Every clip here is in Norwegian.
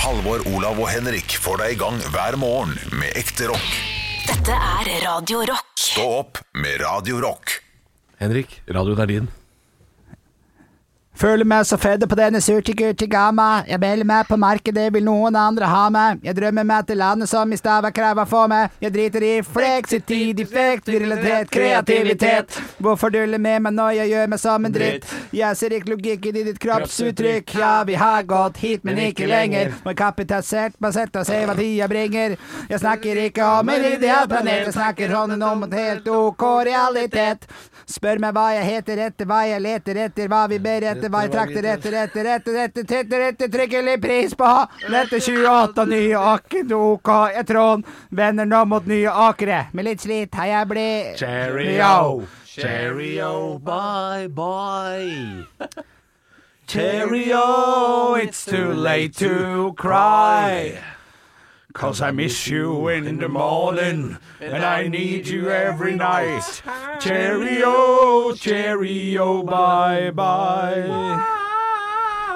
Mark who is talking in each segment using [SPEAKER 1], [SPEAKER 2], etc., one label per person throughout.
[SPEAKER 1] Halvor, Olav og Henrik får deg i gang hver morgen med ekte rock.
[SPEAKER 2] Dette er Radio Rock.
[SPEAKER 1] Stå opp med Radio Rock.
[SPEAKER 3] Henrik, radioen er din.
[SPEAKER 4] Føler meg så fedde på denne surtigurtigama. Jeg melder meg på markedet, vil noen andre ha meg? Jeg drømmer meg til landet som i stava kræva får meg. Jeg driter i fleksitid, effekt, virilitet, kreativitet. Hvorfor dulle med meg når jeg gjør meg som en dritt? Jeg ser ikke logikken i ditt kroppsuttrykk. Ja, vi har gått hit, men ikke lenger. Må kapitalisert meg sett og se hva tida bringer. Jeg snakker ikke om en ideal planet, jeg snakker hånden om en helt OK realitet. Spør meg hva jeg heter etter, hva jeg leter etter, hva vi ber etter, hva jeg trakter etter, etter, etter, etter, etter, etter, trykker litt pris på. Dette 28 og nye akker, du ok, jeg trån, vender nå mot nye akere. Med litt slit har jeg blitt
[SPEAKER 3] Cheerio, cheerio, bye, bye. Cheerio, it's too late to cry. Cause I miss you in the morning, and I need you every night. Cheerio, cheerio, bye, bye.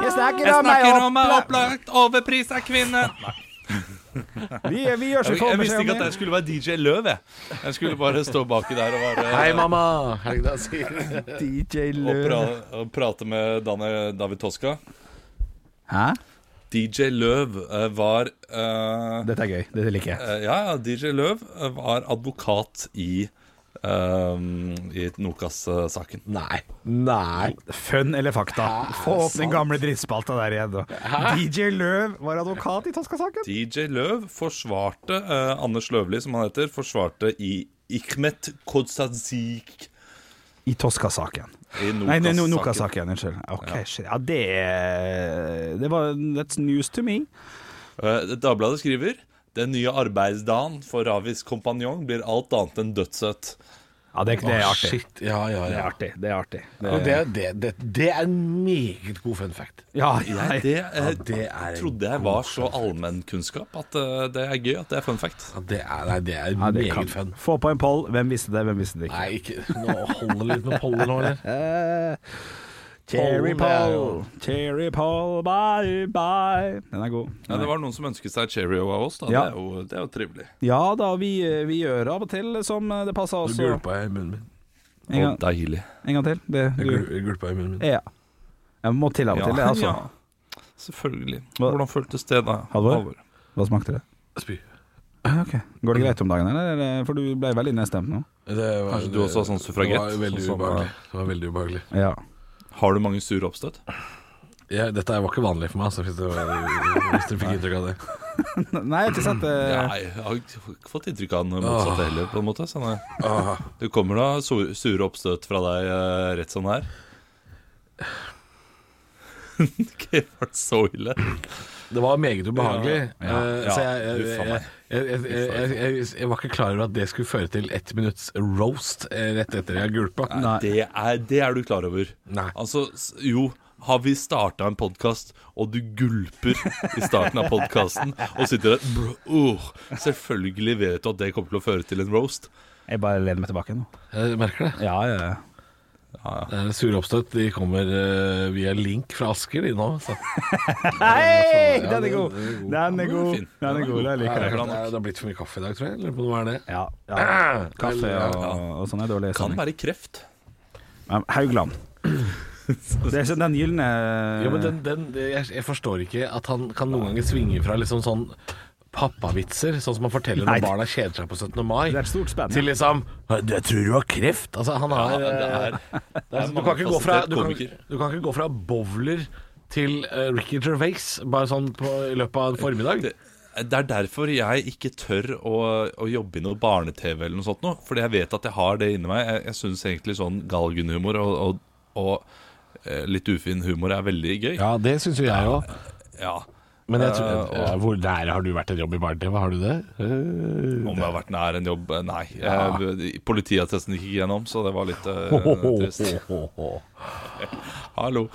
[SPEAKER 4] Jeg snakker
[SPEAKER 5] Jeg
[SPEAKER 4] om meg
[SPEAKER 5] snakker om ei
[SPEAKER 4] opp.
[SPEAKER 5] opplagt overprisa kvinne.
[SPEAKER 4] Vi, vi gjør så
[SPEAKER 5] Jeg, jeg visste
[SPEAKER 4] kommer
[SPEAKER 5] ikke at jeg skulle være DJ Løv, jeg. Jeg skulle bare stå baki der og være
[SPEAKER 3] Hei, mamma. Er det ikke det han sier?
[SPEAKER 4] DJ
[SPEAKER 5] og, pra og prate med Danne David Toska.
[SPEAKER 4] Hæ?
[SPEAKER 5] DJ Løv eh, var eh,
[SPEAKER 4] Dette er gøy. Dette liker jeg.
[SPEAKER 5] eh, Ja, ja, DJ Løv eh, var advokat i eh, I Nokas-saken.
[SPEAKER 3] Nei. Nei.
[SPEAKER 4] Fun eller fakta? Få opp den gamle drittspalta der igjen. da. DJ Løv var advokat i Toska-saken.
[SPEAKER 5] DJ Løv forsvarte eh, Anders Løvli, som han heter, forsvarte i Ikhmet Kodsazik
[SPEAKER 4] I Toska-saken.
[SPEAKER 5] i
[SPEAKER 4] Nei, nei, no-
[SPEAKER 5] Nokas-saken.
[SPEAKER 4] Nokas-saken. Unnskyld. Ok, shit. Ja, det er- Det var That's news to me.
[SPEAKER 5] Eh, Dagbladet skriver den nye arbeidsdagen for Ravis kompanjong blir alt annet enn dødssøt.
[SPEAKER 4] Ja, det, det er artig.
[SPEAKER 3] Ah, Shit. Ja, ja,
[SPEAKER 4] Det er
[SPEAKER 3] ja.
[SPEAKER 4] artig. Det er artig.
[SPEAKER 3] Og det, er- det, det, det er en meget god fun fact.
[SPEAKER 4] Ja,
[SPEAKER 5] Nei,
[SPEAKER 4] ja.
[SPEAKER 5] det, eh,
[SPEAKER 3] det er en
[SPEAKER 5] trodde jeg var så allmennkunnskap at eh, det er gøy at det er fun fact.
[SPEAKER 3] Ja, Det er, nei, det er
[SPEAKER 4] ja det
[SPEAKER 3] meget
[SPEAKER 4] kan.
[SPEAKER 3] fun.
[SPEAKER 4] Få på en poll. Hvem visste det, hvem visste det ikke?
[SPEAKER 3] Nei, ikke Nå holder det litt med poller nå, eller?
[SPEAKER 4] Eh, Cherry
[SPEAKER 3] Pollen er jo-
[SPEAKER 4] Poll, Cherry Poll, bye, bye. Den er god.
[SPEAKER 5] Ja, det var noen som ønsket seg Cheerio av oss, da.
[SPEAKER 4] Ja.
[SPEAKER 5] Det, er jo, det er jo trivelig.
[SPEAKER 4] Ja da, vi, vi gjør av og til som det passer
[SPEAKER 3] Du
[SPEAKER 4] oss. En,
[SPEAKER 3] gulpa i munnen min.
[SPEAKER 4] gang-
[SPEAKER 5] Og deilig.
[SPEAKER 4] en gang til. Det,
[SPEAKER 3] Jeg
[SPEAKER 4] du,
[SPEAKER 3] gul- jeg gulpa i munnen min.
[SPEAKER 4] ja. Jeg må til av og
[SPEAKER 5] Ja,
[SPEAKER 4] til, det, altså.
[SPEAKER 5] ja. Selvfølgelig.
[SPEAKER 4] Hva-
[SPEAKER 5] Hvordan føltes det da?
[SPEAKER 4] Halvor? Hva smakte det?
[SPEAKER 3] Spy.
[SPEAKER 4] Ah, Ok. Går det greit om dagen, eller? eller? For du ble veldig nedstemt nå.
[SPEAKER 3] Det var-
[SPEAKER 5] Kanskje du også har sånn suffragett,
[SPEAKER 3] Det var veldig
[SPEAKER 5] sånn som,
[SPEAKER 3] ubehagelig. Det var veldig ubehagelig.
[SPEAKER 4] Ja.
[SPEAKER 5] Har du mange sure oppstøt?
[SPEAKER 3] Jeg, dette var ikke vanlig for meg, altså, hvis, det var, hvis dere fikk inntrykk av det.
[SPEAKER 4] Nei, jeg har ikke sett eh, det.
[SPEAKER 5] Nei, jeg har ikke fått inntrykk av den motsatte heller, på en måte. Sånn, eh,
[SPEAKER 3] Åh,
[SPEAKER 5] det kommer da sur- sure oppstøt fra deg eh, rett som det er. Det var så ille.
[SPEAKER 3] det var meget ubehagelig.
[SPEAKER 5] Ja,
[SPEAKER 3] eh,
[SPEAKER 5] ja.
[SPEAKER 3] Så jeg, jeg,
[SPEAKER 5] Uffa
[SPEAKER 3] jeg,
[SPEAKER 5] meg.
[SPEAKER 3] jeg, jeg, jeg, jeg, jeg var ikke klar over at det skulle føre til ett minutts roast eh, rett etter jeg gulpa.
[SPEAKER 4] Nei.
[SPEAKER 5] Det er, det er du klar over.
[SPEAKER 3] Nei.
[SPEAKER 5] Altså, s- jo, har vi starta en podkast, og du gulper i starten av podkasten og sitter der bro, uh, Selvfølgelig vet du at det kommer til å føre til en roast.
[SPEAKER 4] Jeg bare lener meg tilbake nå.
[SPEAKER 3] Jeg Eh, merker det.
[SPEAKER 4] Ja, ja, ja.
[SPEAKER 3] det er Sure oppstøt de kommer eh, via link fra Asker, de nå. Så.
[SPEAKER 4] Hei,
[SPEAKER 3] Ja,
[SPEAKER 4] den er
[SPEAKER 3] den-
[SPEAKER 4] god.
[SPEAKER 3] den
[SPEAKER 4] Den er god.
[SPEAKER 5] fin.
[SPEAKER 4] Den er god, jeg
[SPEAKER 3] Det,
[SPEAKER 4] liker
[SPEAKER 3] er,
[SPEAKER 4] det.
[SPEAKER 3] det, er, det har blitt for mye kaffe i dag, tror jeg. Lurer på om det var det.
[SPEAKER 4] Ja, ja. Kaffe og,
[SPEAKER 5] Ja.
[SPEAKER 4] og sånn er dårlig
[SPEAKER 5] Kan
[SPEAKER 4] stemning.
[SPEAKER 5] være kreft.
[SPEAKER 4] Men Haugland. Det er sånn den gylne
[SPEAKER 3] Jo, men den, den, det- jeg, jeg forstår ikke at han kan noen ganger svinge fra liksom sånn pappavitser, sånn som han forteller
[SPEAKER 4] Nei.
[SPEAKER 3] når barna kjeder seg på 17. mai,
[SPEAKER 4] Det er et stort spenn.
[SPEAKER 3] til liksom Jeg tror du har kreft. Altså, han har
[SPEAKER 5] Ja, det er,
[SPEAKER 3] det er-
[SPEAKER 5] det er
[SPEAKER 3] du, kan ikke gå fra,
[SPEAKER 5] mangefasettert
[SPEAKER 3] du, kan,
[SPEAKER 5] komiker.
[SPEAKER 3] du kan ikke gå fra bowler til eh, Ricky Gervais bare sånn på, i løpet av en formiddag.
[SPEAKER 5] det, det er derfor jeg ikke tør å, å jobbe i noe barne-TV eller noe sånt nå. Fordi jeg vet at jeg har det inni meg. Jeg, jeg syns egentlig sånn galgenhumor og, og, og eh, litt ufin humor er veldig gøy.
[SPEAKER 3] Ja, det syns jo jeg òg.
[SPEAKER 5] Ja.
[SPEAKER 3] Men jeg tror,
[SPEAKER 5] Eh, og-
[SPEAKER 3] ja, hvor nær har du vært en jobb i barne-TV? Har du det?
[SPEAKER 5] Om jeg har vært nær en jobb Nei. Jeg, politiattesten gikk ikke gjennom, så det var litt eh, trist.
[SPEAKER 3] Eh.
[SPEAKER 5] Hallo.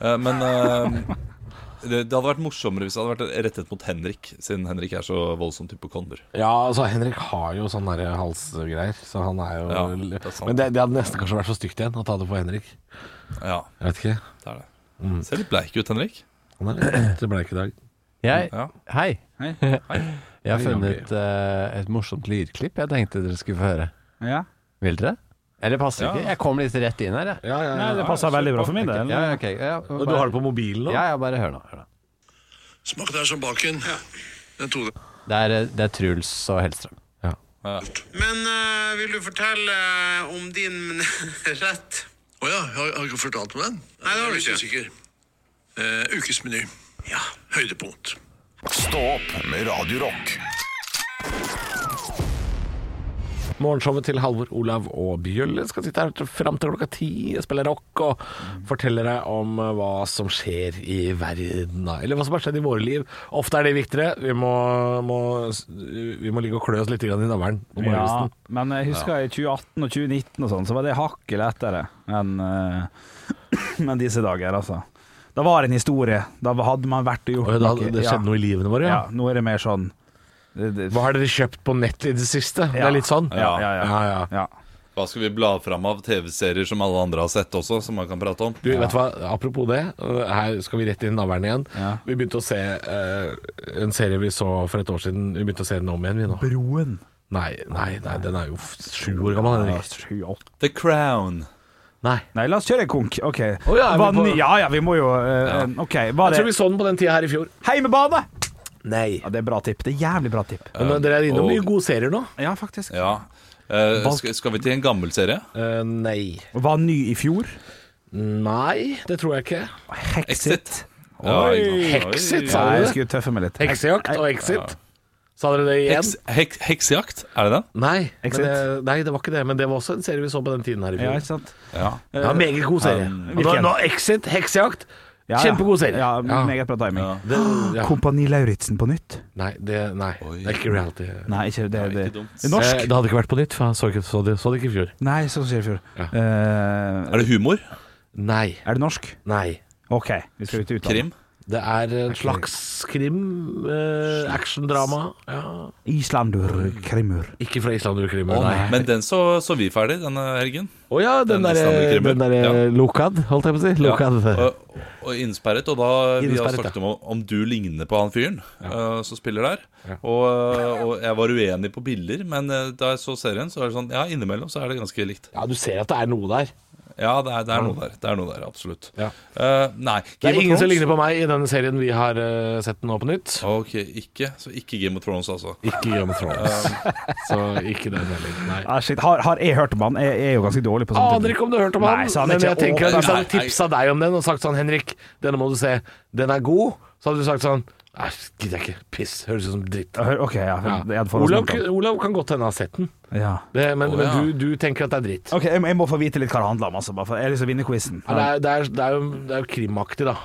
[SPEAKER 5] Eh, men eh, det, det hadde vært morsommere hvis det hadde vært rettet mot Henrik, siden Henrik er så voldsomt hypokonder.
[SPEAKER 3] Ja, altså Henrik har jo sånne der halsgreier, så han er jo
[SPEAKER 5] Ja, det er sant.
[SPEAKER 3] Men det, det hadde nesten kanskje vært så stygt igjen å ta det på Henrik.
[SPEAKER 5] Ja,
[SPEAKER 3] Jeg vet ikke.
[SPEAKER 5] det er det. Ser litt bleik ut, Henrik.
[SPEAKER 3] Han er litt bleik i dag.
[SPEAKER 6] Jeg,
[SPEAKER 5] Ja.
[SPEAKER 6] hei.
[SPEAKER 7] Hei.
[SPEAKER 6] Jeg har
[SPEAKER 7] Hei,
[SPEAKER 6] funnet eh, et morsomt lydklipp jeg tenkte dere skulle få høre.
[SPEAKER 7] Ja.
[SPEAKER 6] Vil dere? Eller passer
[SPEAKER 5] Ja.
[SPEAKER 6] ikke? Jeg kom litt rett inn her, jeg.
[SPEAKER 3] Ja, ja,
[SPEAKER 8] Nei,
[SPEAKER 3] ja.
[SPEAKER 8] det passa veldig bra for min del.
[SPEAKER 6] Ja, ok. Ja,
[SPEAKER 3] Og du har det på mobilen nå?
[SPEAKER 6] Ja, ja, bare hør nå. Hør nå.
[SPEAKER 9] Smak der som baken. Den to
[SPEAKER 6] Det, er, eh, det er Truls og Hellstrøm.
[SPEAKER 10] Men eh, vil du fortelle eh, om din rett?
[SPEAKER 9] Å ja, har, har ikke fortalt om den?
[SPEAKER 10] Nei, det har du
[SPEAKER 9] Jeg er litt
[SPEAKER 10] ikke.
[SPEAKER 9] usikker. Eh, ukesmeny. Ja. Høydepunkt.
[SPEAKER 1] Stå opp med Radio Rock.
[SPEAKER 3] Morgenshowet til Halvor, Olav og Bjølle skal sitte her fram til klokka ti og spille rock og fortelle deg om eh, hva som skjer i verden, da. eller hva som har skjedd i våre liv. Ofte er det viktigere. Vi må, må, vi må ligge og klø oss litt grann i navlen på
[SPEAKER 8] Ja,
[SPEAKER 3] morgenkvisten.
[SPEAKER 8] men jeg husker i 2018 og 2019 og sånn, så var det hakket lettere enn eh, enn disse dager, altså. Da var det en historie. Da hadde man vært og
[SPEAKER 3] Og
[SPEAKER 8] gjort
[SPEAKER 3] da, det skjedde noe i livene våre,
[SPEAKER 8] Ja,
[SPEAKER 3] ja.
[SPEAKER 8] nå er det mer sånn det, det,
[SPEAKER 3] Hva har dere kjøpt på nett i det siste? Det
[SPEAKER 8] Ja.
[SPEAKER 3] er litt sånn?
[SPEAKER 8] Ja, ja, ja.
[SPEAKER 3] ja, ja.
[SPEAKER 8] Ja.
[SPEAKER 5] Hva skal vi bla fram av TV-serier som alle andre har sett også, som man kan prate om?
[SPEAKER 3] Du, vet du hva, Apropos det, øh, her skal vi rett inn i navlen igjen.
[SPEAKER 8] Ja.
[SPEAKER 3] Vi begynte å se øh, en serie vi så for et år siden. Vi begynte å se den om igjen, vi nå.
[SPEAKER 8] Broen.
[SPEAKER 3] Nei, nei, nei den er jo f- sju år gammel.
[SPEAKER 8] Ja,
[SPEAKER 3] Henrik.
[SPEAKER 8] sju, åtte.
[SPEAKER 5] The Crown.
[SPEAKER 3] Nei.
[SPEAKER 8] Nei, la oss kjøre en konk. Ok.
[SPEAKER 3] Å ja, er vi
[SPEAKER 8] Var den-
[SPEAKER 3] på-
[SPEAKER 8] ja, ja, vi må jo eh, Ok, var
[SPEAKER 3] Jeg tror
[SPEAKER 8] det
[SPEAKER 3] vi så den på den tida her i fjor.
[SPEAKER 8] Heimebane?
[SPEAKER 3] Nei.
[SPEAKER 8] Ja, det er bra tipp. Det er jævlig bra tipp.
[SPEAKER 3] Men øh, dere er innom
[SPEAKER 5] og-
[SPEAKER 3] mye gode serier nå.
[SPEAKER 8] Ja, faktisk.
[SPEAKER 5] Ja. Eh,
[SPEAKER 8] Valg-
[SPEAKER 5] skal, skal vi til en gammel serie?
[SPEAKER 3] Øh, nei.
[SPEAKER 8] Var ny i fjor.
[SPEAKER 3] Nei, det tror jeg ikke.
[SPEAKER 5] Exit.
[SPEAKER 8] Hexit.
[SPEAKER 5] Ja, ikke sant.
[SPEAKER 3] Hexit,
[SPEAKER 5] Oi.
[SPEAKER 8] Nei,
[SPEAKER 3] sa du
[SPEAKER 8] jeg
[SPEAKER 3] det?
[SPEAKER 8] skulle tøffe meg litt.
[SPEAKER 3] Heksejakt og Exit. Sa dere det igjen?
[SPEAKER 5] Heks, hek, heksejakt, er det den?
[SPEAKER 3] Nei, men
[SPEAKER 8] Exit.
[SPEAKER 3] det, nei, det var ikke det. Men det var også en serie vi så på den tiden her i
[SPEAKER 8] Ja,
[SPEAKER 3] fjor.
[SPEAKER 8] ikke sant?
[SPEAKER 5] Ja.
[SPEAKER 3] Ja, Meget god serie.
[SPEAKER 8] Um,
[SPEAKER 3] nå,
[SPEAKER 8] hvilken?
[SPEAKER 3] nå Exit, heksejakt.
[SPEAKER 8] Ja, ja.
[SPEAKER 3] Kjempegod serie.
[SPEAKER 8] Ja,
[SPEAKER 3] Ja.
[SPEAKER 8] Meget bra timing.
[SPEAKER 5] Ja.
[SPEAKER 3] Det, ja.
[SPEAKER 8] Kompani Lauritzen på nytt?
[SPEAKER 3] Nei, det, nei. det er ikke reality.
[SPEAKER 8] Nei, ikke det.
[SPEAKER 5] Nei,
[SPEAKER 8] det.
[SPEAKER 5] ikke dumt.
[SPEAKER 8] det er norsk?
[SPEAKER 3] Eh, det hadde ikke vært på nytt, for jeg så, ikke, så, det, så det ikke i fjor.
[SPEAKER 8] Nei, sånn sier jeg i fjor.
[SPEAKER 3] Ja.
[SPEAKER 8] Eh,
[SPEAKER 5] Er det humor?
[SPEAKER 3] Nei.
[SPEAKER 8] er det norsk?
[SPEAKER 3] Nei.
[SPEAKER 8] OK, vi skal ut i utlandet.
[SPEAKER 5] Krim?
[SPEAKER 3] Det er en slags krim. Eh, Actiondrama. Ja.
[SPEAKER 8] Islandur krimur.
[SPEAKER 3] Ikke fra Islanderkrimmer,
[SPEAKER 5] Å,
[SPEAKER 3] nei.
[SPEAKER 5] Men den så, så vi ferdig denne helgen.
[SPEAKER 3] Å ja, den
[SPEAKER 5] Den
[SPEAKER 3] derre
[SPEAKER 5] Islander-krimmen.
[SPEAKER 3] der,
[SPEAKER 5] Ja.
[SPEAKER 3] Lokad, holdt jeg på å si. Lokad.
[SPEAKER 5] Og, og innsperret. Og da vi har
[SPEAKER 3] Innsperret,
[SPEAKER 5] snakket om om du ligner på han fyren eh, som spiller der. Og, eh, og jeg var uenig på bilder, men eh, da jeg så serien, så er det sånn Ja, innimellom så er det ganske likt.
[SPEAKER 3] Ja, du ser at det er noe der.
[SPEAKER 5] Ja, det er, det er noe der. Det er noe der, absolutt.
[SPEAKER 3] Ja.
[SPEAKER 5] Eh, nei.
[SPEAKER 3] Det er
[SPEAKER 5] Game of
[SPEAKER 3] ingen som
[SPEAKER 5] Thrones?
[SPEAKER 3] ligner på meg i denne serien vi har eh, sett nå på nytt.
[SPEAKER 5] Ok, ikke. Så ikke Game of Thrones, altså.
[SPEAKER 3] Ikke Game of Thrones. Så ikke den heller. Nei.
[SPEAKER 8] Ah, shit. Har, har jeg hørt om han? Jeg, jeg er jo ganske dårlig på sånt.
[SPEAKER 3] Aner ikke om du har hørt om han,
[SPEAKER 8] Nei, så han er
[SPEAKER 3] men jeg
[SPEAKER 8] ikke
[SPEAKER 3] tenker at
[SPEAKER 5] åpen.
[SPEAKER 3] hvis han
[SPEAKER 5] Nei, nei.
[SPEAKER 3] tipsa deg om den og sagt sånn 'Henrik, denne må du se, den er god', så hadde du sagt sånn 'Nei, gidder jeg ikke. Piss. Høres ut som dritt'.
[SPEAKER 8] Hør- OK, ja.
[SPEAKER 3] Ja.
[SPEAKER 8] Jeg hadde forhåndsdømt
[SPEAKER 3] Olav,
[SPEAKER 8] han.
[SPEAKER 3] Olav kan godt hende ha sett den,
[SPEAKER 8] ja.
[SPEAKER 3] det, men,
[SPEAKER 5] Å,
[SPEAKER 3] men
[SPEAKER 5] ja.
[SPEAKER 3] du, du tenker at det er dritt.
[SPEAKER 8] OK, jeg, må- jeg må få vite litt hva det handler om, altså. Bare for, jeg har lyst til å vinne quizen.
[SPEAKER 3] Ja, det, er, det, er, det, er jo, det er jo krimaktig, da.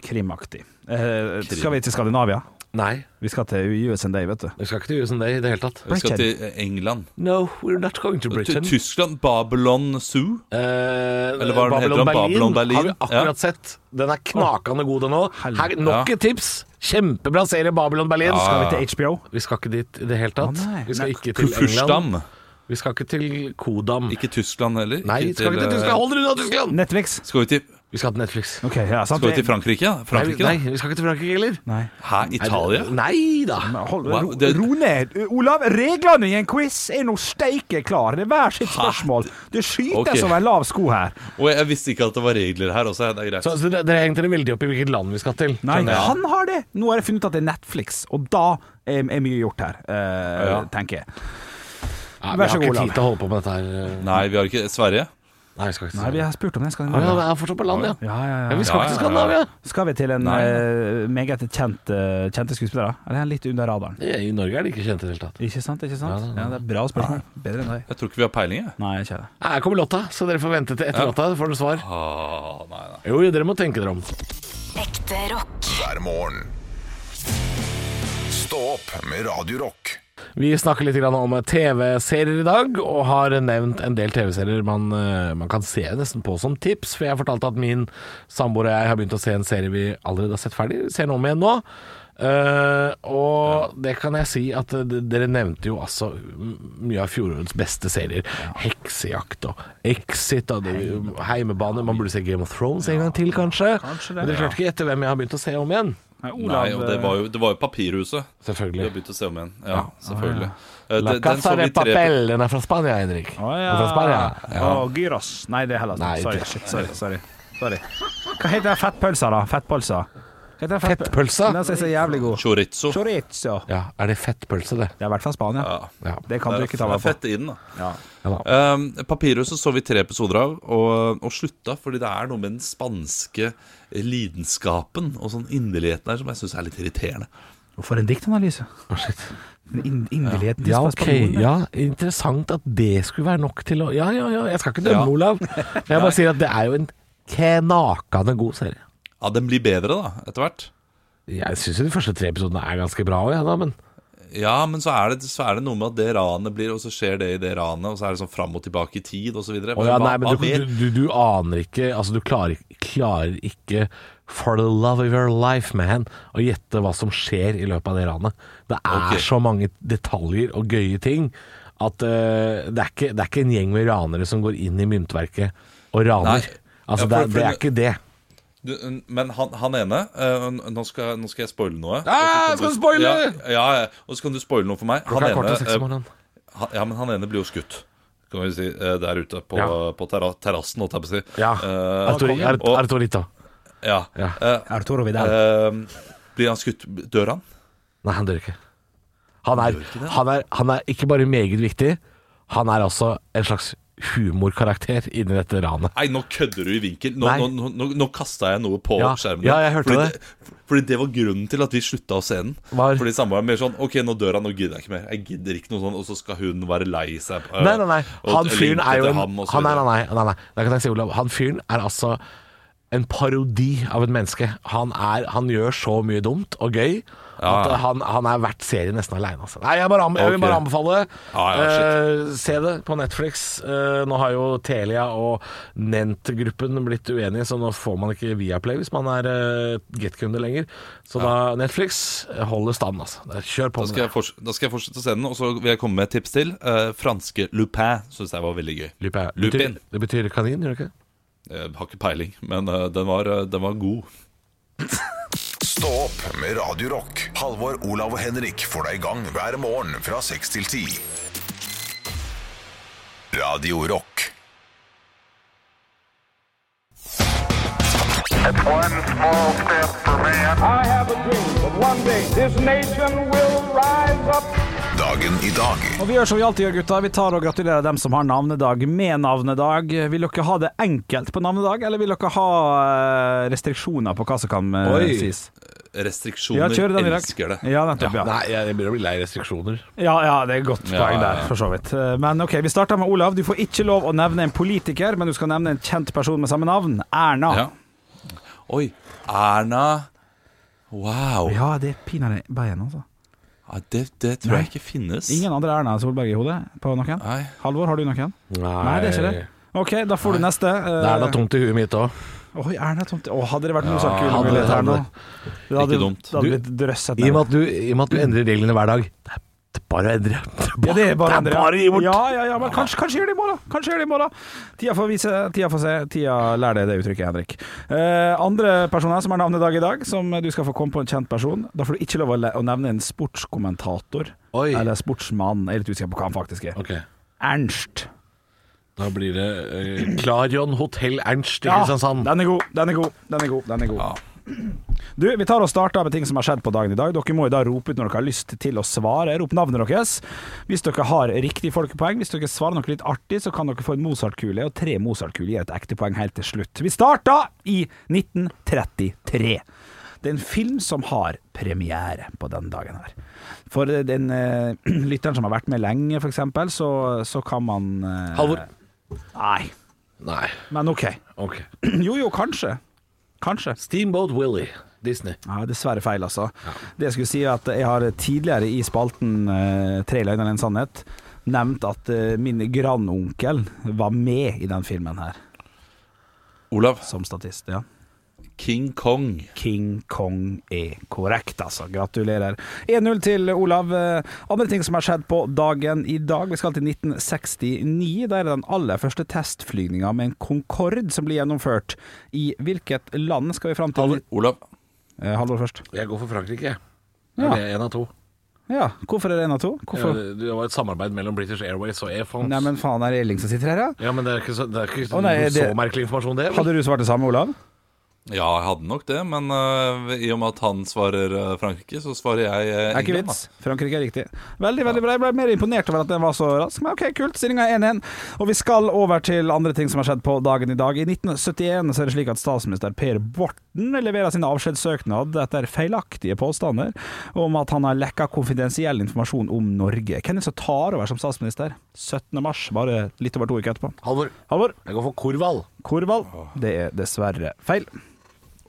[SPEAKER 8] Krimaktig. Eh, skal vi til Skandinavia?
[SPEAKER 3] Nei,
[SPEAKER 8] Vi skal til US and Day, vet du.
[SPEAKER 3] vi skal ikke til USA i det hele tatt.
[SPEAKER 5] Vi skal til eh, England.
[SPEAKER 3] No, we're not going to
[SPEAKER 5] Til Tyskland. Babylon Zoo.
[SPEAKER 3] Eller
[SPEAKER 5] hva den heter, Babylon Berlin?
[SPEAKER 3] har vi akkurat
[SPEAKER 5] Ja.
[SPEAKER 3] sett. Den er knakende god, den òg. Her- Nok
[SPEAKER 5] Ja.
[SPEAKER 3] et tips! Kjempebra serie, Babylon Berlin.
[SPEAKER 8] Skal vi til HBO?
[SPEAKER 3] Vi skal ikke dit i det hele tatt.
[SPEAKER 8] Å, nei.
[SPEAKER 3] vi skal
[SPEAKER 8] Nei,
[SPEAKER 3] ikke til England.
[SPEAKER 5] Kufursdam.
[SPEAKER 3] Vi skal ikke til Kodam.
[SPEAKER 5] Ikke Tyskland heller.
[SPEAKER 3] Nei, vi skal ikke til Tyskland. Hold dere unna Tyskland!
[SPEAKER 8] Netflix?
[SPEAKER 5] Skal vi til,
[SPEAKER 3] Vi skal til Netflix.
[SPEAKER 8] OK, ja, sant.
[SPEAKER 5] skal vi til Frankrike? da?
[SPEAKER 3] Nei,
[SPEAKER 5] Frankrike
[SPEAKER 3] nei,
[SPEAKER 5] da?
[SPEAKER 3] vi skal ikke til Frankrike heller.
[SPEAKER 8] Nei.
[SPEAKER 5] Hæ, Italia?
[SPEAKER 3] Nei da.
[SPEAKER 8] Hold,
[SPEAKER 5] Hva?
[SPEAKER 8] ro,
[SPEAKER 5] Det-
[SPEAKER 8] ro ned. Olav, reglene i en quiz er nå steike klar. Det er hver sitt spørsmål. Det skytes
[SPEAKER 5] Ok.
[SPEAKER 8] over en lav sko her.
[SPEAKER 5] Og jeg visste ikke at det var regler her også. Det er greit.
[SPEAKER 3] Så, så dere, dere hengte dere veldig opp i hvilket land vi skal til.
[SPEAKER 8] Nei,
[SPEAKER 3] skjønner jeg.
[SPEAKER 8] han har det. Nå har jeg funnet ut at det er Netflix, og da er, er mye gjort her, eh,
[SPEAKER 5] Ja.
[SPEAKER 8] tenker jeg.
[SPEAKER 3] Ja,
[SPEAKER 8] vær så god,
[SPEAKER 3] Vi har ikke
[SPEAKER 8] Olav.
[SPEAKER 3] tid til å holde på med dette her. eh.
[SPEAKER 5] Nei, vi har ikke Sverige.
[SPEAKER 3] Nei, vi skal ikke
[SPEAKER 8] Nei,
[SPEAKER 3] til
[SPEAKER 8] vi har spurt om den. Skal,
[SPEAKER 3] Å ja,
[SPEAKER 8] den
[SPEAKER 3] det er fortsatt på land, ja.
[SPEAKER 8] ja, ja,
[SPEAKER 3] ja vi skal
[SPEAKER 5] Ja,
[SPEAKER 3] ikke til
[SPEAKER 5] ja, ja.
[SPEAKER 3] Skandinavia.
[SPEAKER 8] Skal vi til en
[SPEAKER 5] Nei.
[SPEAKER 8] eh, meget kjent, eh, kjente skuespiller? da? Eller er han litt under radaren?
[SPEAKER 3] Det er- I Norge er det ikke kjent i det hele tatt.
[SPEAKER 8] Ikke sant? ikke sant?
[SPEAKER 3] Ja,
[SPEAKER 8] Ja,
[SPEAKER 3] ja, ja.
[SPEAKER 8] Det er bra spørsmål. Bedre enn deg.
[SPEAKER 5] Jeg tror ikke vi har peiling, jeg.
[SPEAKER 8] Nei, ikke det.
[SPEAKER 3] Her kommer låta, så dere får vente til etter låta, får dere svar.
[SPEAKER 5] Ah, nei, nei.
[SPEAKER 3] Jo, jo, dere må tenke dere om.
[SPEAKER 2] Ekte rock.
[SPEAKER 1] hver morgen. Stå opp med Radio Rock.
[SPEAKER 3] Vi snakker litt grann om TV-serier i dag, og har nevnt en del TV-serier man, eh, man kan se nesten på som tips. For jeg fortalte at min samboer og jeg har begynt å se en serie vi allerede har sett ferdig. Vi ser den om igjen nå. Eh, og det kan jeg si at eh, dere nevnte jo altså m- mye av fjorårets beste serier. Heksejakt og Exit og det, Heimebane. Man burde se Game of Thrones en gang til, kanskje. Men dere klarte ikke å gjette hvem jeg har begynt å se om igjen.
[SPEAKER 8] Nei,
[SPEAKER 5] Nei, og det var jo, det var jo Papirhuset. Vi har
[SPEAKER 3] eh, Selvfølgelig.
[SPEAKER 5] begynt å se om igjen. Ja, selvfølgelig. Eh,
[SPEAKER 3] La
[SPEAKER 5] den- den
[SPEAKER 3] casa
[SPEAKER 5] så
[SPEAKER 3] de
[SPEAKER 5] vi tre-
[SPEAKER 3] papel. Den er fra Spania, Henrik.
[SPEAKER 8] Å ja.
[SPEAKER 3] Den er Fra Spania. Ja.
[SPEAKER 8] Å, gyros. Nei, det er Hellas.
[SPEAKER 3] Nei,
[SPEAKER 8] sorry.
[SPEAKER 3] det-
[SPEAKER 8] Shit, sorry, sorry. sorry. Hva heter den fettpølsa, da? Fettpølsa. Hva heter den fettpøl-
[SPEAKER 3] Fettpølsa?
[SPEAKER 8] Den er så jævlig god.
[SPEAKER 5] Chorizo.
[SPEAKER 8] Chorizo.
[SPEAKER 3] Ja, er det fettpølse, det?
[SPEAKER 8] Det er i hvert fall Spania.
[SPEAKER 5] Ja.
[SPEAKER 3] Ja.
[SPEAKER 8] Det kan
[SPEAKER 5] Det
[SPEAKER 8] du
[SPEAKER 5] er
[SPEAKER 8] ikke ta meg på.
[SPEAKER 5] fett i den, da.
[SPEAKER 8] Ja.
[SPEAKER 5] Um, Papirhuset så vi tre episoder av, og, og slutta fordi det er noe med den spanske lidenskapen og sånn inderligheten der som jeg syns er litt irriterende.
[SPEAKER 8] For en diktanalyse. Den in- Inderligheten til
[SPEAKER 3] Ja, ok.
[SPEAKER 8] spanjolen, det.
[SPEAKER 3] Ja, interessant at det skulle være nok til å Ja, ja, ja. Jeg skal ikke
[SPEAKER 5] Ja.
[SPEAKER 3] dømme Olav. Men jeg bare sier at det er jo en knakende god serie.
[SPEAKER 5] Ja, den blir bedre, da, etter hvert.
[SPEAKER 3] Jeg syns jo de første tre episodene er ganske bra òg, jeg, da, men
[SPEAKER 5] Ja, men så er, det, så er det noe med at det ranet blir, og så skjer det i det ranet, og så er det sånn fram og tilbake i tid, og så videre.
[SPEAKER 3] Å ja,
[SPEAKER 5] hva-
[SPEAKER 3] nei, men
[SPEAKER 5] hva
[SPEAKER 3] du,
[SPEAKER 5] mer?
[SPEAKER 3] du, du, du aner ikke Altså, du klarer, ikke- klarer ikke For the love of your life, man Å gjette hva som skjer i løpet av det ranet Det er
[SPEAKER 5] Ok.
[SPEAKER 3] så mange detaljer og gøye ting At eh, det, er ikke, det er ikke en gjeng med ranere som går inn i myntverket Og raner
[SPEAKER 5] Nei. Ja,
[SPEAKER 3] Altså,
[SPEAKER 5] for-
[SPEAKER 3] det, er- det er
[SPEAKER 5] for-
[SPEAKER 3] ikke det
[SPEAKER 5] Du, men han, han ene eh, Nå skal, nå skal jeg spoile noe.
[SPEAKER 3] Ah,
[SPEAKER 5] Og så kan
[SPEAKER 3] skal du spoile?
[SPEAKER 5] Ja, ja, ja, og så kan du spoile noe for meg.
[SPEAKER 3] Klokka er kvart over seks
[SPEAKER 5] eh,
[SPEAKER 3] om morgenen
[SPEAKER 5] han, ja, men han ene blir jo skutt. Kan vi si, eh, Der ute på,
[SPEAKER 3] Ja.
[SPEAKER 5] på terra terrassen, holdt jeg på å si.
[SPEAKER 3] Ja,
[SPEAKER 5] Eh,
[SPEAKER 3] Artur,
[SPEAKER 5] og-
[SPEAKER 3] Art- Arturita
[SPEAKER 5] ja.
[SPEAKER 3] Ja.
[SPEAKER 5] Eh,
[SPEAKER 8] Arturo Vidal.
[SPEAKER 5] eh, blir han skutt Dør han?
[SPEAKER 3] Nei, han dør ikke. Han er, han er, han er ikke bare meget viktig, han er altså en slags humorkarakter inni dette ranet.
[SPEAKER 5] Nei, nå kødder du i vinkel. Nå,
[SPEAKER 3] Nei.
[SPEAKER 5] nå, nå, nå, nå kasta jeg noe på
[SPEAKER 3] Ja,
[SPEAKER 5] skjermen.
[SPEAKER 3] ja, jeg hørte
[SPEAKER 5] fordi
[SPEAKER 3] det.
[SPEAKER 5] Fordi det var grunnen til at vi slutta å se den.
[SPEAKER 3] Var-
[SPEAKER 5] Fordi samboeren mer sånn OK, nå dør han, nå gidder jeg ikke mer. Jeg gidder ikke noe sånn, og så skal hun være lei seg. øh,
[SPEAKER 3] Nei, nei, nei.
[SPEAKER 5] og
[SPEAKER 3] Han
[SPEAKER 5] lengte
[SPEAKER 3] fyren er jo
[SPEAKER 5] etter
[SPEAKER 3] en
[SPEAKER 5] ham, og så
[SPEAKER 3] han, nei,
[SPEAKER 5] videre.
[SPEAKER 3] nei, nei, nei, nei. Da kan jeg si, Olav. Han fyren er altså en parodi av et menneske. Han, er, han gjør så mye dumt og gøy
[SPEAKER 5] Ja,
[SPEAKER 3] at eh,
[SPEAKER 5] ja.
[SPEAKER 3] han, han er verdt serien nesten aleine. Altså. Nei, jeg, bare anbe- jeg
[SPEAKER 5] Ok.
[SPEAKER 3] vil bare anbefale det.
[SPEAKER 5] Ja, ja, shit.
[SPEAKER 3] Eh, se det på Netflix. Eh, nå har jo Telia og Nent-gruppen blitt uenige, så nå får man ikke Viaplay hvis man er uh, Get-kunde lenger. Så da Netflix holder stand, altså. Det er- Kjør på
[SPEAKER 5] Da
[SPEAKER 3] med
[SPEAKER 5] skal,
[SPEAKER 3] det.
[SPEAKER 5] jeg forts- da skal jeg fortsette å se den, og så vil jeg komme med et tips til. Eh, franske Lupin syns jeg var veldig gøy.
[SPEAKER 3] Lupin.
[SPEAKER 5] Lupin.
[SPEAKER 3] Betyr, det betyr kanin, gjør det ikke? det?
[SPEAKER 5] Jeg Eh, har ikke peiling, men eh, den, var, eh, den var god.
[SPEAKER 1] Stå opp med Radio Rock. Halvor, Olav og Henrik får deg i gang hver morgen fra 6 til 10. Radio Rock.
[SPEAKER 11] I have a dream that one day this nation will rise up.
[SPEAKER 1] Dagen i dag.
[SPEAKER 8] Og vi gjør som vi alltid gjør, gutta. Vi tar og gratulerer dem som har navnedag med navnedag. Vil dere ha det enkelt på navnedag, eller vil dere ha eh, restriksjoner på hva som kan eh,
[SPEAKER 5] Oi.
[SPEAKER 8] sies? Ja,
[SPEAKER 5] Restriksjoner
[SPEAKER 8] kjør den i dag.
[SPEAKER 5] elsker det.
[SPEAKER 8] Ja, nettopp, ja.
[SPEAKER 3] Nei, jeg begynner å bli lei restriksjoner.
[SPEAKER 8] Ja, ja, det er et godt
[SPEAKER 5] Ja,
[SPEAKER 8] poeng
[SPEAKER 5] ja,
[SPEAKER 8] der,
[SPEAKER 5] ja.
[SPEAKER 8] for så vidt. Eh, Men ok, vi starter med Olav. Du får ikke lov å nevne en politiker, men du skal nevne en kjent person med samme navn. Erna.
[SPEAKER 5] Ja. Oi. Erna Wow.
[SPEAKER 8] Ja, det er pinadø Bayern, altså.
[SPEAKER 5] Ja, det, det tror jeg ikke finnes.
[SPEAKER 8] Ingen andre Erna Solberg i hodet på noen?
[SPEAKER 5] Nei.
[SPEAKER 8] Halvor, har du noen? Nei, det er ikke det. OK, da får du neste. eh,
[SPEAKER 3] Det er da tomt i huet mitt òg.
[SPEAKER 8] Oi, Erna Tomte. Å, hadde det vært noe
[SPEAKER 3] Ja,
[SPEAKER 8] sånn kul
[SPEAKER 3] hadde-
[SPEAKER 8] mulighet her nå?
[SPEAKER 3] hadde-
[SPEAKER 8] Det hadde,
[SPEAKER 5] Ikke dumt.
[SPEAKER 8] Det hadde
[SPEAKER 3] Du-
[SPEAKER 8] blitt drøsset
[SPEAKER 3] I og
[SPEAKER 8] ned.
[SPEAKER 3] med at du, i og med at du endrer reglene hver dag. Det er- det er bare å endre. Det er
[SPEAKER 8] Ja, det er bare
[SPEAKER 3] det
[SPEAKER 8] andre.
[SPEAKER 3] er bare å gi bort.
[SPEAKER 8] Ja, ja, ja, men kanskje, kanskje gjør det i morgen. Kanskje gjør det i morgen. Tida får vise, tida får se. Tida lærer deg det uttrykket, Henrik. Eh, andre personer som har navnedag i dag, som du skal få komme på en kjent person. Da får du ikke lov å, le å nevne en sportskommentator.
[SPEAKER 3] Oi.
[SPEAKER 8] Eller sportsmann. Jeg er litt usikker på hva han faktisk er.
[SPEAKER 3] Ok,
[SPEAKER 8] Ernst.
[SPEAKER 3] da blir det eh, Klarion Hotell Ernst i
[SPEAKER 8] Ja,
[SPEAKER 3] Kristiansand.
[SPEAKER 8] den er god, den er god, den er god. Den er god. Du, Vi tar og starter med ting som har skjedd på dagen i dag. Dere må jo da rope ut når dere har lyst til å svare. Rop navnet deres. Hvis dere har riktig folkepoeng, hvis dere svarer noe litt artig, så kan dere få en Mozart-kule, og tre Mozart-kuler gir et ekte poeng helt til slutt. Vi starter i 1933. Det er en film som har premiere på den dagen her. For den eh, lytteren som har vært med lenge, f.eks., så, så kan man eh,
[SPEAKER 3] Halvor.
[SPEAKER 8] Nei,
[SPEAKER 3] Nei,
[SPEAKER 8] men OK.
[SPEAKER 3] ok.
[SPEAKER 8] Jo, jo, kanskje. Kanskje.
[SPEAKER 3] Steamboat Willy, Disney.
[SPEAKER 8] Ja, dessverre feil, altså. Det jeg skulle si er at jeg har tidligere i spalten eh, Tre løgner og en sannhet nevnt at eh, min grandonkel var med i den filmen her,
[SPEAKER 5] Olav,
[SPEAKER 8] som statist. ja.
[SPEAKER 5] King Kong.
[SPEAKER 8] King Kong er korrekt, altså. Gratulerer. 1-0 til Olav. Eh, Andre ting som har skjedd på dagen i dag. Vi skal til 1969. Der er den aller første testflygninga med en Concorde som blir gjennomført. I hvilket land skal vi fram til?
[SPEAKER 5] Olav.
[SPEAKER 8] Eh, Halvor først.
[SPEAKER 3] Jeg går for Frankrike.
[SPEAKER 8] Ja.
[SPEAKER 3] Det er en av to.
[SPEAKER 8] Ja, Hvorfor er det én av to? Hvorfor?
[SPEAKER 3] Ja, Det var et samarbeid mellom British Airways og Air France.
[SPEAKER 8] Nei, men faen, er det Elling som sitter her, ja?
[SPEAKER 3] Ja, men det er ikke så, det er ikke
[SPEAKER 8] Å, nei,
[SPEAKER 3] noe
[SPEAKER 8] det-
[SPEAKER 3] så merkelig informasjon, det. vel?
[SPEAKER 8] Hadde du svart det samme, Olav?
[SPEAKER 5] Ja, jeg hadde nok det, men øh, i og med at han svarer øh, Frankrike, så svarer jeg uh,
[SPEAKER 8] Er ikke
[SPEAKER 5] England.
[SPEAKER 8] vits. Frankrike er riktig. Veldig veldig bra. Jeg ble mer imponert over at den var så rask. Men ok, kult. Stillinga er 1-1. Og vi skal over til andre ting som har skjedd på dagen i dag. I 1971 så er det slik at statsminister Per Borten leverer sin avskjedssøknad etter feilaktige påstander om at han har lekka konfidensiell informasjon om Norge. Hvem er det som tar over som statsminister? 17. mars, bare litt over to uker etterpå.
[SPEAKER 3] Halvor.
[SPEAKER 8] Halvor.
[SPEAKER 3] Jeg går for Korvald.
[SPEAKER 8] Korvald. Det er dessverre feil.
[SPEAKER 5] da.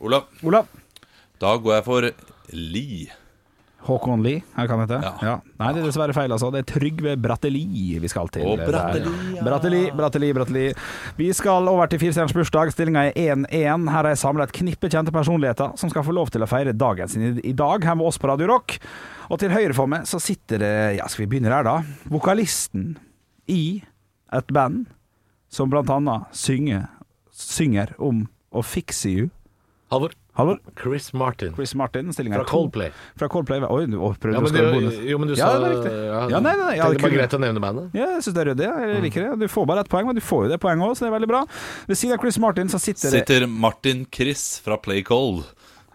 [SPEAKER 5] Olav,
[SPEAKER 8] Olav.
[SPEAKER 5] da går jeg for Li.
[SPEAKER 8] Håkon Lie, er det hva han heter? Ja. Nei, det er dessverre feil, altså. Det er Trygve Bratteli vi skal til.
[SPEAKER 5] Å, Bratteli,
[SPEAKER 8] Der. Bratteli, Bratteli, Bratteli. Vi skal over til firestjerners bursdag. Stillinga er 1-1. Her er samla et knippe kjente personligheter som skal få lov til å feire dagen sin i- i dag her med oss på Radio Rock. Og til høyre for meg så sitter det Ja, skal vi begynne der, da? Vokalisten i et band som blant annet synger, synger om å fikse you.
[SPEAKER 3] Halvor.
[SPEAKER 8] Halvor?
[SPEAKER 3] Chris Martin.
[SPEAKER 8] Chris Martin, stillinga er
[SPEAKER 3] Fra
[SPEAKER 8] to.
[SPEAKER 3] Coldplay.
[SPEAKER 8] Fra Coldplay Oi, du å, prøvde
[SPEAKER 3] Ja,
[SPEAKER 8] å
[SPEAKER 3] men
[SPEAKER 8] skåre
[SPEAKER 3] du-
[SPEAKER 8] bonus.
[SPEAKER 3] jo, men du
[SPEAKER 8] ja,
[SPEAKER 3] sa-
[SPEAKER 8] det var riktig.
[SPEAKER 3] ja,
[SPEAKER 8] Ja, nei, nei, nei, jeg hadde
[SPEAKER 3] tenkte bare
[SPEAKER 8] kun-
[SPEAKER 3] greit å nevne bandet.
[SPEAKER 8] Ja, jeg syns det er ryddig. Jeg liker det. Du får bare ett poeng, men du får jo det poenget òg, så det er veldig bra. Ved siden av Chris Martin så sitter, det
[SPEAKER 5] Sitter Martin Chris fra Play Cold.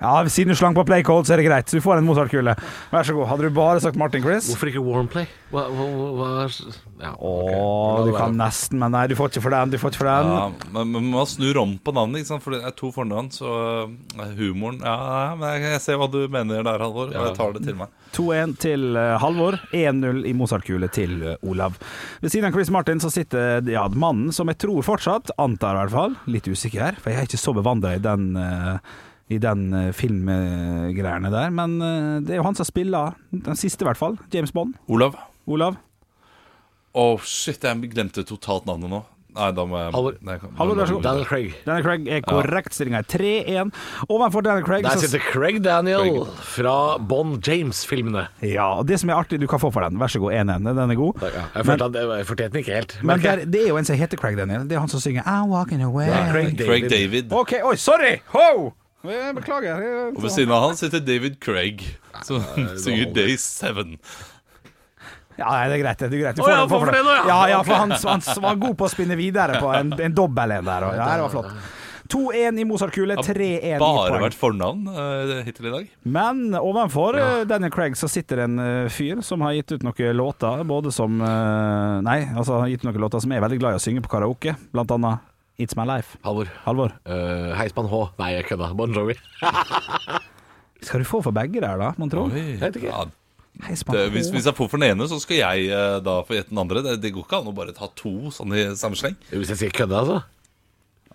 [SPEAKER 8] Ja, siden du slang på play cold, så er det greit. Så du får en Mozart-kule. Vær så god. Hadde du bare sagt Martin Chris
[SPEAKER 3] Hvorfor ikke Warmplay? Hva, hva, hva hva- ja, ok.
[SPEAKER 8] Å,
[SPEAKER 3] La
[SPEAKER 8] du
[SPEAKER 3] det
[SPEAKER 8] kan
[SPEAKER 3] være.
[SPEAKER 8] nesten, men nei, du får ikke for den. Du får ikke for den.
[SPEAKER 5] Ja, men men man snur om på navnet, ikke sant? for det er to fornavn. Så øh, humoren Ja, ja, men jeg, jeg ser hva du mener der, Halvor, og jeg tar det til meg.
[SPEAKER 8] 2-1 til eh, Halvor, 1-0 i Mozart-kule til eh, Olav. Ved siden av Chris Martin så sitter ja, mannen som jeg tror fortsatt, antar i hvert fall, litt usikker, for jeg er ikke så bevandra i den eh, i den eh, filmgreiene der, men eh, det er jo han som spiller den siste, i hvert fall. James Bond.
[SPEAKER 5] Olav.
[SPEAKER 8] Olav.
[SPEAKER 5] Å, shit, jeg glemte totalt navnet nå. Nei, da må jeg
[SPEAKER 3] Halvor.
[SPEAKER 5] Nei, jeg kan-
[SPEAKER 8] Halvor, vær så god.
[SPEAKER 3] Daniel Craig.
[SPEAKER 8] Daniel Craig er korrekt. Stillinga er 3-1. Ovenfor Daniel Craig
[SPEAKER 3] Der
[SPEAKER 8] så
[SPEAKER 3] sitter Craig Daniel fra Bon James-filmene.
[SPEAKER 8] Ja, og det som er artig, du kan få for den. Vær så god, 1-1. Den er god.
[SPEAKER 3] Ja, jeg følte at jeg fortjente den ikke helt.
[SPEAKER 8] Men
[SPEAKER 3] merker jeg.
[SPEAKER 8] der, det er jo en som heter Craig Daniel. Det er han som synger I'm walking away.
[SPEAKER 3] Craig
[SPEAKER 5] Craig
[SPEAKER 3] sånn David.
[SPEAKER 5] David.
[SPEAKER 8] Ok, oi, sorry! Ho! Jeg Beklager. jeg-
[SPEAKER 5] Og ved siden av han sitter David Craig, som synger Day 7.
[SPEAKER 8] Ja, nei, det er greit. Det er greit. Du
[SPEAKER 3] Å, ja,
[SPEAKER 8] får
[SPEAKER 3] for det nå, ja.
[SPEAKER 8] ja, ja, for han, han var god på å spinne videre på en, en dobbel en der. Og, ja, det var flott. 2-1 i Mozart-kule, 3-1 i
[SPEAKER 5] Bare
[SPEAKER 8] poeng.
[SPEAKER 5] vært fornavn eh, hittil i dag.
[SPEAKER 8] Men ovenfor eh, Daniel Craig så sitter en eh, fyr som har gitt ut noen låter, både som eh, Nei, altså han har gitt ut noen låter som jeg er veldig glad i å synge på karaoke, blant annet It's My Life.
[SPEAKER 3] Halvor.
[SPEAKER 8] Halvor,
[SPEAKER 3] Eh, Heismann H. Nei, jeg kødda. Bon Jovi.
[SPEAKER 8] skal du få for begge der, da, mon tro?
[SPEAKER 3] vet ikke.
[SPEAKER 5] Ja,
[SPEAKER 8] Hei, spann.
[SPEAKER 5] det, hvis, hvis jeg får for den ene, så skal jeg eh, da få gjette den andre. Det, det går ikke an å bare ta to sånn i samme sleng.
[SPEAKER 3] Hvis jeg sier kødda, altså.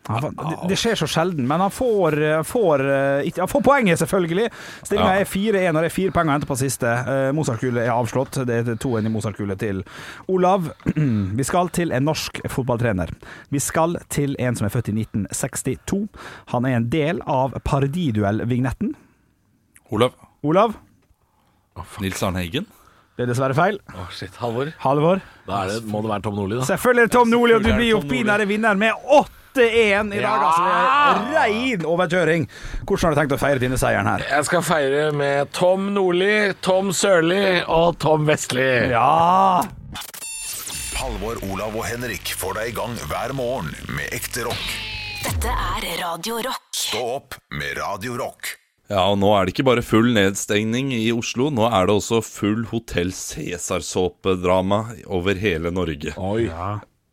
[SPEAKER 8] Ja, faen, det, det skjer så sjelden, men han får, får, eh, ikke- han får poenget, selvfølgelig. Stillinga er 4-1, og det er fire poeng å hente på siste. Eh, Mozart-kule er avslått. Det er 2-1 i Mozart-kule til Olav. Vi skal til en norsk fotballtrener. Vi skal til en som er født i 1962. Han er en del av parodiduell-vignetten.
[SPEAKER 5] Olav.
[SPEAKER 8] Olav,
[SPEAKER 5] Nils Arne Eggen.
[SPEAKER 8] det er dessverre feil.
[SPEAKER 3] Å, shit. Halvor.
[SPEAKER 8] Halvor.
[SPEAKER 3] Da er det, må det være Tom Nordli, da.
[SPEAKER 8] Selvfølgelig er det Tom Nordli, og du
[SPEAKER 5] selvfølgelig er
[SPEAKER 8] blir
[SPEAKER 5] det
[SPEAKER 8] jo
[SPEAKER 5] Tom Nordli.
[SPEAKER 8] pinadø vinner med 8-1 i dag.
[SPEAKER 3] Ja!
[SPEAKER 8] Altså, det er rein overkjøring. Hvordan har du tenkt å feire denne seieren her?
[SPEAKER 3] Jeg skal feire med Tom Nordli, Tom Sørli og Tom Vestli.
[SPEAKER 8] Ja!
[SPEAKER 1] Halvor, Olav og Henrik får deg i gang hver morgen med ekte rock.
[SPEAKER 2] Dette er Radio Rock.
[SPEAKER 1] Stå opp med Radio Rock.
[SPEAKER 5] Ja, og nå er det ikke bare full nedstengning i Oslo, nå er det også full Hotell Cæsar-såpedrama over hele Norge.
[SPEAKER 3] Oi.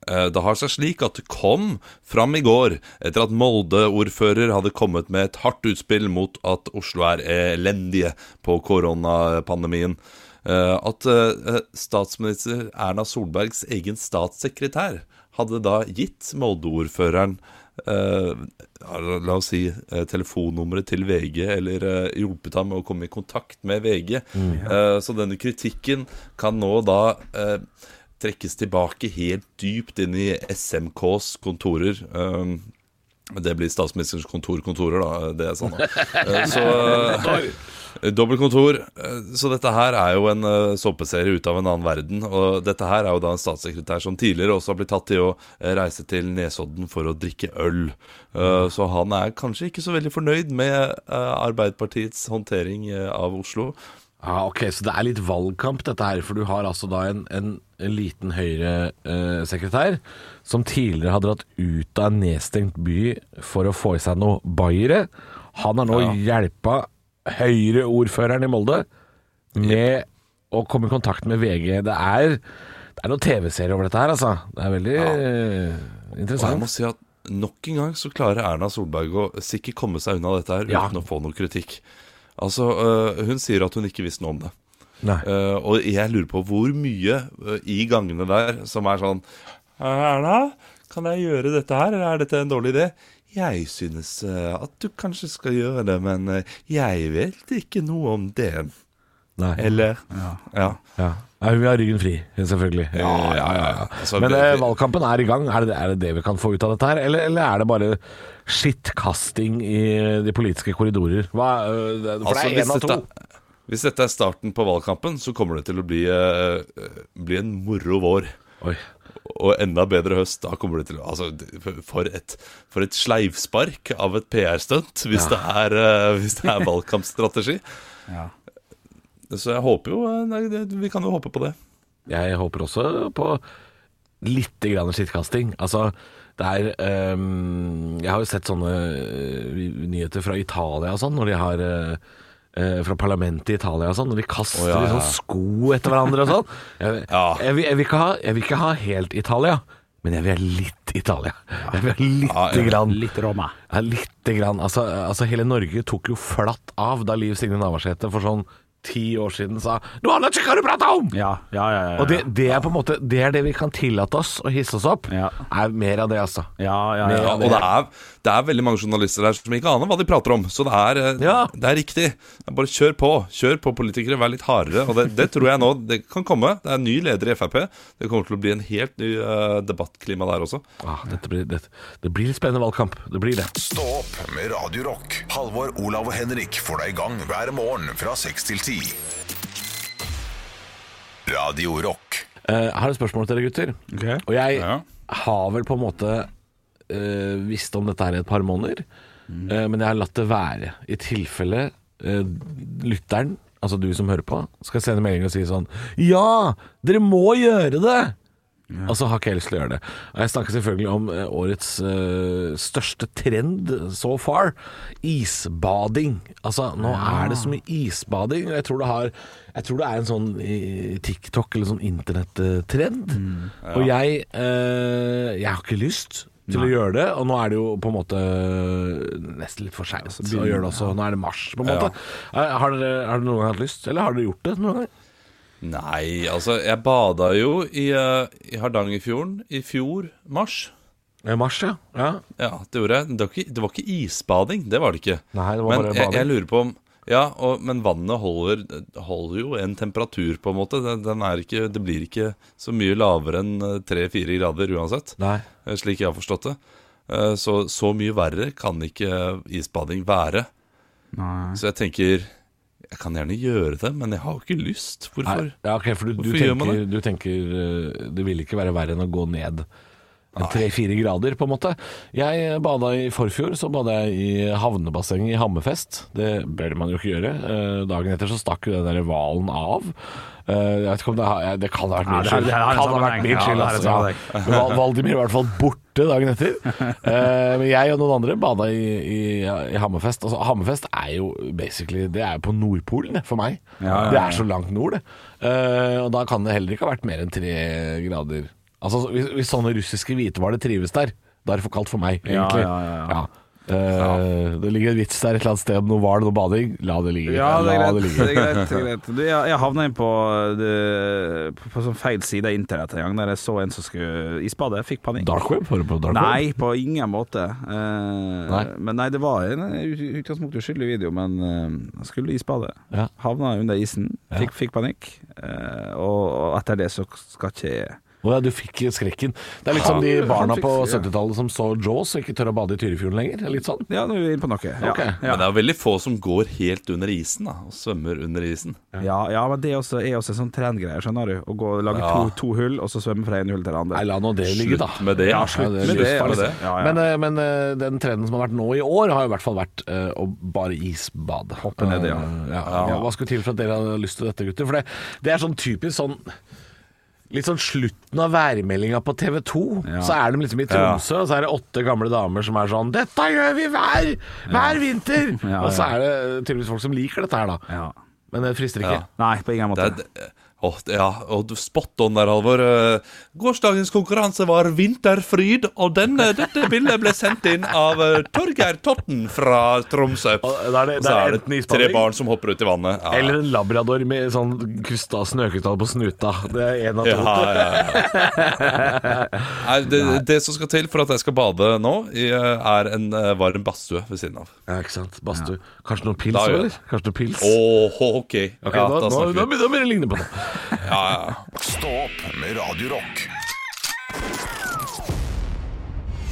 [SPEAKER 5] Eh, Det har seg slik at det kom fram i går, etter at Molde-ordfører hadde kommet med et hardt utspill mot at Oslo er elendige på koronapandemien, eh, at eh, statsminister Erna Solbergs egen statssekretær hadde da gitt Molde-ordføreren eh, la la oss si eh, telefonnummeret til VG, eller eh, hjulpet ham med å komme i kontakt med VG. Eh, så denne kritikken kan nå da eh, trekkes tilbake helt dypt inn i SMKs kontorer. Um, det blir statsministerens kontor, kontorer, da. Det er sånn, da. Eh, Så, Dobbelt kontor. Eh, Så dette her er jo en eh, såpeserie ut av en annen verden. Og dette her er jo da en statssekretær som tidligere også har blitt tatt til å eh, reise til Nesodden for å drikke øl. Eh, Så han er kanskje ikke så veldig fornøyd med eh, Arbeiderpartiets håndtering eh, av Oslo.
[SPEAKER 3] Ja, Ah, ok, Så det er litt valgkamp dette her, for du har altså da en, en, en liten Høyre-sekretær som tidligere har dratt ut av en nedstengt by for å få i seg noe bayere. Han har nå hjelpa Høyre-ordføreren i Molde med å komme i kontakt med VG. Det er, det er noen TV-serier over dette her, altså. Det er veldig eh,
[SPEAKER 5] Og jeg
[SPEAKER 3] interessant.
[SPEAKER 5] må si at nok en gang så klarer Erna Solberg å sikkert komme seg unna dette her
[SPEAKER 3] Ja.
[SPEAKER 5] uten å få noe kritikk. Altså, øh, hun sier at hun ikke visste noe om det.
[SPEAKER 3] Nei.
[SPEAKER 5] Øh, og jeg lurer på hvor mye øh, i gangene der som er sånn Erna, kan jeg gjøre dette her, eller er dette en dårlig idé? Jeg synes øh, at du kanskje skal gjøre det, men øh, jeg vet ikke noe om det.
[SPEAKER 3] Nei.
[SPEAKER 5] Eller ja.
[SPEAKER 3] Ja. Ja, hun vil ha ryggen fri, selvfølgelig.
[SPEAKER 5] Ja, ja, ja, ja. Altså,
[SPEAKER 3] Men
[SPEAKER 5] det-
[SPEAKER 3] eh,
[SPEAKER 5] det-
[SPEAKER 3] valgkampen er i gang. Er det, er det det vi kan få ut av dette her? Eller, eller er det bare skittkasting i de politiske korridorer? Hva, eh, det- for det er én av to.
[SPEAKER 5] Altså, dette, hvis dette er starten på valgkampen, så kommer det til å bli, eh, bli en moro vår. Og enda bedre høst. Da kommer det til å altså, For et, for et sleivspark av et PR-stunt, hvis,
[SPEAKER 12] Ja.
[SPEAKER 5] det er, eh, hvis det er valgkampstrategi.
[SPEAKER 12] Ja.
[SPEAKER 5] Så jeg håper jo eh, nei, det- Vi kan jo håpe på det.
[SPEAKER 3] Jeg håper også på litt grann skittkasting. Altså, det er ehm, Jeg har jo sett sånne eh, nyheter fra Italia og sånn, når de har eh, eh, fra parlamentet i Italia og sånn, når de kaster
[SPEAKER 5] Å, ja, ja.
[SPEAKER 3] liksom sko etter hverandre og sånn. Jeg, jeg, vil- jeg, vil ikke ha, jeg vil ikke ha helt Italia, men jeg vil ha litt Italia. Jeg vil ha lite grann.
[SPEAKER 4] Litt Roma.
[SPEAKER 3] Ja, lite grann. Altså, altså, hele Norge tok jo flatt av da Liv Signe Navarsete for sånn ti år siden sa 'Noe annet skal ikke du prate om!'
[SPEAKER 8] Ja, ja, ja, ja.
[SPEAKER 3] Og det, det er på en måte Det er det vi kan tillate oss å hisse oss opp. Er mer av det, altså. Mer
[SPEAKER 5] Ja,
[SPEAKER 3] av
[SPEAKER 5] og det er, det er veldig mange journalister der som ikke aner hva de prater om, så det er, eh, det er riktig. Det er Bare kjør på. Kjør på, politikere. Vær litt hardere. Og det, det tror jeg nå det kan komme. Det er en ny leder i Frp. Det kommer til å bli en helt ny eh, debattklima der også.
[SPEAKER 3] Ah, dette blir, det, det blir spennende valgkamp. Det blir det.
[SPEAKER 1] Stå opp med Radio Rock. Halvor, Olav og Henrik får deg i gang hver morgen fra 6 til 10. Radio Rock.
[SPEAKER 3] Eh, jeg har et spørsmål til dere gutter. Og jeg har vel på en måte eh, visst om dette her i et par måneder, eh, men jeg har latt det være. I tilfelle eh, lytteren, altså du som hører på, skal sende melding og si sånn Ja, dere må gjøre det! Og så har ikke jeg lyst til å gjøre det. Og jeg snakker selvfølgelig om eh, årets eh, største trend so far. Isbading. Altså, nå er det så mye isbading. Og jeg tror det, har, jeg tror det er en sånn eh, TikTok eller sånn internettrend. Og jeg, eh, jeg har ikke lyst til å
[SPEAKER 6] Nei.
[SPEAKER 3] gjøre det. Og nå er det jo på en måte nesten litt for seint å gjøre det også. Nå er det mars, på en måte. Eh, Har, dere, har dere noen gang hatt lyst, eller har dere gjort det noen gang?
[SPEAKER 5] Nei, altså Jeg bada jo i, eh, i Hardangerfjorden i fjor mars.
[SPEAKER 3] I Eh, mars, ja. ja.
[SPEAKER 5] det gjorde jeg. Det var ikke, det var ikke isbading, det var det ikke.
[SPEAKER 3] Nei, det var
[SPEAKER 5] men
[SPEAKER 3] bare
[SPEAKER 5] jeg, jeg
[SPEAKER 3] bading.
[SPEAKER 5] lurer på om Ja, og, men vannet holder, holder jo en temperatur, på en måte. Den, den er ikke, det blir ikke så mye lavere enn eh, 3-4 grader uansett,
[SPEAKER 3] Nei.
[SPEAKER 5] eh, slik jeg har forstått det. Eh, Så, så mye verre kan ikke eh, isbading være.
[SPEAKER 8] Nei.
[SPEAKER 5] Så jeg tenker Jeg kan gjerne gjøre det, men jeg har jo ikke lyst. Hvorfor?
[SPEAKER 3] Nei, ja, ok, for du, du
[SPEAKER 5] Hvorfor gjør man
[SPEAKER 3] tenker, du tenker eh, det vil ikke være verre enn å gå ned tre-fire grader, på en måte. Jeg bada i forfjor, så bada jeg i havnebassenget i Hammerfest. Det bør man jo ikke gjøre. Eh, Dagen etter så stakk jo den der hvalen av. Eh, Jeg vet ikke om det, har, jeg- det kan ha
[SPEAKER 8] Ja,
[SPEAKER 3] vært min
[SPEAKER 8] det er-
[SPEAKER 3] skyld.
[SPEAKER 8] det er en
[SPEAKER 3] Kan ha
[SPEAKER 8] sammenheng.
[SPEAKER 3] vært min
[SPEAKER 8] Ja,
[SPEAKER 3] skyld,
[SPEAKER 8] det er en
[SPEAKER 3] altså. Ja.
[SPEAKER 8] sammenheng.
[SPEAKER 3] Men Val- Valdimir var i hvert fall borte dagen etter. Eh, Men jeg og noen andre bada i, i, i Hammerfest. Altså, Hammerfest er jo basically Det er jo på Nordpolen, det, for meg.
[SPEAKER 8] Ja, ja,
[SPEAKER 3] Det
[SPEAKER 8] ja.
[SPEAKER 3] er så langt nord, det. Eh, og da kan det heller ikke ha vært mer enn tre grader. Altså, så- hvis, hvis sånne russiske hvithvaler trives der, da er det for kaldt for meg,
[SPEAKER 8] Ja,
[SPEAKER 3] egentlig.
[SPEAKER 8] ja, ja, ja.
[SPEAKER 3] Eh, Det ligger en vits der et eller annet sted om noe hval og noe bading. La det ligge.
[SPEAKER 8] Ja, det er
[SPEAKER 3] La
[SPEAKER 8] greit.
[SPEAKER 3] ligge.
[SPEAKER 8] Det er greit, det er greit. Du, jeg, jeg havna inn på, det- på, på sånn feil side av internett en gang, der jeg så en som skulle isbade. Fikk panikk.
[SPEAKER 3] Dark web? Hører du på dark
[SPEAKER 8] Nei,
[SPEAKER 3] web?
[SPEAKER 8] på ingen måte. Eh,
[SPEAKER 3] Nei.
[SPEAKER 8] Men nei, det var en i utgangspunktet uskyldig video, men eh, jeg skulle isbade.
[SPEAKER 3] Ja.
[SPEAKER 8] Havna under isen, fikk, fikk panikk. eh, og, og etter det så skal ikke jeg
[SPEAKER 3] Å ja, du fikk skrekken. Det er litt som de
[SPEAKER 8] Ja, han
[SPEAKER 3] barna
[SPEAKER 8] fikk-
[SPEAKER 3] på
[SPEAKER 8] ja.
[SPEAKER 3] 70-tallet som så Jaws og ikke tør å bade i Tyrifjorden lenger. Det er Litt sånn.
[SPEAKER 8] Ja, nå er vi inne på noe. Ja.
[SPEAKER 5] Men det er jo veldig få som går helt under isen da, og svømmer under isen.
[SPEAKER 8] Ja, ja, men det er også, er også en sånn trendgreie, skjønner du. Å gå og lage
[SPEAKER 5] Ja.
[SPEAKER 8] to, to hull, og så svømme fra ene hullet til det andre.
[SPEAKER 3] Nei, la nå det ligge, da.
[SPEAKER 5] med det,
[SPEAKER 8] Ja,
[SPEAKER 5] ja.
[SPEAKER 8] slutt
[SPEAKER 3] Ja,
[SPEAKER 8] med det.
[SPEAKER 3] slutt med
[SPEAKER 8] altså.
[SPEAKER 3] det.
[SPEAKER 8] Ja, ja.
[SPEAKER 3] Men, eh, men eh, den trenden som har vært nå i år, har jo i hvert fall vært eh, å bare isbade. Hoppe
[SPEAKER 8] ned, ja.
[SPEAKER 3] ja. ja. Hva skulle til for at dere hadde lyst til dette, gutter? For det, det er sånn typisk sånn Litt sånn slutten av værmeldinga på TV 2. Så er de liksom i Tromsø, og så er det åtte gamle damer som er sånn 'Dette gjør vi hver, hver vinter!'
[SPEAKER 8] Ja,
[SPEAKER 3] Og så
[SPEAKER 8] ja.
[SPEAKER 3] er det tydeligvis folk som liker dette her, da.
[SPEAKER 8] Ja.
[SPEAKER 3] Men det frister ikke.
[SPEAKER 5] Ja.
[SPEAKER 8] Nei, på ingen måte.
[SPEAKER 5] Det er, det- Åh, det- ja, og du- spot on der, Halvor. Eh, Gårsdagens konkurranse var Vinterfryd, og denne, dette bildet ble sendt inn av eh, Torgeir Totten fra Tromsø.
[SPEAKER 3] Og da er det-
[SPEAKER 5] Og
[SPEAKER 3] da
[SPEAKER 5] så
[SPEAKER 3] er
[SPEAKER 5] er
[SPEAKER 3] det enten
[SPEAKER 5] det
[SPEAKER 3] isbading-
[SPEAKER 5] tre barn som hopper ut i vannet. Ja.
[SPEAKER 3] Eller en labrador med sånn kusta snøkrystall på snuta. Det er en av to.
[SPEAKER 5] Ja, ja, ja. Nei, det, det som skal til for at jeg skal bade nå, i, eh, er en eh, varm badstue ved siden av.
[SPEAKER 3] Ja, ikke sant. Badstue. Kanskje noe pils
[SPEAKER 5] Da
[SPEAKER 3] òg,
[SPEAKER 5] gjør jeg
[SPEAKER 3] eller? Kanskje noe pils?
[SPEAKER 5] Åh, ok.
[SPEAKER 3] Ok,
[SPEAKER 5] ja,
[SPEAKER 3] nå,
[SPEAKER 5] da
[SPEAKER 3] nå, nå
[SPEAKER 5] snakker vi.
[SPEAKER 3] begynner det å ligne på noe.
[SPEAKER 5] Ja, ja.
[SPEAKER 1] Stå opp med Radio Rock.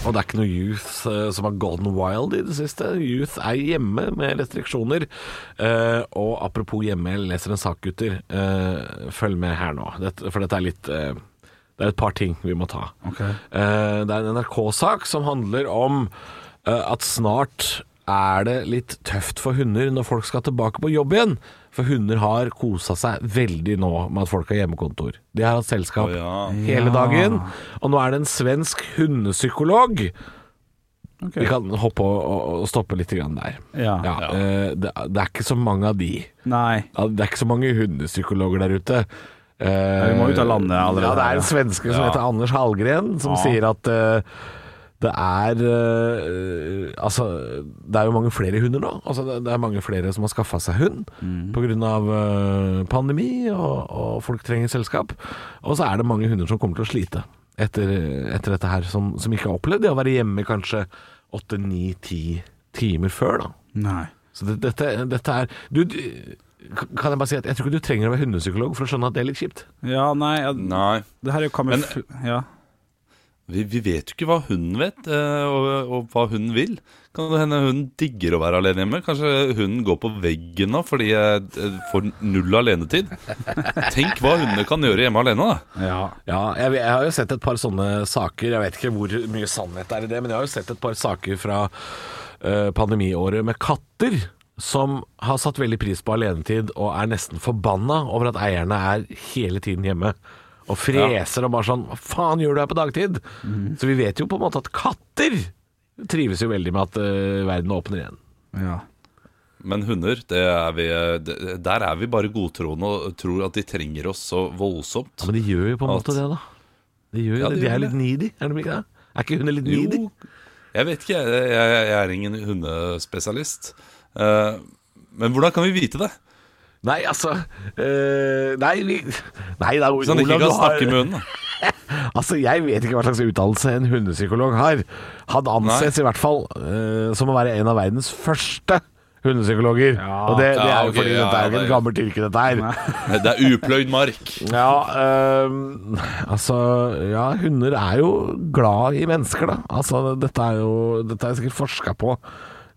[SPEAKER 3] Og det er ikke noe youth eh, som har gone wild i det siste. Youth er hjemme med restriksjoner. Eh, og apropos hjemme, jeg leser en sak, gutter. Eh, følg med her nå, dette, for dette er litt eh, Det er et par ting vi må ta. Eh, det er en NRK-sak som handler om eh, at snart er det litt tøft for hunder når folk skal tilbake på jobb igjen. For hunder har kosa seg veldig nå med at folk har hjemmekontor. De har hatt selskap
[SPEAKER 5] Å, ja.
[SPEAKER 3] hele dagen. Og nå er det en svensk hundepsykolog. Vi kan hoppe og, og- og stoppe litt grann der.
[SPEAKER 8] Ja.
[SPEAKER 3] eh, Det, er- det er ikke så mange av de.
[SPEAKER 8] Nei.
[SPEAKER 3] Ja, Det er ikke så mange hundepsykologer der ute. Eh,
[SPEAKER 8] vi må ut av landet allerede.
[SPEAKER 3] Ja, det er en svenske som heter Anders Hallgren, som sier at eh, det er eh, Altså, det er jo mange flere hunder nå. Altså, det, det er mange flere som har skaffa seg hund
[SPEAKER 8] Mm.
[SPEAKER 3] pga. Uh, pandemi, og, og folk trenger selskap. Og så er det mange hunder som kommer til å slite etter, etter dette her, som, som ikke har opplevd det å være hjemme kanskje åtte, ni, ti timer før, da.
[SPEAKER 8] Nei.
[SPEAKER 3] Så det, dette, dette er du, du, Kan jeg bare si at jeg tror ikke du trenger å være hundepsykolog for å skjønne at det er litt kjipt.
[SPEAKER 8] Ja, nei, ja,
[SPEAKER 5] Nei.
[SPEAKER 8] det her er jo kamufl... Ja.
[SPEAKER 5] Vi, vi vet jo ikke hva hunden vet, eh, og, og hva hunden vil. Kan det hende hunden digger å være alene hjemme? Kanskje hunden går på veggen nå fordi jeg eh, får null alenetid? Tenk hva hundene kan gjøre hjemme alene, da.
[SPEAKER 8] ja.
[SPEAKER 3] Ja, jeg, jeg har jo sett et par sånne saker. Jeg vet ikke hvor mye sannhet det er i det, men jeg har jo sett et par saker fra eh, pandemiåret med katter som har satt veldig pris på alenetid og er nesten forbanna over at eierne er hele tiden hjemme. Og freser og bare sånn Hva faen gjør du her på dagtid? Så vi vet jo på en måte at katter trives jo veldig med at eh, verden åpner igjen.
[SPEAKER 8] ja.
[SPEAKER 5] Men hunder, det er vi, eh, det- der er vi bare godtroende og tror at de trenger oss så voldsomt.
[SPEAKER 3] Ja, men de gjør jo på en
[SPEAKER 5] At-
[SPEAKER 3] måte det, da. De, gjør jo
[SPEAKER 5] Ja, de
[SPEAKER 3] det. de
[SPEAKER 5] gjør
[SPEAKER 3] er
[SPEAKER 5] det.
[SPEAKER 3] litt needy, er de ikke det? Er ikke hunder litt needy?
[SPEAKER 5] Jo, jeg vet ikke. Jeg, jeg, jeg er ingen hundespesialist. Eh, men hvordan kan vi vite det?
[SPEAKER 3] Nei, altså øh, Nei, vi, nei da,
[SPEAKER 5] Hvis han Sånn ikke kan
[SPEAKER 3] Olav, du har-
[SPEAKER 5] snakke med hunden? da.
[SPEAKER 3] Altså, jeg vet ikke hva slags utdannelse en hundepsykolog har. Han anses i hvert fall øh, som å være en av verdens første hundepsykologer. Og det, det
[SPEAKER 5] Ja,
[SPEAKER 3] er jo
[SPEAKER 5] ok,
[SPEAKER 3] fordi
[SPEAKER 5] ja,
[SPEAKER 3] dette er jo
[SPEAKER 5] det
[SPEAKER 3] ikke
[SPEAKER 5] er
[SPEAKER 3] et
[SPEAKER 5] jo-
[SPEAKER 3] gammelt yrke, dette her.
[SPEAKER 5] Nei, Det er upløyd mark.
[SPEAKER 3] Ja, øhm, altså Ja, hunder er jo glad i mennesker, da. Altså, dette er jo Dette er sikkert forska på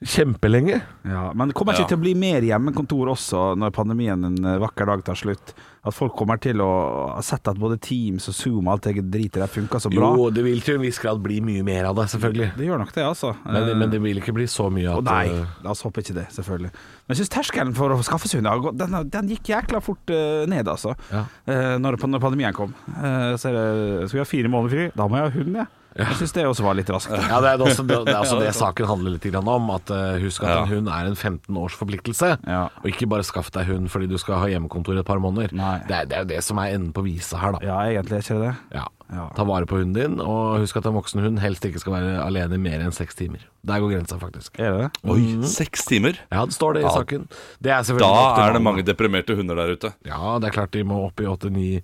[SPEAKER 3] kjempelenge.
[SPEAKER 8] ja. Men kommer ikke
[SPEAKER 5] Ja.
[SPEAKER 8] til å bli mer hjemmekontor også, når pandemien en eh, vakker dag tar slutt? At folk kommer til å ha sett at både Teams og Zoom og alt det dritet der funker så bra?
[SPEAKER 3] Jo, det vil til en viss grad bli mye mer av det, selvfølgelig.
[SPEAKER 8] Det gjør nok det, altså.
[SPEAKER 3] Men,
[SPEAKER 8] Eh,
[SPEAKER 3] men det vil ikke bli så mye
[SPEAKER 8] Å
[SPEAKER 3] at
[SPEAKER 8] nei,
[SPEAKER 3] øh,
[SPEAKER 8] la oss håpe ikke det, selvfølgelig. Men jeg syns terskelen for å skaffe seg hund har gått- den, har- den gikk jækla fort eh, ned, altså.
[SPEAKER 3] Ja.
[SPEAKER 8] Eh, når, når pandemien kom. Eh, så er det, skal vi ha fire måneder fri? Da må jeg ha hund, jeg. Jeg syns det også var litt raskt.
[SPEAKER 3] ja, det er også det, det, er også det saken handler litt grann om. At øh, Husk at
[SPEAKER 5] Ja.
[SPEAKER 3] en hund er en 15 års forpliktelse.
[SPEAKER 8] Ja.
[SPEAKER 3] Og ikke bare skaff deg hund fordi du skal ha hjemmekontor et par måneder.
[SPEAKER 8] Nei.
[SPEAKER 3] Det, er, det er jo det som er enden på visa her, da.
[SPEAKER 8] Ja, egentlig, er ikke det det?
[SPEAKER 3] Ja.
[SPEAKER 8] Ja.
[SPEAKER 3] Ta vare på hunden din, og husk at en voksen hund helst ikke skal være alene i mer enn seks timer. Der går grensa, faktisk.
[SPEAKER 8] Er det det?
[SPEAKER 5] Oi, seks timer?
[SPEAKER 3] Ja, det står det i
[SPEAKER 5] Ja.
[SPEAKER 3] saken. Det er selvfølgelig
[SPEAKER 5] Da
[SPEAKER 3] optimalt.
[SPEAKER 5] er det mange deprimerte hunder der ute.
[SPEAKER 3] Ja, det er klart de må opp i åtte, ni,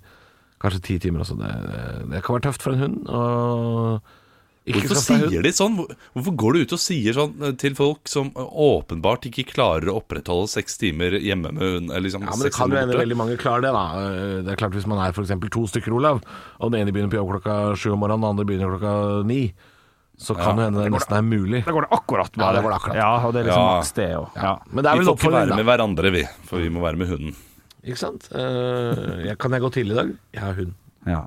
[SPEAKER 3] kanskje ti timer også. Det, det kan være tøft for en hund. Og Ikke
[SPEAKER 5] Hvorfor
[SPEAKER 3] skal ta
[SPEAKER 5] sier de sånn? Hvor- Hvorfor går du ut og sier sånn eh, til folk som eh, åpenbart ikke klarer å opprettholde seks timer hjemme med hund? eller Liksom,
[SPEAKER 3] Ja, men det
[SPEAKER 5] seks
[SPEAKER 3] kan jo
[SPEAKER 5] timer
[SPEAKER 3] hende
[SPEAKER 5] borte?
[SPEAKER 3] veldig mange klarer det, da. Eh, Det er klart Hvis man er for eksempel to stykker, Olav, og den ene begynner på jobb klokka sju om morgenen, den andre begynner klokka ni, så
[SPEAKER 8] Ja.
[SPEAKER 3] kan det hende det
[SPEAKER 8] Da går det-
[SPEAKER 3] nesten er mulig.
[SPEAKER 8] Da går det akkurat
[SPEAKER 3] Ja,
[SPEAKER 8] bare.
[SPEAKER 3] det går det akkurat.
[SPEAKER 8] Ja, og det er liksom
[SPEAKER 5] Ja.
[SPEAKER 8] sted og ja.
[SPEAKER 3] Men det er
[SPEAKER 5] vi får
[SPEAKER 3] vel
[SPEAKER 5] ikke
[SPEAKER 3] oppfølging,
[SPEAKER 5] være
[SPEAKER 3] da.
[SPEAKER 5] med hverandre, vi. For vi må være med hunden.
[SPEAKER 3] Ikke sant? Eh, jeg, kan jeg gå tidlig i dag? Jeg har hund.
[SPEAKER 8] Ja.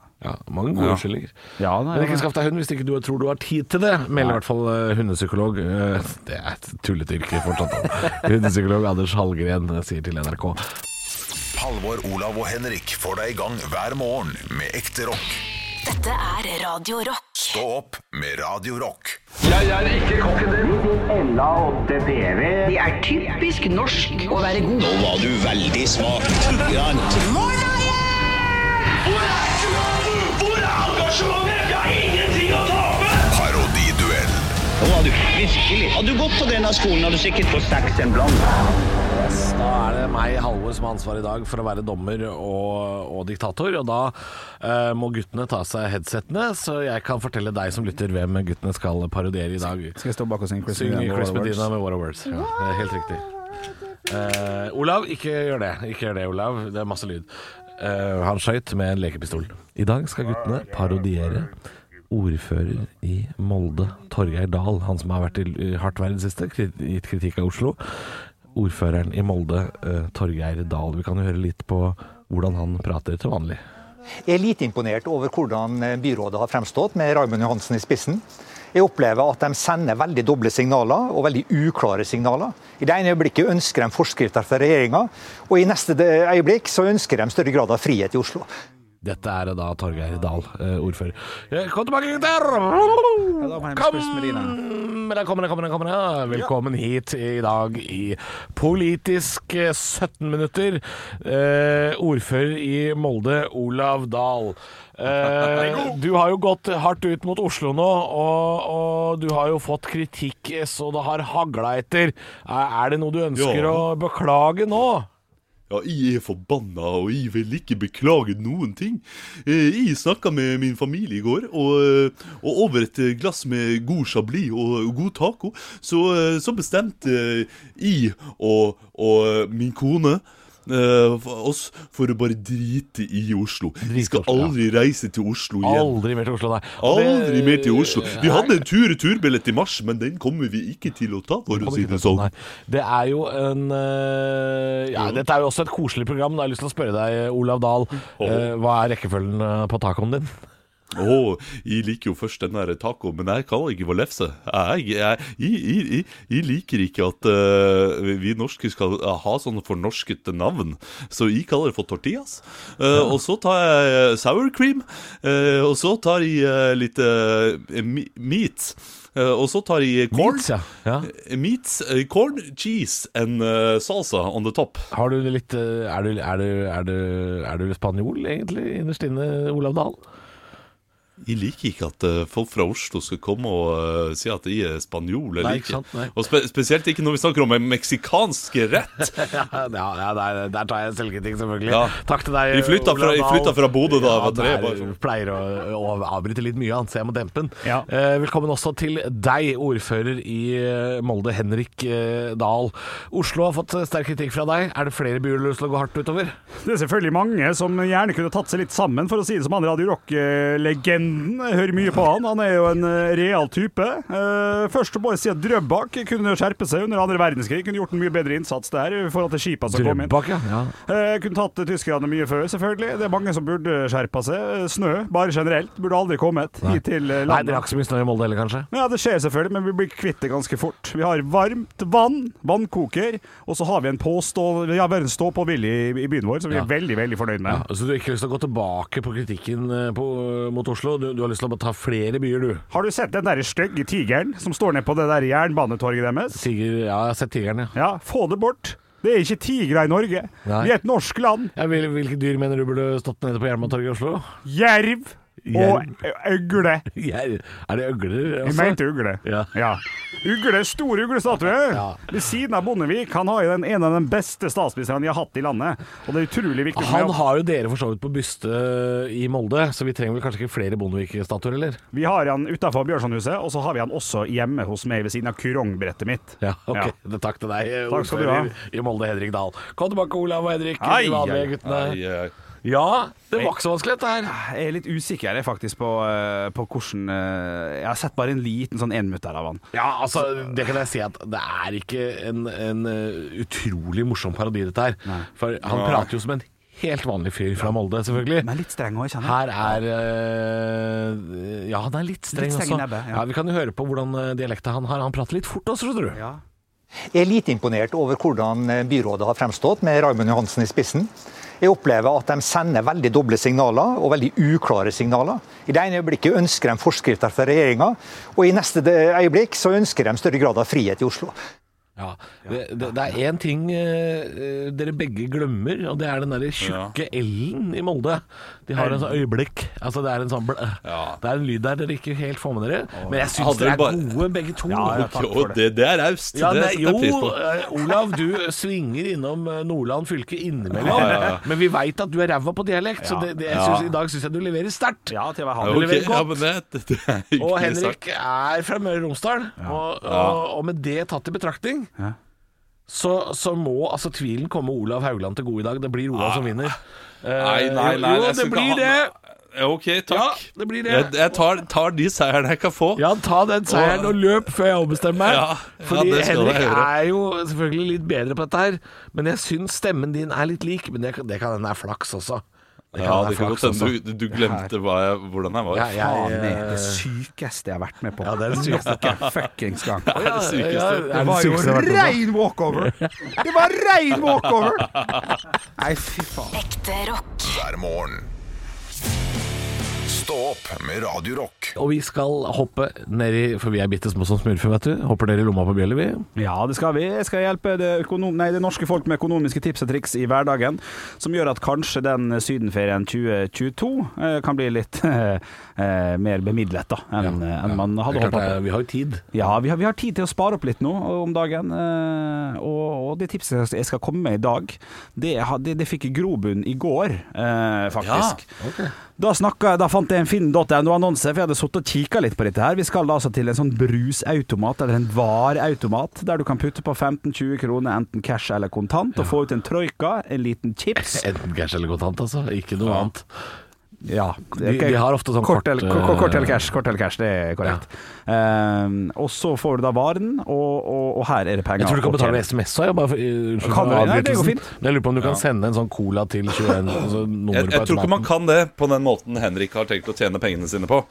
[SPEAKER 3] mange gode
[SPEAKER 5] Ja.
[SPEAKER 3] unnskyldninger.
[SPEAKER 8] Ja, nei,
[SPEAKER 3] Men
[SPEAKER 8] ja.
[SPEAKER 3] ikke skaff deg hund hvis ikke du tror du har tid til det, melder i hvert fall eh, hundepsykolog eh, Det er et tullete yrke fortsatt. hundepsykolog Anders Hallgren eh, sier til NRK.
[SPEAKER 1] Halvor, Olav og Henrik får deg i gang hver morgen med ekte rock.
[SPEAKER 2] Dette er Radio Rock.
[SPEAKER 1] Stå opp med Radio Rock.
[SPEAKER 12] Jeg er ikke kokken din. Ella 8TV. Det er typisk norsk å være god. Nå var du veldig smak.
[SPEAKER 1] Parodiduell.
[SPEAKER 12] Nå var du virkelig. Hadde du gått på denne skolen, hadde du sikkert fått seks en blant.
[SPEAKER 3] Yes, da er det meg, Halvor, som har ansvaret i dag for å være dommer og, og diktator. Og da eh, må guttene ta av seg headsettene, så jeg kan fortelle deg som lytter hvem guttene skal parodiere i dag.
[SPEAKER 8] Skal jeg stå bak og synge Chris
[SPEAKER 3] Syng
[SPEAKER 8] Medina med
[SPEAKER 3] Chris
[SPEAKER 8] Waterworks?
[SPEAKER 3] Medina med What a Words. Ja, det er helt riktig. Eh, Olav, ikke gjør det. Ikke gjør det, Olav. Det er masse lyd. Eh, han skøyt med en lekepistol. I dag skal guttene parodiere ordfører i Molde, Torgeir Dahl. Han som har vært i hardt vær i det siste, kri- gitt kritikk av Oslo. Ordføreren i Molde, eh, Torgeir Dahl. Vi kan jo høre litt på hvordan han prater til vanlig.
[SPEAKER 13] Jeg er lite imponert over hvordan eh, byrådet har fremstått, med Raymond Johansen i spissen. Jeg opplever at de sender veldig doble signaler, og veldig uklare signaler. I det ene øyeblikket ønsker de forskrifter fra regjeringa, og i neste de- øyeblikk så ønsker de større grad av frihet i Oslo.
[SPEAKER 3] Dette er da Torgeir Dahl, eh, ordfører. Eh, Kom tilbake, gutter! Kom! Der kommer det, kommer det, kommer det. Velkommen hit i dag i Politisk eh, 17 minutter. Eh, ordfører i Molde, Olav Dahl. Eh, du har jo gått hardt ut mot Oslo nå, og, og du har jo fått kritikk eh, så det har hagla etter. Er er det noe du ønsker å
[SPEAKER 14] Ja.
[SPEAKER 3] beklage nå?
[SPEAKER 14] Ja, jeg er forbanna, og jeg vil ikke beklage noen ting. Eh, Jeg snakka med min familie i går, og, eh, og over et eh, glass med god chablis og god taco, så, eh, så bestemte eh, jeg og, og min kone eh, for oss for å bare drite i Oslo. Vi skal aldri reise til Oslo igjen.
[SPEAKER 3] Aldri mer til Oslo, nei. Og det-
[SPEAKER 14] Aldri mer til Oslo. Vi hadde en tur-retur-billett i mars, men den kommer vi ikke til å ta, for å si det sånn.
[SPEAKER 3] Det er jo en eh, ja, Dette er jo også et koselig program. Da har jeg lyst til å spørre deg, Olav Dahl. eh, hva er rekkefølgen eh, på tacoen din?
[SPEAKER 14] Å, jeg liker jo først den der taco, men jeg kaller ikke for lefse. Jeg, jeg, jeg, jeg, jeg, jeg liker ikke at eh, vi- vi norske skal ha sånne fornorskete navn, så jeg kaller det for tortillas. Eh, Og så tar jeg eh, sour cream, eh, og så tar jeg eh, litt eh, mi- meat. Eh, og så tar jeg corn, meats, eh, corn, cheese and eh, salsa on the top.
[SPEAKER 3] Har du litt eh, Er du, er du, er du, er du spanjol, egentlig, innerst inne, Olav Dahl?
[SPEAKER 14] Jeg liker ikke at eh, folk fra Oslo skal komme og eh, si at de er spanjol.
[SPEAKER 3] Nei,
[SPEAKER 14] Eller
[SPEAKER 3] ikke sant, nei.
[SPEAKER 14] Og spe spesielt ikke når vi snakker om en meksikansk rett.
[SPEAKER 3] ja, ja, der, der tar jeg selvkritikk, selvfølgelig.
[SPEAKER 14] Ja.
[SPEAKER 3] Takk til deg.
[SPEAKER 14] Vi flytta
[SPEAKER 3] Olav
[SPEAKER 14] fra- vi
[SPEAKER 3] Dahl.
[SPEAKER 14] flytta fra Bodø da jeg var tre,
[SPEAKER 3] der
[SPEAKER 14] bare sånn.
[SPEAKER 3] Pleier å, å avbryte litt mye, han, så jeg må dempe den. Eh, velkommen også til deg, ordfører i eh, Molde, Henrik eh, Dahl. Oslo har fått eh, sterk kritikk fra deg. Er det flere byer du har lyst til å gå hardt utover?
[SPEAKER 8] Det er selvfølgelig mange som gjerne kunne tatt seg litt sammen, for å si det som han Radio Rock-legenden. Jeg hører mye på han. Han er jo en eh, real type. Eh, Først å bare si at Drøbak kunne skjerpe seg under andre verdenskrig. Kunne gjort en mye bedre innsats der i forhold til skipa som kom inn.
[SPEAKER 3] Drøbak, ja. ja.
[SPEAKER 8] Eh, kunne tatt tyskerne mye før, selvfølgelig. Det er mange som burde skjerpa seg. Eh, Snø, bare generelt, burde aldri kommet
[SPEAKER 3] Nei.
[SPEAKER 8] hit til eh,
[SPEAKER 3] Nei,
[SPEAKER 8] landet.
[SPEAKER 3] dere har ikke så mye snø i Molde heller, kanskje?
[SPEAKER 8] Ja, det skjer selvfølgelig, men vi blir kvitt det ganske fort. Vi har varmt vann, vannkoker, og så har vi en påstå... Ja, vi har en stå-på-vilje i, i byen vår, som vi er veldig, veldig fornøyd med.
[SPEAKER 3] Så Altså, du har ikke lyst til å gå tilbake på kritikken eh, på, mot Oslo? Du, du har lyst til å ta flere byer, du?
[SPEAKER 8] Har du sett den der stygge tigeren som står ned på det der jernbanetorget deres?
[SPEAKER 3] Tiger, ja, jeg har sett tigeren, ja.
[SPEAKER 8] Ja, få det bort. Det er ikke tigre i Norge.
[SPEAKER 3] Nei.
[SPEAKER 8] Vi er et norsk land.
[SPEAKER 3] Ja, hvil- hvilke dyr mener du burde stått nede på Jernbanetorget i Oslo?
[SPEAKER 8] Jerv, Og øgle.
[SPEAKER 3] Er det øgler? altså?
[SPEAKER 8] Jeg mente ugle.
[SPEAKER 3] Ja.
[SPEAKER 8] Ugle, stor uglestatue! Ved siden av Bondevik. Han har jo den, en av de beste statsministrene vi har hatt i landet. Og det er utrolig viktig for
[SPEAKER 3] Han
[SPEAKER 8] meg å-
[SPEAKER 3] har jo dere for så vidt på byste i Molde, så vi trenger vel kanskje ikke flere Bondevik-statuer, eller?
[SPEAKER 8] Vi har han utenfor Bjørsonhuset, og så har vi han også hjemme hos meg ved siden av kurongbrettet mitt.
[SPEAKER 3] Ja, ok. Takk til deg,
[SPEAKER 8] Takk skal du ha.
[SPEAKER 3] ordfører i Molde, Henrik Dahl. Kom tilbake, Olav og Henrik.
[SPEAKER 8] Ai,
[SPEAKER 3] de vanlige
[SPEAKER 8] ai,
[SPEAKER 3] guttene.
[SPEAKER 5] ai.
[SPEAKER 3] Ja, det var ikke så vanskelig, dette her.
[SPEAKER 8] Jeg er litt usikker jeg, faktisk på, eh, på hvordan eh, Jeg har sett bare en liten sånn enminutter av han.
[SPEAKER 3] Ja, altså, det kan jeg si at det er ikke en, en eh, utrolig morsom parodi, dette her. For han
[SPEAKER 8] Nei.
[SPEAKER 3] prater jo som en helt vanlig fyr fra Molde, selvfølgelig.
[SPEAKER 8] Men litt streng òg, kjenner
[SPEAKER 3] Her er eh, Ja, han er litt streng,
[SPEAKER 8] Litt streng i
[SPEAKER 3] også.
[SPEAKER 8] nebbet, ja.
[SPEAKER 3] Ja, vi kan jo høre på hvordan eh, dialekten han har. Han prater litt fort også, skjønner du.
[SPEAKER 8] Ja.
[SPEAKER 13] Jeg er lite imponert over hvordan eh, byrådet har fremstått, med Raymond Johansen i spissen. Jeg opplever at de sender veldig doble signaler, og veldig uklare signaler. I det ene øyeblikket ønsker de forskrifter fra regjeringa, og i neste de- øyeblikk så ønsker de større grad av frihet i Oslo.
[SPEAKER 3] Ja. Det, det, det er én ting eh, eh, dere begge glemmer, og det er den derre tjukke L-en i Molde. De har en sånn øyeblikk. Altså det er en sånn bl Det er en lyd der dere ikke helt får med dere. Men jeg syns
[SPEAKER 5] Hadde
[SPEAKER 3] dere er
[SPEAKER 5] bare-
[SPEAKER 3] gode begge to.
[SPEAKER 5] jo, det, det er raust.
[SPEAKER 3] Ja,
[SPEAKER 5] det
[SPEAKER 3] nei,
[SPEAKER 5] setter
[SPEAKER 3] jo,
[SPEAKER 5] jeg pris på.
[SPEAKER 3] eh, Olav, du svinger innom eh, Nordland fylke innimellom.
[SPEAKER 5] Ja, ja, ja.
[SPEAKER 3] Men vi veit at du er ræva på dialekt, så det, det, jeg
[SPEAKER 5] Ja.
[SPEAKER 3] synes, i dag syns jeg du leverer sterkt.
[SPEAKER 5] Ja,
[SPEAKER 3] Du
[SPEAKER 5] ok,
[SPEAKER 3] leverer
[SPEAKER 5] ja,
[SPEAKER 3] godt.
[SPEAKER 5] men det, det er hyggelig
[SPEAKER 3] Og
[SPEAKER 5] sagt.
[SPEAKER 3] Henrik er fra Møre og Romsdal, og, og, og med det tatt i betraktning
[SPEAKER 8] Ja.
[SPEAKER 3] så, så må altså tvilen komme Olav Haugland til gode i dag. Det blir Olav som vinner.
[SPEAKER 5] Nei, nei, nei.
[SPEAKER 3] jo,
[SPEAKER 5] jeg skal
[SPEAKER 3] det
[SPEAKER 5] ikke
[SPEAKER 3] blir
[SPEAKER 5] ha-
[SPEAKER 3] det.
[SPEAKER 5] Ja, OK, takk.
[SPEAKER 3] Ja, det blir det.
[SPEAKER 5] Jeg, jeg tar, tar de seierne jeg kan få.
[SPEAKER 3] Ja, ta den seieren og løp før jeg ombestemmer meg.
[SPEAKER 5] Ja, ja,
[SPEAKER 3] Fordi
[SPEAKER 5] det skal jeg
[SPEAKER 3] Henrik
[SPEAKER 5] gjøre.
[SPEAKER 3] er jo selvfølgelig litt bedre på dette her, men jeg syns stemmen din er litt lik. Men det, kan- det kan hende er flaks også. Det
[SPEAKER 5] Ja,
[SPEAKER 3] hende er
[SPEAKER 5] det kan
[SPEAKER 3] flaks
[SPEAKER 5] godt hende
[SPEAKER 3] også.
[SPEAKER 5] du, du glemte hva jeg, hvordan jeg var.
[SPEAKER 3] Ja, jeg- eh,
[SPEAKER 8] Faen, det er det sykeste jeg har vært med på.
[SPEAKER 3] Ja, det er det sykeste.
[SPEAKER 8] Noen fuckings gang.
[SPEAKER 5] Det er det sykeste.
[SPEAKER 3] Ja, ja, ja,
[SPEAKER 8] Det var jo rein walkover! Det var rein walkover! Nei, fy faen.
[SPEAKER 2] Ekte rock.
[SPEAKER 1] hver morgen. Stå opp med Radio Rock.
[SPEAKER 3] Og vi skal hoppe nedi, for vi er bitte små som smurfer, vet du. Hopper dere i lomma på bjella, vi.
[SPEAKER 8] Ja, det skal vi. Jeg skal hjelpe det, økonom nei, det norske folk med økonomiske tips og triks i hverdagen, som gjør at kanskje den sydenferien 2022 eh, kan bli litt eh, mer bemidlet da, enn eh, enn man hadde
[SPEAKER 3] Det er klart
[SPEAKER 8] håpet på.
[SPEAKER 3] det er- Vi har jo tid.
[SPEAKER 8] Ja, vi har, vi har tid til å spare opp litt nå eh, om dagen. eh, Og, og det tipset jeg skal komme med i dag, det, jeg hadde- det fikk grobunn i går, eh, faktisk. Da, snakket, jeg- da fant jeg en finn.no-annonse, for jeg hadde sittet og kikka litt på dette her. Vi skal da altså til en sånn brusautomat, eller en vareautomat, der du kan putte på 15-20 kroner, enten cash eller kontant, og få ut en troika, en liten chips
[SPEAKER 3] Enten cash eller kontant, altså. Ikke noe annet.
[SPEAKER 8] Ja,
[SPEAKER 3] De- de har ofte sånn
[SPEAKER 8] kort,
[SPEAKER 3] kort,
[SPEAKER 8] eller, ko- ko- kort eller
[SPEAKER 3] eh,
[SPEAKER 8] cash. Kort eller cash, det er korrekt. Ehm, og så får du da varen, og, og, og her er det penger.
[SPEAKER 3] Jeg tror du kan
[SPEAKER 8] å tjene.
[SPEAKER 3] betale med SMS òg. Unnskyld
[SPEAKER 8] Kan
[SPEAKER 3] for
[SPEAKER 8] du- nei, det går
[SPEAKER 3] avbrytelsen.
[SPEAKER 8] fint.
[SPEAKER 3] Men Jeg lurer på om du kan sende en sånn cola til 21 altså, nummer
[SPEAKER 5] Jeg,
[SPEAKER 3] på
[SPEAKER 5] jeg tror ikke man
[SPEAKER 3] automaten.
[SPEAKER 5] kan det på den måten Henrik har tenkt å tjene pengene sine på.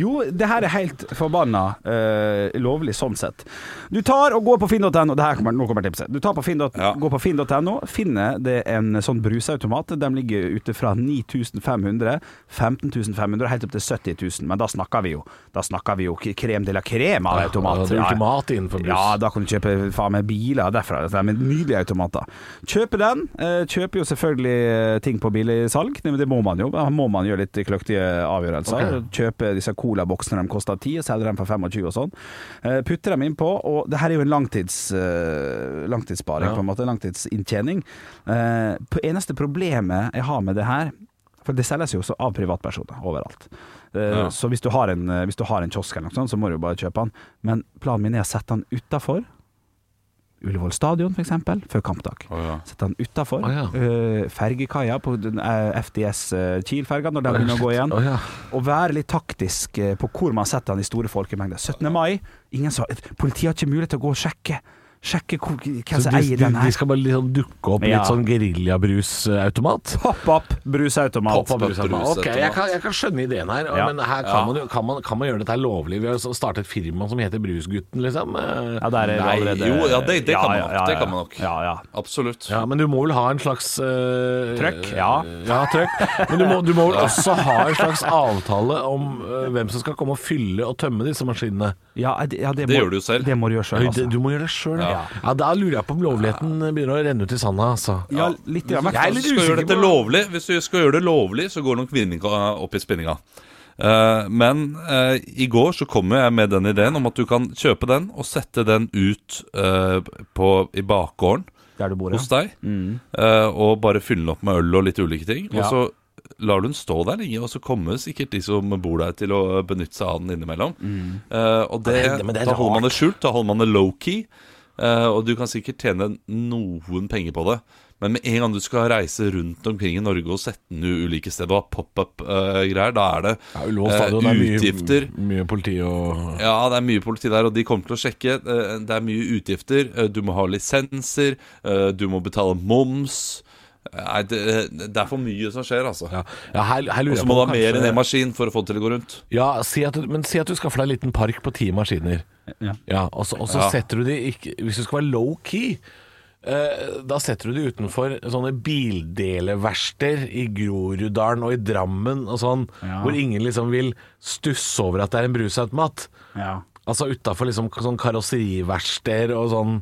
[SPEAKER 8] Jo, det her er helt forbanna eh, lovlig sånn sett. Du tar og går på finn.no det her kommer, Nå kommer tipset. Du tar på finn.no, går på finn.no, finner det en sånn brusautomat. De ligger ute fra 9500, 15500, helt opp til 70 000. Men da snakker vi jo Da snakker vi jo k- krem de la krem av automat.
[SPEAKER 3] Ja, det er ultimat innenfor brus.
[SPEAKER 8] Ja, da kan du kjøpe faen meg biler derfra. Dette er med nydelige automater. Kjøper den. eh, Kjøper jo selvfølgelig eh, ting på billigsalg. Det det må man jo. Da må man gjøre litt kløktige avgjørelser. Kjøpe disse colaboksene de koster 10, og selger dem for 25 og sånn. Eh, Putter dem innpå, og det her er jo en langtids, eh, langtidssparing,
[SPEAKER 3] Ja.
[SPEAKER 8] på en måte. Langtidsinntjening. Eh, på- Eneste problemet jeg har med det her for det selges jo også av privatpersoner overalt.
[SPEAKER 5] Ja.
[SPEAKER 8] Eh, Så hvis du, har en, eh, hvis du har en kiosk eller noe sånt, så må du jo bare kjøpe den. Men planen min er å sette den utafor. Ullevål stadion, f.eks., før kampdag. Sette den utafor. eh,
[SPEAKER 3] Å, ja.
[SPEAKER 8] fergekaia på den, eh, FDS eh, Kiel-ferga, når den
[SPEAKER 3] Å, ja,
[SPEAKER 8] begynner å gå
[SPEAKER 3] shit.
[SPEAKER 8] igjen.
[SPEAKER 3] Å, ja.
[SPEAKER 8] Og være litt taktisk eh, på hvor man setter den i store folkemengder. 17. mai, ingen sa Politiet har ikke mulighet til å gå og sjekke. Sjekke hvor, hvem
[SPEAKER 3] Så
[SPEAKER 8] som
[SPEAKER 3] de,
[SPEAKER 8] eier
[SPEAKER 3] de,
[SPEAKER 8] den
[SPEAKER 3] de
[SPEAKER 8] her.
[SPEAKER 3] skal bare liksom dukke opp
[SPEAKER 8] Ja.
[SPEAKER 3] litt sånn geriljabrusautomat?
[SPEAKER 8] Pop up brusautomat.
[SPEAKER 3] Pop up brusautomat. Ok, jeg kan, jeg kan skjønne ideen her,
[SPEAKER 8] Ja.
[SPEAKER 3] men her kan, man jo, kan, man, kan man gjøre dette her lovlig? Vi har jo så- startet et firma som heter Brusgutten, liksom. Eh,
[SPEAKER 8] Ja, der er det
[SPEAKER 5] Nei,
[SPEAKER 8] allerede
[SPEAKER 5] jo, ja, det- det kan man nok, det kan man nok.
[SPEAKER 8] Ja, ja.
[SPEAKER 5] Absolutt.
[SPEAKER 3] Ja, men du må vel ha en slags eh,
[SPEAKER 8] Trøkk, ja.
[SPEAKER 3] Ja, trøkk. Men du må, du må vel også ha en slags avtale om eh, hvem som skal komme og fylle og tømme disse maskinene.
[SPEAKER 8] Ja, det, ja,
[SPEAKER 5] Det gjør du jo selv.
[SPEAKER 8] Det må du gjøre
[SPEAKER 3] Oi,
[SPEAKER 8] sjøl, altså.
[SPEAKER 3] det- Du må gjøre det sjøl. Ja. ja, da lurer jeg på om lovligheten begynner å renne ut i sanda, altså.
[SPEAKER 8] Ja, litt. Ja, men-
[SPEAKER 3] Jeg er litt
[SPEAKER 5] Hvis du skal gjøre
[SPEAKER 3] usikker
[SPEAKER 5] dette
[SPEAKER 3] på
[SPEAKER 5] lovlig, hvis du skal gjøre det lovlig, så går nok vinninga opp i spinninga. Eh, men eh, i går så kom jeg med den ideen om at du kan kjøpe den og sette den ut eh, på, i bakgården
[SPEAKER 8] Der du bor,
[SPEAKER 5] hos deg.
[SPEAKER 3] Mm.
[SPEAKER 5] eh, og bare fylle den opp med øl og litt ulike ting.
[SPEAKER 8] Ja.
[SPEAKER 5] Og så lar du den stå der lenge, og så kommer sikkert de som bor der til å benytte seg av den innimellom. Eh, og det,
[SPEAKER 3] Mm. Ja, det- men det er
[SPEAKER 5] da holder man
[SPEAKER 3] rart.
[SPEAKER 5] det skjult, da holder man det low-key. eh, og du kan sikkert tjene noen penger på det. Men med en gang du skal reise rundt omkring i Norge og sette den i ulike steder og ha pop-up-greier, da er det
[SPEAKER 3] Ullevål
[SPEAKER 5] eh,
[SPEAKER 3] stadion er mye,
[SPEAKER 5] utgifter.
[SPEAKER 3] mye politi og
[SPEAKER 5] Ja, det er mye politi der, og de kommer til å sjekke. Eh, Det er mye utgifter. Eh, Du må ha lisenser. eh, Du må betale moms. Eh, Nei, det, det er for mye som skjer, altså.
[SPEAKER 3] Ja, her, her lurer
[SPEAKER 5] og så
[SPEAKER 3] jeg
[SPEAKER 5] må
[SPEAKER 3] på
[SPEAKER 5] du
[SPEAKER 3] om
[SPEAKER 5] ha mer
[SPEAKER 3] kanskje-
[SPEAKER 5] enn én maskin for å få det til å gå rundt.
[SPEAKER 3] Ja, si at, du- men si at du skaffer deg en liten park på ti maskiner.
[SPEAKER 8] Ja.
[SPEAKER 3] og så, og så
[SPEAKER 5] Ja.
[SPEAKER 3] setter du de ikke, Hvis du skal være low key eh, da setter du de utenfor sånne bildeleverksteder i Groruddalen og i Drammen og sånn,
[SPEAKER 8] Ja.
[SPEAKER 3] hvor ingen liksom vil stusse over at det er en brusautomat.
[SPEAKER 8] Ja.
[SPEAKER 3] Altså utafor liksom sånn karosseriverksteder og sånn,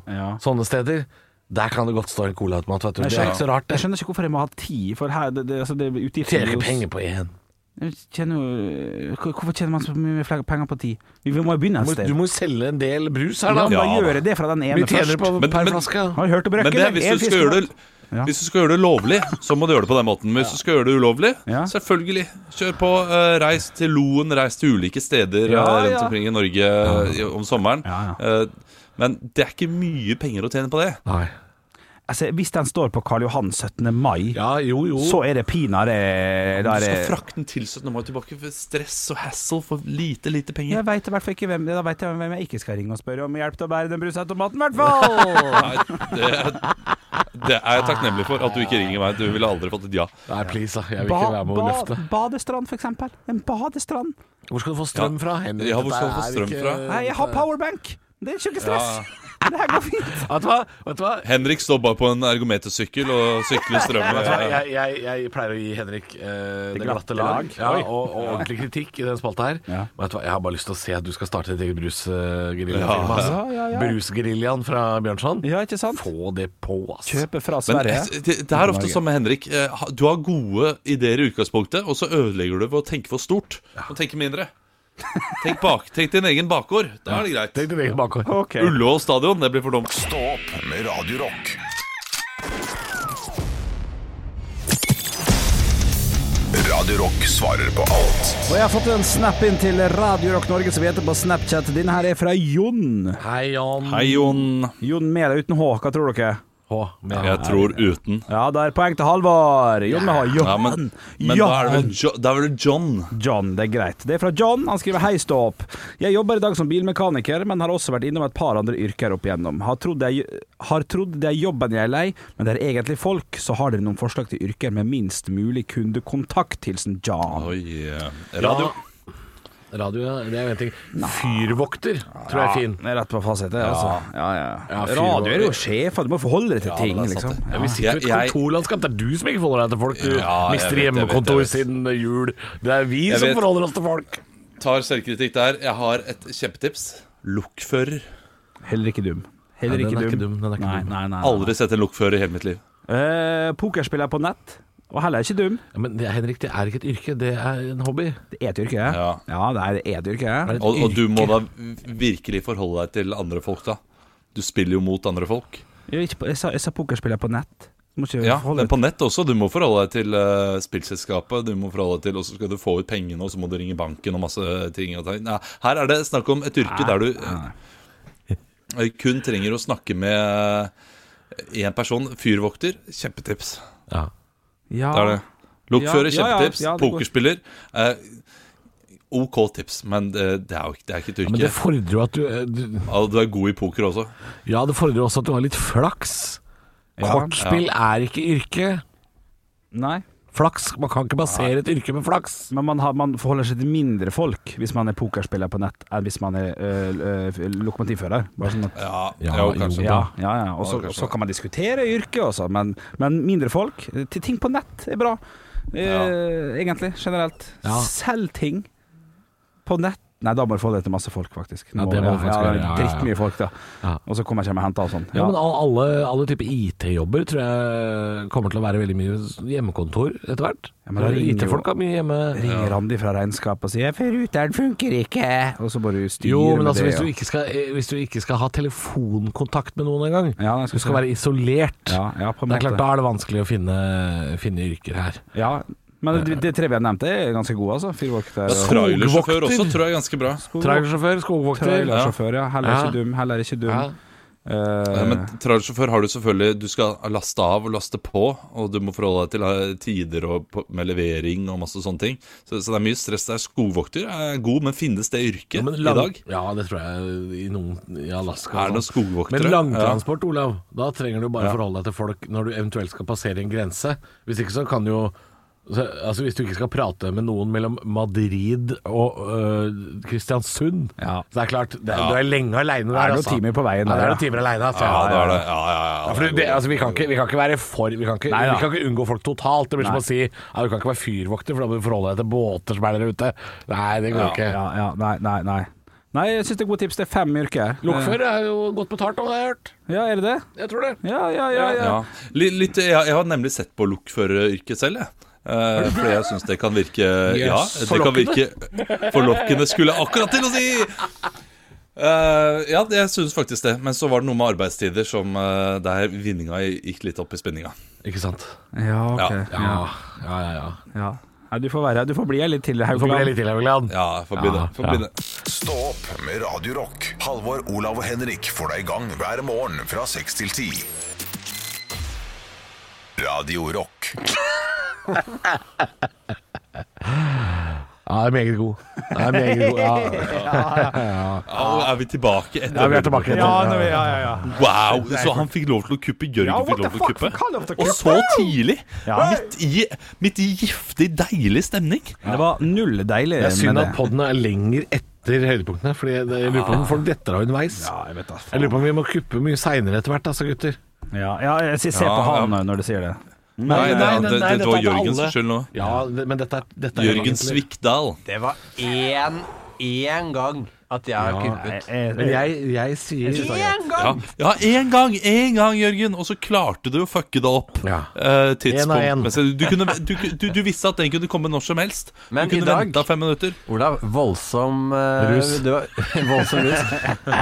[SPEAKER 3] sånne steder. Der kan det godt stå en colaautomat, vet du.
[SPEAKER 8] Jeg
[SPEAKER 3] Det er
[SPEAKER 8] skjønner,
[SPEAKER 3] ikke så rart,
[SPEAKER 8] jeg
[SPEAKER 3] det.
[SPEAKER 8] skjønner ikke hvorfor jeg må ha ti, for her det, det, altså, det, utgiftene
[SPEAKER 3] Tjener
[SPEAKER 8] er jo
[SPEAKER 3] ikke
[SPEAKER 8] s-
[SPEAKER 3] penger på én.
[SPEAKER 8] Jeg tjener jo hvor- Hvorfor tjener man så mye flere penger på ti? Vi må jo begynne et
[SPEAKER 3] Du må-
[SPEAKER 8] sted.
[SPEAKER 3] Du må jo selge en del brus her,
[SPEAKER 8] La
[SPEAKER 3] da.
[SPEAKER 8] meg gjøre det fra den ene
[SPEAKER 3] Vi tjener
[SPEAKER 8] først.
[SPEAKER 3] på
[SPEAKER 5] Men-
[SPEAKER 3] per
[SPEAKER 5] men-
[SPEAKER 3] flaske.
[SPEAKER 8] Har du hørt om
[SPEAKER 5] Men
[SPEAKER 8] røkken?
[SPEAKER 5] det, er hvis, du skal gjøre det, hvis du skal gjøre det lovlig, så må du gjøre det på den måten. Men hvis du skal gjøre det ulovlig, selvfølgelig. Kjør på. eh, reis til Loen, reis til ulike steder
[SPEAKER 8] Ja,
[SPEAKER 5] eh, rundt
[SPEAKER 8] ja.
[SPEAKER 5] omkring i Norge eh, om sommeren. Eh, men det er ikke mye penger å tjene på det.
[SPEAKER 8] Altså, hvis den står på Karl Johan 17. mai, så er det pinadø
[SPEAKER 5] Du
[SPEAKER 8] der
[SPEAKER 5] skal frakte den til 17. mai tilbake for stress og hassle for lite, lite penger.
[SPEAKER 8] Jeg veit i hvert fall ikke hvem, da vet jeg hvem jeg ikke skal ringe og spørre om hjelp til å bære den brusautomaten, i hvert fall!
[SPEAKER 5] Nei, det, det er jeg takknemlig for, at du ikke ringer meg. Du ville aldri fått et ja.
[SPEAKER 3] Nei, please, da. Jeg vil
[SPEAKER 8] Ba,
[SPEAKER 3] ikke være med å
[SPEAKER 8] ba,
[SPEAKER 3] løfte.
[SPEAKER 8] badestrand, for eksempel. En badestrand.
[SPEAKER 3] Hvor skal du få strøm fra? Henrik?
[SPEAKER 5] Ja, hvor skal du
[SPEAKER 3] Dette
[SPEAKER 5] få
[SPEAKER 3] er
[SPEAKER 5] strøm
[SPEAKER 3] ikke-
[SPEAKER 5] fra?
[SPEAKER 8] Nei, jeg har powerbank! Det er ikke stress. Det her går fint.
[SPEAKER 3] Vet du hva? Vet du hva?
[SPEAKER 5] Henrik står bare på en ergometersykkel og sykler eh, strømmen.
[SPEAKER 3] Vet du hva? Jeg, jeg, jeg pleier å gi Henrik eh, det glatte lag ja,
[SPEAKER 5] Oi.
[SPEAKER 3] og, og ordentlig kritikk i den spalta her. Men Vet du hva? Jeg har bare lyst til å se at du skal starte ditt eget
[SPEAKER 5] Ja.
[SPEAKER 3] brusgeriljafirma. altså.
[SPEAKER 8] Ja, ja, ja.
[SPEAKER 3] Brusgeriljaen fra Bjørnson.
[SPEAKER 8] Ja, ikke sant?
[SPEAKER 3] Få det på, ass.
[SPEAKER 8] Kjøpe fra
[SPEAKER 5] Men
[SPEAKER 8] Sverige.
[SPEAKER 5] det, det det er ofte som med Henrik. Eh, ha- Du har gode ideer i utgangspunktet, og så ødelegger du ved å tenke for stort og tenke mindre. Tenk, bak, tenk din egen bakgård. Da er det greit.
[SPEAKER 3] Tenk din egen bakgård.
[SPEAKER 8] Ok.
[SPEAKER 5] Ullevål stadion, det blir for dumt.
[SPEAKER 1] Stå opp med Radio Rock. Radio Rock svarer på alt.
[SPEAKER 8] Og jeg har fått en snap inn til Radio Rock Norge, som vi heter på Snapchat. Denne her er fra Jon.
[SPEAKER 3] Hei, Jan.
[SPEAKER 5] Hei, Jon.
[SPEAKER 8] Jon med eller uten H, hva tror dere?
[SPEAKER 3] H. med-
[SPEAKER 5] Jeg tror uten.
[SPEAKER 8] Ja, da er poeng til Halvard. Jon med H. Johan.
[SPEAKER 5] Ja, men men da er det vel jo, da er det vel John.
[SPEAKER 8] John, det er greit. Det er fra John. Han skriver 'Hei, stå opp'. Jeg jobber i dag som bilmekaniker, men har også vært innom et par andre yrker opp igjennom. Har trodd, jeg, har trodd det er jobben jeg er lei, men det er egentlig folk. Så har dere noen forslag til yrker med minst mulig kundekontakt? Hilsen John.
[SPEAKER 5] Oi. eh, Radio.
[SPEAKER 3] Ja, radio, ja. det er jo en ting. Fyrvokter tror jeg er fin.
[SPEAKER 8] Det er rett på fasiten, altså. Ja, ja.
[SPEAKER 3] Ja, fyr-
[SPEAKER 8] Radio er jo sjefen, du må forholde deg til ting,
[SPEAKER 5] det er sant,
[SPEAKER 8] liksom.
[SPEAKER 5] det.
[SPEAKER 3] Vi sitter jo i et
[SPEAKER 5] Jeg- jeg-
[SPEAKER 3] kontorlandskap. Det er du som ikke forholder deg til folk. Du
[SPEAKER 5] Ja, jeg
[SPEAKER 3] mister
[SPEAKER 5] vet, jeg vet,
[SPEAKER 3] hjemmekontor
[SPEAKER 5] jeg vet.
[SPEAKER 3] siden jul. Det er vi
[SPEAKER 5] Jeg
[SPEAKER 3] som
[SPEAKER 5] vet.
[SPEAKER 3] forholder oss til folk.
[SPEAKER 5] Tar selvkritikk der. Jeg har et kjempetips. Lukkfører.
[SPEAKER 8] Heller ikke dum. Heller
[SPEAKER 3] Nei, den
[SPEAKER 8] ikke
[SPEAKER 3] er
[SPEAKER 8] dum.
[SPEAKER 3] ikke dum, den er ikke
[SPEAKER 8] nei,
[SPEAKER 3] dum.
[SPEAKER 8] Nei, nei, nei.
[SPEAKER 5] Aldri sett en lukkfører i hele mitt liv.
[SPEAKER 8] Eh, pokerspiller på nett, og heller ikke dum.
[SPEAKER 3] Ja, men det, Henrik, det er ikke et yrke, det er en hobby.
[SPEAKER 8] Det er et yrke. Ja, ja det er- det er et yrke. Ja.
[SPEAKER 3] Er det et
[SPEAKER 5] Og, og du må
[SPEAKER 3] yrke?
[SPEAKER 5] da virkelig forholde deg til andre folk, da. Du spiller jo mot andre folk.
[SPEAKER 8] Jeg, ikke, på- jeg, sa, jeg sa pokerspiller på nett. Du må ikke
[SPEAKER 5] Ja,
[SPEAKER 8] forholde
[SPEAKER 5] men på nett også. Du må forholde deg til eh, spillselskapet, du må forholde deg til, og så skal du få ut pengene, og så må du ringe banken og masse ting. Og ting. Nei, her er det snakk om et yrke der du eh, kun trenger å snakke med én person. Fyrvokter, kjempetips.
[SPEAKER 8] Ja.
[SPEAKER 5] Det er det. Lokfører,
[SPEAKER 8] Ja, ja, ja,
[SPEAKER 5] kjempetips.
[SPEAKER 8] ja, det går-
[SPEAKER 5] Pokerspiller. eh, OK tips, men det, det, er jo ikke, det er ikke et yrke.
[SPEAKER 3] Men det fordrer jo at du, eh, du
[SPEAKER 5] Ja, du er god i poker også.
[SPEAKER 3] Ja, det fordrer også at du har litt flaks. Kortspill er ikke yrke.
[SPEAKER 8] Nei.
[SPEAKER 3] Flaks Man kan ikke basere et yrke med flaks.
[SPEAKER 8] Men man, har, man forholder seg til mindre folk hvis man er pokerspiller på nett, enn hvis man er øh, øh, lokomotivfører. Bare sånn at
[SPEAKER 5] Ja,
[SPEAKER 3] Ja,
[SPEAKER 5] jo,
[SPEAKER 3] jo,
[SPEAKER 5] kanskje.
[SPEAKER 8] ja, ja, ja. Og så,
[SPEAKER 5] Ja, kanskje
[SPEAKER 8] så kan man diskutere yrket også, men, men mindre folk til Ting på nett er bra, Eh, egentlig. Generelt.
[SPEAKER 3] Ja.
[SPEAKER 8] Selg ting på nett. Nei, da må jeg få det til masse folk, faktisk.
[SPEAKER 3] Ja, det må du
[SPEAKER 8] ja,
[SPEAKER 3] faktisk gjøre, ja, ja, ja.
[SPEAKER 8] Drittmye folk, da. Og så kommer jeg ikke med henta og sånn.
[SPEAKER 3] Ja, men al- alle, alle typer IT-jobber tror jeg kommer til å være veldig mye hjemmekontor etter hvert.
[SPEAKER 8] Ja, men da ringer jo-
[SPEAKER 3] IT-folk har mye hjemme.
[SPEAKER 8] Ringer Randi fra regnskapet og sier 'Ruteren funker ikke', og så bare du styrer
[SPEAKER 3] Jo, men
[SPEAKER 8] med
[SPEAKER 3] altså,
[SPEAKER 8] det.
[SPEAKER 3] hvis, du
[SPEAKER 8] ja.
[SPEAKER 3] ikke skal, eh, hvis du ikke skal ha telefonkontakt med noen engang,
[SPEAKER 8] Ja, jeg
[SPEAKER 3] du
[SPEAKER 8] skulle
[SPEAKER 3] skal
[SPEAKER 8] si-
[SPEAKER 3] være isolert,
[SPEAKER 8] Ja, ja, på en
[SPEAKER 3] det er
[SPEAKER 8] måte.
[SPEAKER 3] klart, da er det vanskelig å finne, finne yrker her.
[SPEAKER 8] Ja, men de, de tre vi har nevnt, er ganske gode, altså. Fyrvokter
[SPEAKER 5] Ja, Trailersjåfør også tror jeg er ganske bra.
[SPEAKER 3] Trailersjåfør, skogvokter.
[SPEAKER 8] Trailersjåfør, ja. Heller
[SPEAKER 5] Ja.
[SPEAKER 8] ikke dum, heller ikke dum.
[SPEAKER 5] Ja.
[SPEAKER 8] Eh,
[SPEAKER 5] Ja, Men trailersjåfør har du selvfølgelig Du skal laste av og laste på, og du må forholde deg til eh, tider og, på- med levering og masse sånne ting. Så, så det er mye stress der. Skogvokter er god, men finnes det yrket
[SPEAKER 3] Men
[SPEAKER 5] i
[SPEAKER 3] lang-
[SPEAKER 5] dag?
[SPEAKER 3] Ja, det tror jeg i, noen, i Alaska.
[SPEAKER 5] Er det
[SPEAKER 3] og
[SPEAKER 5] noen
[SPEAKER 3] sånn.
[SPEAKER 5] skogvoktere?
[SPEAKER 3] Men langtransport, Olav, da trenger du bare
[SPEAKER 5] Ja.
[SPEAKER 3] forholde deg til folk når du eventuelt skal passere en grense. Hvis ikke så kan du jo så, Altså Hvis du ikke skal prate med noen mellom Madrid og øh, Kristiansund Så det er klart, det,
[SPEAKER 5] Ja.
[SPEAKER 3] du er lenge aleine der.
[SPEAKER 5] Er det noen
[SPEAKER 3] altså.
[SPEAKER 5] timer på veien
[SPEAKER 3] ja,
[SPEAKER 5] der,
[SPEAKER 3] det er
[SPEAKER 5] ja.
[SPEAKER 3] noen timer alene, altså.
[SPEAKER 5] Ja, da er det- ja, ja, ja,
[SPEAKER 3] Ja, for
[SPEAKER 5] det er
[SPEAKER 3] det,
[SPEAKER 5] god-
[SPEAKER 3] altså, vi, kan ikke, vi kan ikke være for Vi kan ikke,
[SPEAKER 5] Nei, da.
[SPEAKER 3] vi kan ikke unngå folk totalt. Det blir
[SPEAKER 5] Nei.
[SPEAKER 3] som å si ja, du kan ikke være fyrvokter, for da må du forholde deg til båter som er der ute. Nei, det går
[SPEAKER 8] ja,
[SPEAKER 3] ikke.
[SPEAKER 8] Ja, ja, nei, nei, nei. Nei, jeg syns det er gode tips. Det er fem yrker. Eh,
[SPEAKER 3] Lokfører er jo godt betalt, har jeg hørt.
[SPEAKER 8] Ja, er det det?
[SPEAKER 3] Jeg tror det.
[SPEAKER 8] Ja, ja, ja. ja.
[SPEAKER 5] Ja. Litt, litt, jeg, jeg har nemlig sett på lokføreryrket selv, jeg. Eh, fordi jeg syns det kan virke Ja,
[SPEAKER 14] Yes.
[SPEAKER 5] det kan virke
[SPEAKER 14] Forlokkende.
[SPEAKER 5] Forlokkende skulle jeg akkurat til å si! Eh, ja, det- jeg syns faktisk det. Men så var det noe med arbeidstider som eh, der vinninga gikk litt opp i spinninga.
[SPEAKER 3] Ikke sant?
[SPEAKER 8] Ja, ok.
[SPEAKER 3] Ja, ja, ja. ja.
[SPEAKER 8] Ja. Nei, du får være Du får bli her litt til, Haugland.
[SPEAKER 3] bli litt til, Haugland.
[SPEAKER 5] Ja, jeg får bli det. Får bli det.
[SPEAKER 1] Stå opp med Radio Rock. Halvor, Olav og Henrik får deg i gang hver morgen fra 6 til 10. Radio Rock.
[SPEAKER 3] Ja, det er meget god. Det er meget god. Ja.
[SPEAKER 5] Ja, og er vi tilbake etter
[SPEAKER 3] Ja, vi er tilbake etter. Ja, nå er vi- ja, ja, ja.
[SPEAKER 5] Wow! Så han fikk lov til å kuppe. Jørgen
[SPEAKER 3] Ja, what
[SPEAKER 5] fikk lov
[SPEAKER 3] the
[SPEAKER 5] til å
[SPEAKER 3] fuck? Fikk han lov
[SPEAKER 5] kuppe.
[SPEAKER 3] til å
[SPEAKER 5] Og
[SPEAKER 3] kuppe?
[SPEAKER 5] så tidlig!
[SPEAKER 3] Ja.
[SPEAKER 5] Midt, i, midt i giftig, deilig stemning.
[SPEAKER 8] Det var null deilig.
[SPEAKER 3] Det er synd
[SPEAKER 5] med
[SPEAKER 3] at
[SPEAKER 5] det.
[SPEAKER 3] podden er lenger etter høydepunktene, Fordi det- jeg lurer på om folk detter av underveis. Jeg lurer på om vi må kuppe mye seinere etter hvert, altså, gutter.
[SPEAKER 8] Ja, ja jeg ser på
[SPEAKER 3] Ja,
[SPEAKER 8] han når du sier det.
[SPEAKER 5] Nei, nei, nei, det- det
[SPEAKER 3] dette
[SPEAKER 5] var
[SPEAKER 3] er til
[SPEAKER 5] Jørgens
[SPEAKER 3] alle.
[SPEAKER 5] skyld nå.
[SPEAKER 3] Ja, det- men dette er, dette er
[SPEAKER 5] Jørgen
[SPEAKER 3] egentlig-
[SPEAKER 5] Svikdal.
[SPEAKER 15] Det var én, én gang at jeg har
[SPEAKER 5] Ja,
[SPEAKER 15] kuppet.
[SPEAKER 8] Eh,
[SPEAKER 3] Men jeg, jeg sier
[SPEAKER 15] Én
[SPEAKER 5] Ja,
[SPEAKER 15] gang!
[SPEAKER 5] ja, én gang, én gang, Jørgen! Og så klarte du å fucke det opp. eh, Ja. tidspunktmessig. Du, kunne- du, du, du visste at den kunne komme når som helst.
[SPEAKER 15] Men
[SPEAKER 5] du
[SPEAKER 15] i
[SPEAKER 5] kunne
[SPEAKER 15] dag-
[SPEAKER 5] venta fem minutter.
[SPEAKER 15] Olav, voldsom eh,
[SPEAKER 5] Rus.
[SPEAKER 15] Du, var- voldsom rus.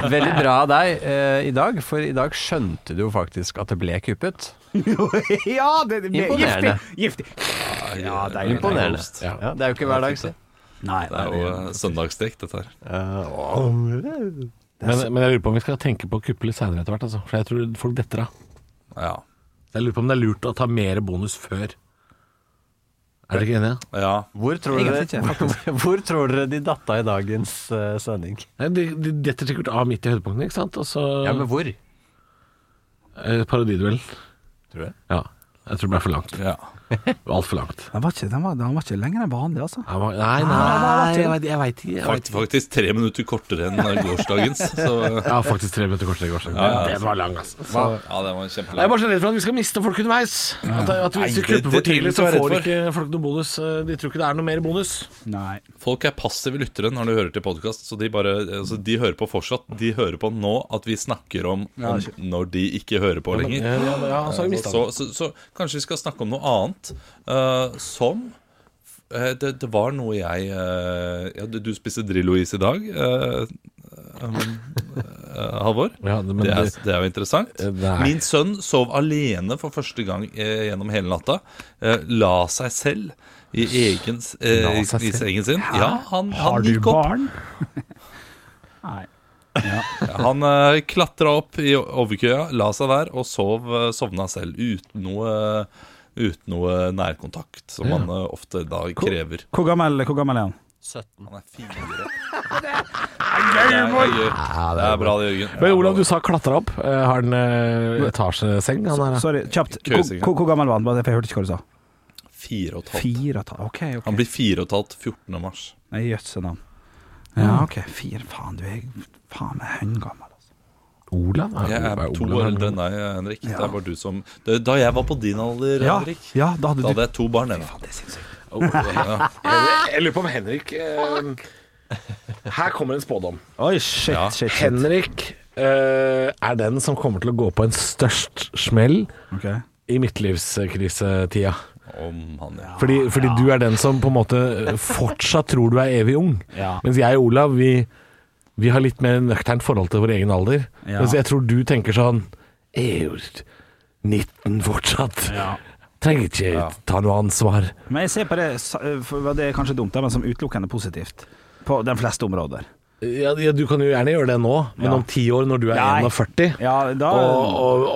[SPEAKER 15] Veldig bra av deg eh, i dag, for i dag skjønte du jo faktisk at det ble kuppet.
[SPEAKER 4] ja, det, det ble
[SPEAKER 15] Imponerende.
[SPEAKER 4] Giftig. giftig. Ja, det er jo
[SPEAKER 15] Imponerende.
[SPEAKER 5] det er
[SPEAKER 15] Ja.
[SPEAKER 5] roast.
[SPEAKER 15] det er jo ikke hver dag, si.
[SPEAKER 5] Nei, det er jo eh, søndagsdrikk, dette her.
[SPEAKER 3] Men, men jeg lurer på om vi skal tenke på å kuppe litt seinere etter hvert, altså. For jeg tror folk detter av.
[SPEAKER 5] Ja.
[SPEAKER 3] Jeg lurer på om det er lurt å ta mer bonus før. Er dere ikke enige?
[SPEAKER 5] Ja.
[SPEAKER 15] Hvor tror, dere, hvor tror dere de datta i dagens eh, sending?
[SPEAKER 3] Nei, de, de detter sikkert av midt i høydepunktene, ikke sant? Og så
[SPEAKER 15] Ja, men hvor?
[SPEAKER 3] Eh, Parodiduell.
[SPEAKER 15] Tror du det?
[SPEAKER 3] Ja. Jeg tror det ble for langt.
[SPEAKER 5] Ja.
[SPEAKER 3] Altfor langt.
[SPEAKER 8] Den var, ikke, den, var, den var ikke lenger enn vanlig, altså.
[SPEAKER 3] nei, nei, jeg vet- jeg vet ikke, jeg vet
[SPEAKER 5] Fakt, faktisk tre minutter kortere enn eh, gårsdagens. Så.
[SPEAKER 3] Ja, faktisk tre minutter kortere enn gårsdagen.
[SPEAKER 5] Ja, ja.
[SPEAKER 3] Den var lang, altså.
[SPEAKER 5] Ja, den var
[SPEAKER 3] Jeg er
[SPEAKER 5] kjempelang.
[SPEAKER 3] bare så redd for at vi skal miste folk underveis. At, at
[SPEAKER 5] Nei,
[SPEAKER 3] Hvis vi
[SPEAKER 5] det-
[SPEAKER 3] klipper for
[SPEAKER 5] det trenger vi
[SPEAKER 3] tidlig,
[SPEAKER 5] ikke
[SPEAKER 3] så
[SPEAKER 5] være
[SPEAKER 3] får
[SPEAKER 5] redd for.
[SPEAKER 3] ikke folk noe bonus. Eh, De tror ikke det er noe mer bonus.
[SPEAKER 8] Nei.
[SPEAKER 5] Folk er passive lyttere når de hører til podkast, så de, bare, altså, de hører på fortsatt. De hører på nå at vi snakker om,
[SPEAKER 3] Ja,
[SPEAKER 5] om når de ikke hører på
[SPEAKER 3] Ja, men-
[SPEAKER 5] lenger.
[SPEAKER 3] ja, ja, ja, så har vi mistet
[SPEAKER 5] så, så, så kanskje vi skal snakke om noe annet eh, som eh, det, det var noe jeg eh, ja, du, du spiste Drillo-is i dag, eh, eh, eh, Halvor.
[SPEAKER 3] Ja, men
[SPEAKER 5] det, er,
[SPEAKER 3] det-
[SPEAKER 5] det er jo interessant.
[SPEAKER 3] Eh, nei.
[SPEAKER 5] Min sønn sov alene for første gang eh, gjennom hele natta. Eh, la seg selv i, egen, s- eh,
[SPEAKER 8] La
[SPEAKER 5] i,
[SPEAKER 8] seg
[SPEAKER 5] i
[SPEAKER 8] selv?
[SPEAKER 5] sengen sin.
[SPEAKER 8] Hæ?
[SPEAKER 5] Ja, han,
[SPEAKER 8] Har
[SPEAKER 5] han
[SPEAKER 8] du
[SPEAKER 5] gikk opp.
[SPEAKER 8] barn? Nei.
[SPEAKER 5] Han uh, klatra opp i overkøya, la seg der og sov, eh, sovna selv uten noe, uten noe nærkontakt, som
[SPEAKER 8] Ja.
[SPEAKER 5] man eh, ofte da krever.
[SPEAKER 8] Hvor gammel, hvor gammel er han?
[SPEAKER 15] 17.
[SPEAKER 5] Han er fire. Det er, gøy. det er bra, det, Jørgen.
[SPEAKER 3] Men Olav, du sa klatra opp. Eh, Har han eh, etasjeseng? Han her, da?
[SPEAKER 8] Sorry, kjapt. Hvor,
[SPEAKER 5] Køsing, ja.
[SPEAKER 8] hvor, hvor gammel var han? Bare- For jeg hørte ikke hva du sa.
[SPEAKER 5] Fire og et halvt.
[SPEAKER 8] Fire og et halvt. Ok, ok.
[SPEAKER 5] Han blir fire og et halvt 14. mars.
[SPEAKER 8] Nei, jøsse navn. Ja, ok. Fire. Faen, du er faen meg høngammel. altså.
[SPEAKER 3] Olav?
[SPEAKER 5] Jeg er to år eldre enn deg, Henrik. Det er bare du som det, Da jeg var på din alder,
[SPEAKER 3] Ja,
[SPEAKER 5] Henrik,
[SPEAKER 8] ja, da
[SPEAKER 5] hadde,
[SPEAKER 8] hadde du-
[SPEAKER 5] jeg to barn. jeg, da.
[SPEAKER 8] Faen, det er sinnssykt.
[SPEAKER 5] ja.
[SPEAKER 3] Jeg, jeg lurer på om Henrik eh, Her kommer en spådom.
[SPEAKER 8] Oi, shit,
[SPEAKER 3] Ja.
[SPEAKER 8] shit, shit.
[SPEAKER 3] Henrik eh, er den som kommer til å gå på en størst smell
[SPEAKER 8] Ok.
[SPEAKER 3] i midtlivskrisetida.
[SPEAKER 5] Om han, Ah, ja.
[SPEAKER 3] Fordi, fordi du er den som på en måte fortsatt tror du er evig ung.
[SPEAKER 5] Ja.
[SPEAKER 3] Mens jeg og Olav, vi, vi har litt mer nøkternt forhold til vår egen alder.
[SPEAKER 5] Ja.
[SPEAKER 3] Mens jeg tror du tenker sånn Jeg er jo 19 fortsatt. Trenger ikke ta noe ansvar.
[SPEAKER 8] Men jeg ser på det sa- for Det er kanskje dumt, da, men som utelukkende positivt. På de fleste områder.
[SPEAKER 3] Ja, ja, du kan jo gjerne gjøre det nå, men
[SPEAKER 8] Ja.
[SPEAKER 3] om ti år, når du er
[SPEAKER 8] Nei.
[SPEAKER 3] 41,
[SPEAKER 8] da-
[SPEAKER 3] og, og,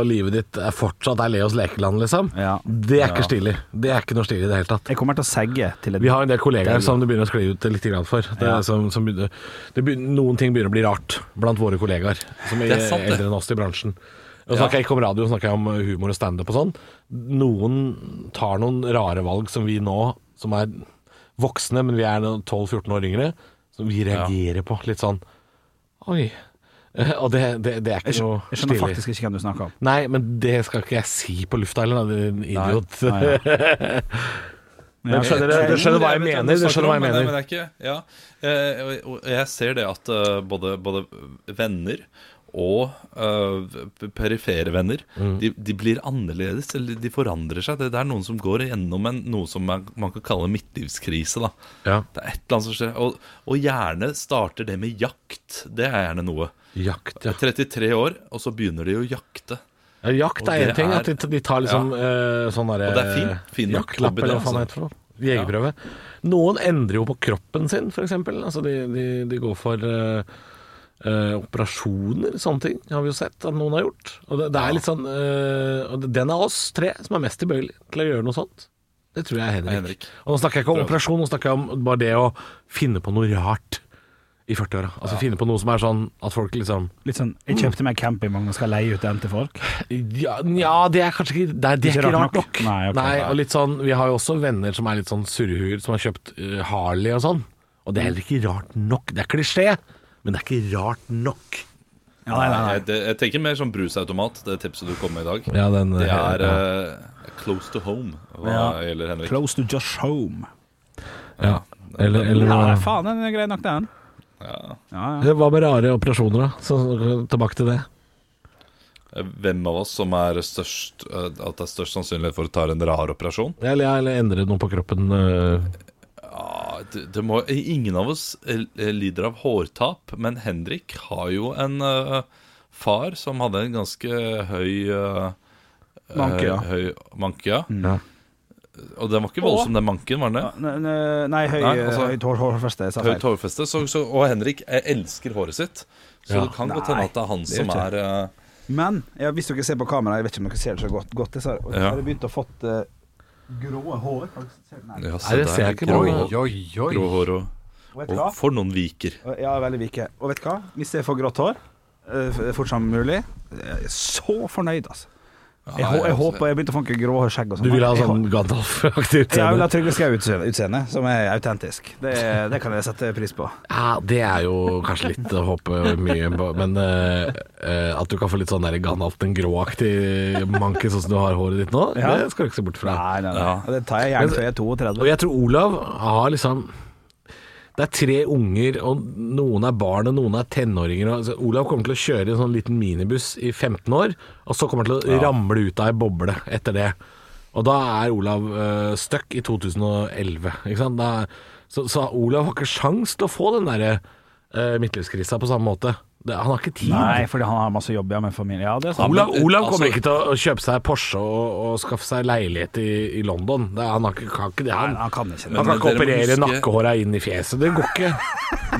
[SPEAKER 3] og livet ditt er fortsatt er Leos lekeland, liksom, det er
[SPEAKER 8] Ja.
[SPEAKER 3] ikke stilig. Det er ikke noe stilig i det hele tatt.
[SPEAKER 8] Jeg kommer til å segge til et
[SPEAKER 3] Vi har en del kollegaer
[SPEAKER 8] Del.
[SPEAKER 3] som det begynner å skli ut litt grann for. Det er
[SPEAKER 8] Ja.
[SPEAKER 3] som, som begynner, det begynner, noen ting begynner å bli rart blant våre kollegaer som er,
[SPEAKER 5] Det er sant, det.
[SPEAKER 3] eldre enn oss i bransjen. Nå
[SPEAKER 5] Ja.
[SPEAKER 3] snakker jeg ikke om radio, nå snakker jeg om humor og standup og sånn. Noen tar noen rare valg som vi nå, som er voksne, men vi er nå 12-14 år yngre, som vi reagerer på. Litt sånn Oi. Og det, det, det er
[SPEAKER 8] Jeg
[SPEAKER 3] ikke
[SPEAKER 8] skjønner,
[SPEAKER 3] noe
[SPEAKER 8] jeg skjønner
[SPEAKER 3] stilig.
[SPEAKER 8] faktisk ikke hvem du snakker om.
[SPEAKER 3] Nei, men det skal ikke jeg si på lufta heller, da, din idiot.
[SPEAKER 8] Nei, nei,
[SPEAKER 3] Men skjønner dere- dere skjønner hva jeg mener? Dere skjønner hva jeg
[SPEAKER 5] Nei,
[SPEAKER 3] mener.
[SPEAKER 5] men det er ikke, ja. Eh, og- og jeg ser det at eh, både, både venner og eh, perifere venner
[SPEAKER 14] Mm.
[SPEAKER 5] de, de blir annerledes, eller de forandrer seg. Det, det er noen som går gjennom en, noe som man, man kan kalle midtlivskrise. Da. Det er et eller annet som skjer. Og, og gjerne starter det med jakt. Det er gjerne noe.
[SPEAKER 3] Jakt,
[SPEAKER 5] ja. 33 år, og så begynner de å jakte.
[SPEAKER 3] Ja, jakt
[SPEAKER 5] Og
[SPEAKER 3] er
[SPEAKER 5] det
[SPEAKER 3] én ting.
[SPEAKER 5] er-
[SPEAKER 3] At de, de tar liksom eh, sånn derre
[SPEAKER 5] Og det er fin- fin nok
[SPEAKER 3] jaktlapp,
[SPEAKER 5] hobby,
[SPEAKER 3] eller
[SPEAKER 5] det,
[SPEAKER 3] hva faen
[SPEAKER 5] altså.
[SPEAKER 3] heter det. for noe. Jegerprøve. Noen endrer jo på kroppen sin, f.eks. Altså de, de, de går for eh, eh, operasjoner, sånne ting har vi jo sett at noen har gjort. Og det, det er litt sånn eh, Og det- den av oss tre som er mest tilbøyelig til å gjøre noe sånt. Det tror jeg er Henrik. Og nå snakker jeg ikke om
[SPEAKER 5] Tror jeg.
[SPEAKER 3] operasjon, nå snakker jeg om bare det å finne på noe rart i 40-åra. Altså
[SPEAKER 8] Ja.
[SPEAKER 3] finne på noe som er sånn at folk liksom
[SPEAKER 8] Litt sånn Jeg kjøpte meg campingvogn og skal leie ut den til folk.
[SPEAKER 3] Ja, nja, det er kanskje ikke Det er, det er ikke rart nok.
[SPEAKER 8] Nei, ok.
[SPEAKER 3] Nei, og litt sånn Vi har jo også venner som er litt sånn surrehuer, som har kjøpt eh, Harley og sånn. Og det er heller ikke rart nok. Det er klisjé, men det er ikke rart nok.
[SPEAKER 5] Jeg, det, jeg tenker mer sånn brusautomat, det tipset du kom med i dag.
[SPEAKER 3] Ja, den-
[SPEAKER 5] det er
[SPEAKER 3] ja.
[SPEAKER 5] eh, close to home, hva gjelder Henrik.
[SPEAKER 8] Close to just home.
[SPEAKER 3] Ja. Eller, eller
[SPEAKER 8] ja,
[SPEAKER 3] noe-
[SPEAKER 8] nei, faen, den er grei nok, den. Ja, ja.
[SPEAKER 3] Hva med rare operasjoner, da? Så, tilbake til det.
[SPEAKER 5] Eh, Hvem av oss som er størst eh, At det er størst sannsynlighet for å ta en rar operasjon?
[SPEAKER 3] Eller, ja, eller endre noe på kroppen. eh.
[SPEAKER 5] Ja, det, det må, ingen av oss eh, lider av hårtap, men Henrik har jo en eh, far som hadde en ganske høy eh,
[SPEAKER 8] Manke, ja.
[SPEAKER 5] eh, Høy manke, ja.
[SPEAKER 8] Mm.
[SPEAKER 5] Og den var ikke
[SPEAKER 8] Og-
[SPEAKER 5] voldsom, den manken, var den det?
[SPEAKER 8] Nei, nei, høy,
[SPEAKER 5] Nei, altså-
[SPEAKER 8] høyt hår, hårfeste. Jeg sa
[SPEAKER 5] Høyt
[SPEAKER 8] feil.
[SPEAKER 5] hårfeste. Så, så, og Henrik eh, elsker håret sitt, så
[SPEAKER 8] Ja.
[SPEAKER 5] det kan godt
[SPEAKER 8] Nei,
[SPEAKER 5] hende at det er han
[SPEAKER 8] det er
[SPEAKER 5] som
[SPEAKER 8] ikke
[SPEAKER 5] er eh,
[SPEAKER 8] Men ja, hvis dere ser på kamera, jeg vet ikke om dere ser det så godt, godt jeg ser, og så
[SPEAKER 5] Ja.
[SPEAKER 8] har jeg begynt å fått eh, grå hår. Har dere sett den her?
[SPEAKER 5] ja,
[SPEAKER 3] Nei, det
[SPEAKER 5] der,
[SPEAKER 3] ser jeg ikke
[SPEAKER 5] grå-
[SPEAKER 3] på. Oi, oi, oi.
[SPEAKER 5] Grå hår
[SPEAKER 8] Og vet
[SPEAKER 5] og,
[SPEAKER 8] du
[SPEAKER 5] og
[SPEAKER 8] hva?
[SPEAKER 5] for noen viker.
[SPEAKER 8] Ja, veldig vike. Og vet du hva? Hvis jeg får grått hår eh, f- fort som mulig Jeg er så fornøyd, altså. Jeg, hå- jeg håper jeg begynte å fanke gråhårskjegg og sånn.
[SPEAKER 3] altså. Du vil ha
[SPEAKER 8] Jeg
[SPEAKER 3] sånn
[SPEAKER 8] hå-
[SPEAKER 3] Gandalf-aktig
[SPEAKER 8] Jeg vil ha
[SPEAKER 3] utseende?
[SPEAKER 8] Trygve Skau-utseende, som er autentisk. Det, det kan jeg sette pris på.
[SPEAKER 3] Ja, det er jo kanskje litt å håpe mye på, men eh, eh, at du kan få litt sånn der Gandalf den grå-aktig manke sånn som du har håret ditt nå,
[SPEAKER 8] Ja.
[SPEAKER 3] det skal du ikke se bort fra.
[SPEAKER 8] Nei, nei, nei.
[SPEAKER 3] Ja.
[SPEAKER 8] Og Det tar jeg gjerne
[SPEAKER 3] Men-
[SPEAKER 8] før jeg er 32.
[SPEAKER 3] Og jeg tror Olav har liksom Det er tre unger, og noen er barn, og noen er tenåringer. Og, altså, Olav kommer til å kjøre en sånn liten minibuss i 15 år, og så kommer han til å
[SPEAKER 5] Ja.
[SPEAKER 3] ramle ut av ei boble etter det. Og da er Olav uh, stuck i 2011, ikke sant. Da, så, så Olav har ikke sjans til å få den derre eh, midtlivskrisa på samme måte. Det, han har ikke tid.
[SPEAKER 8] Nei, fordi han har masse jobb ja, med familie. Ja, eh, altså- det er sant.
[SPEAKER 3] Olav, Olav kommer ikke til å- å kjøpe seg Porsche og, og skaffe seg leilighet i, i London. Det, han har ikke, kan ikke det. Han,
[SPEAKER 8] Nei, han kan ikke det.
[SPEAKER 3] han kan
[SPEAKER 5] Men dere
[SPEAKER 3] ikke
[SPEAKER 5] må
[SPEAKER 3] operere
[SPEAKER 5] huske-
[SPEAKER 3] nakkehåra inn i fjeset. Det går ikke.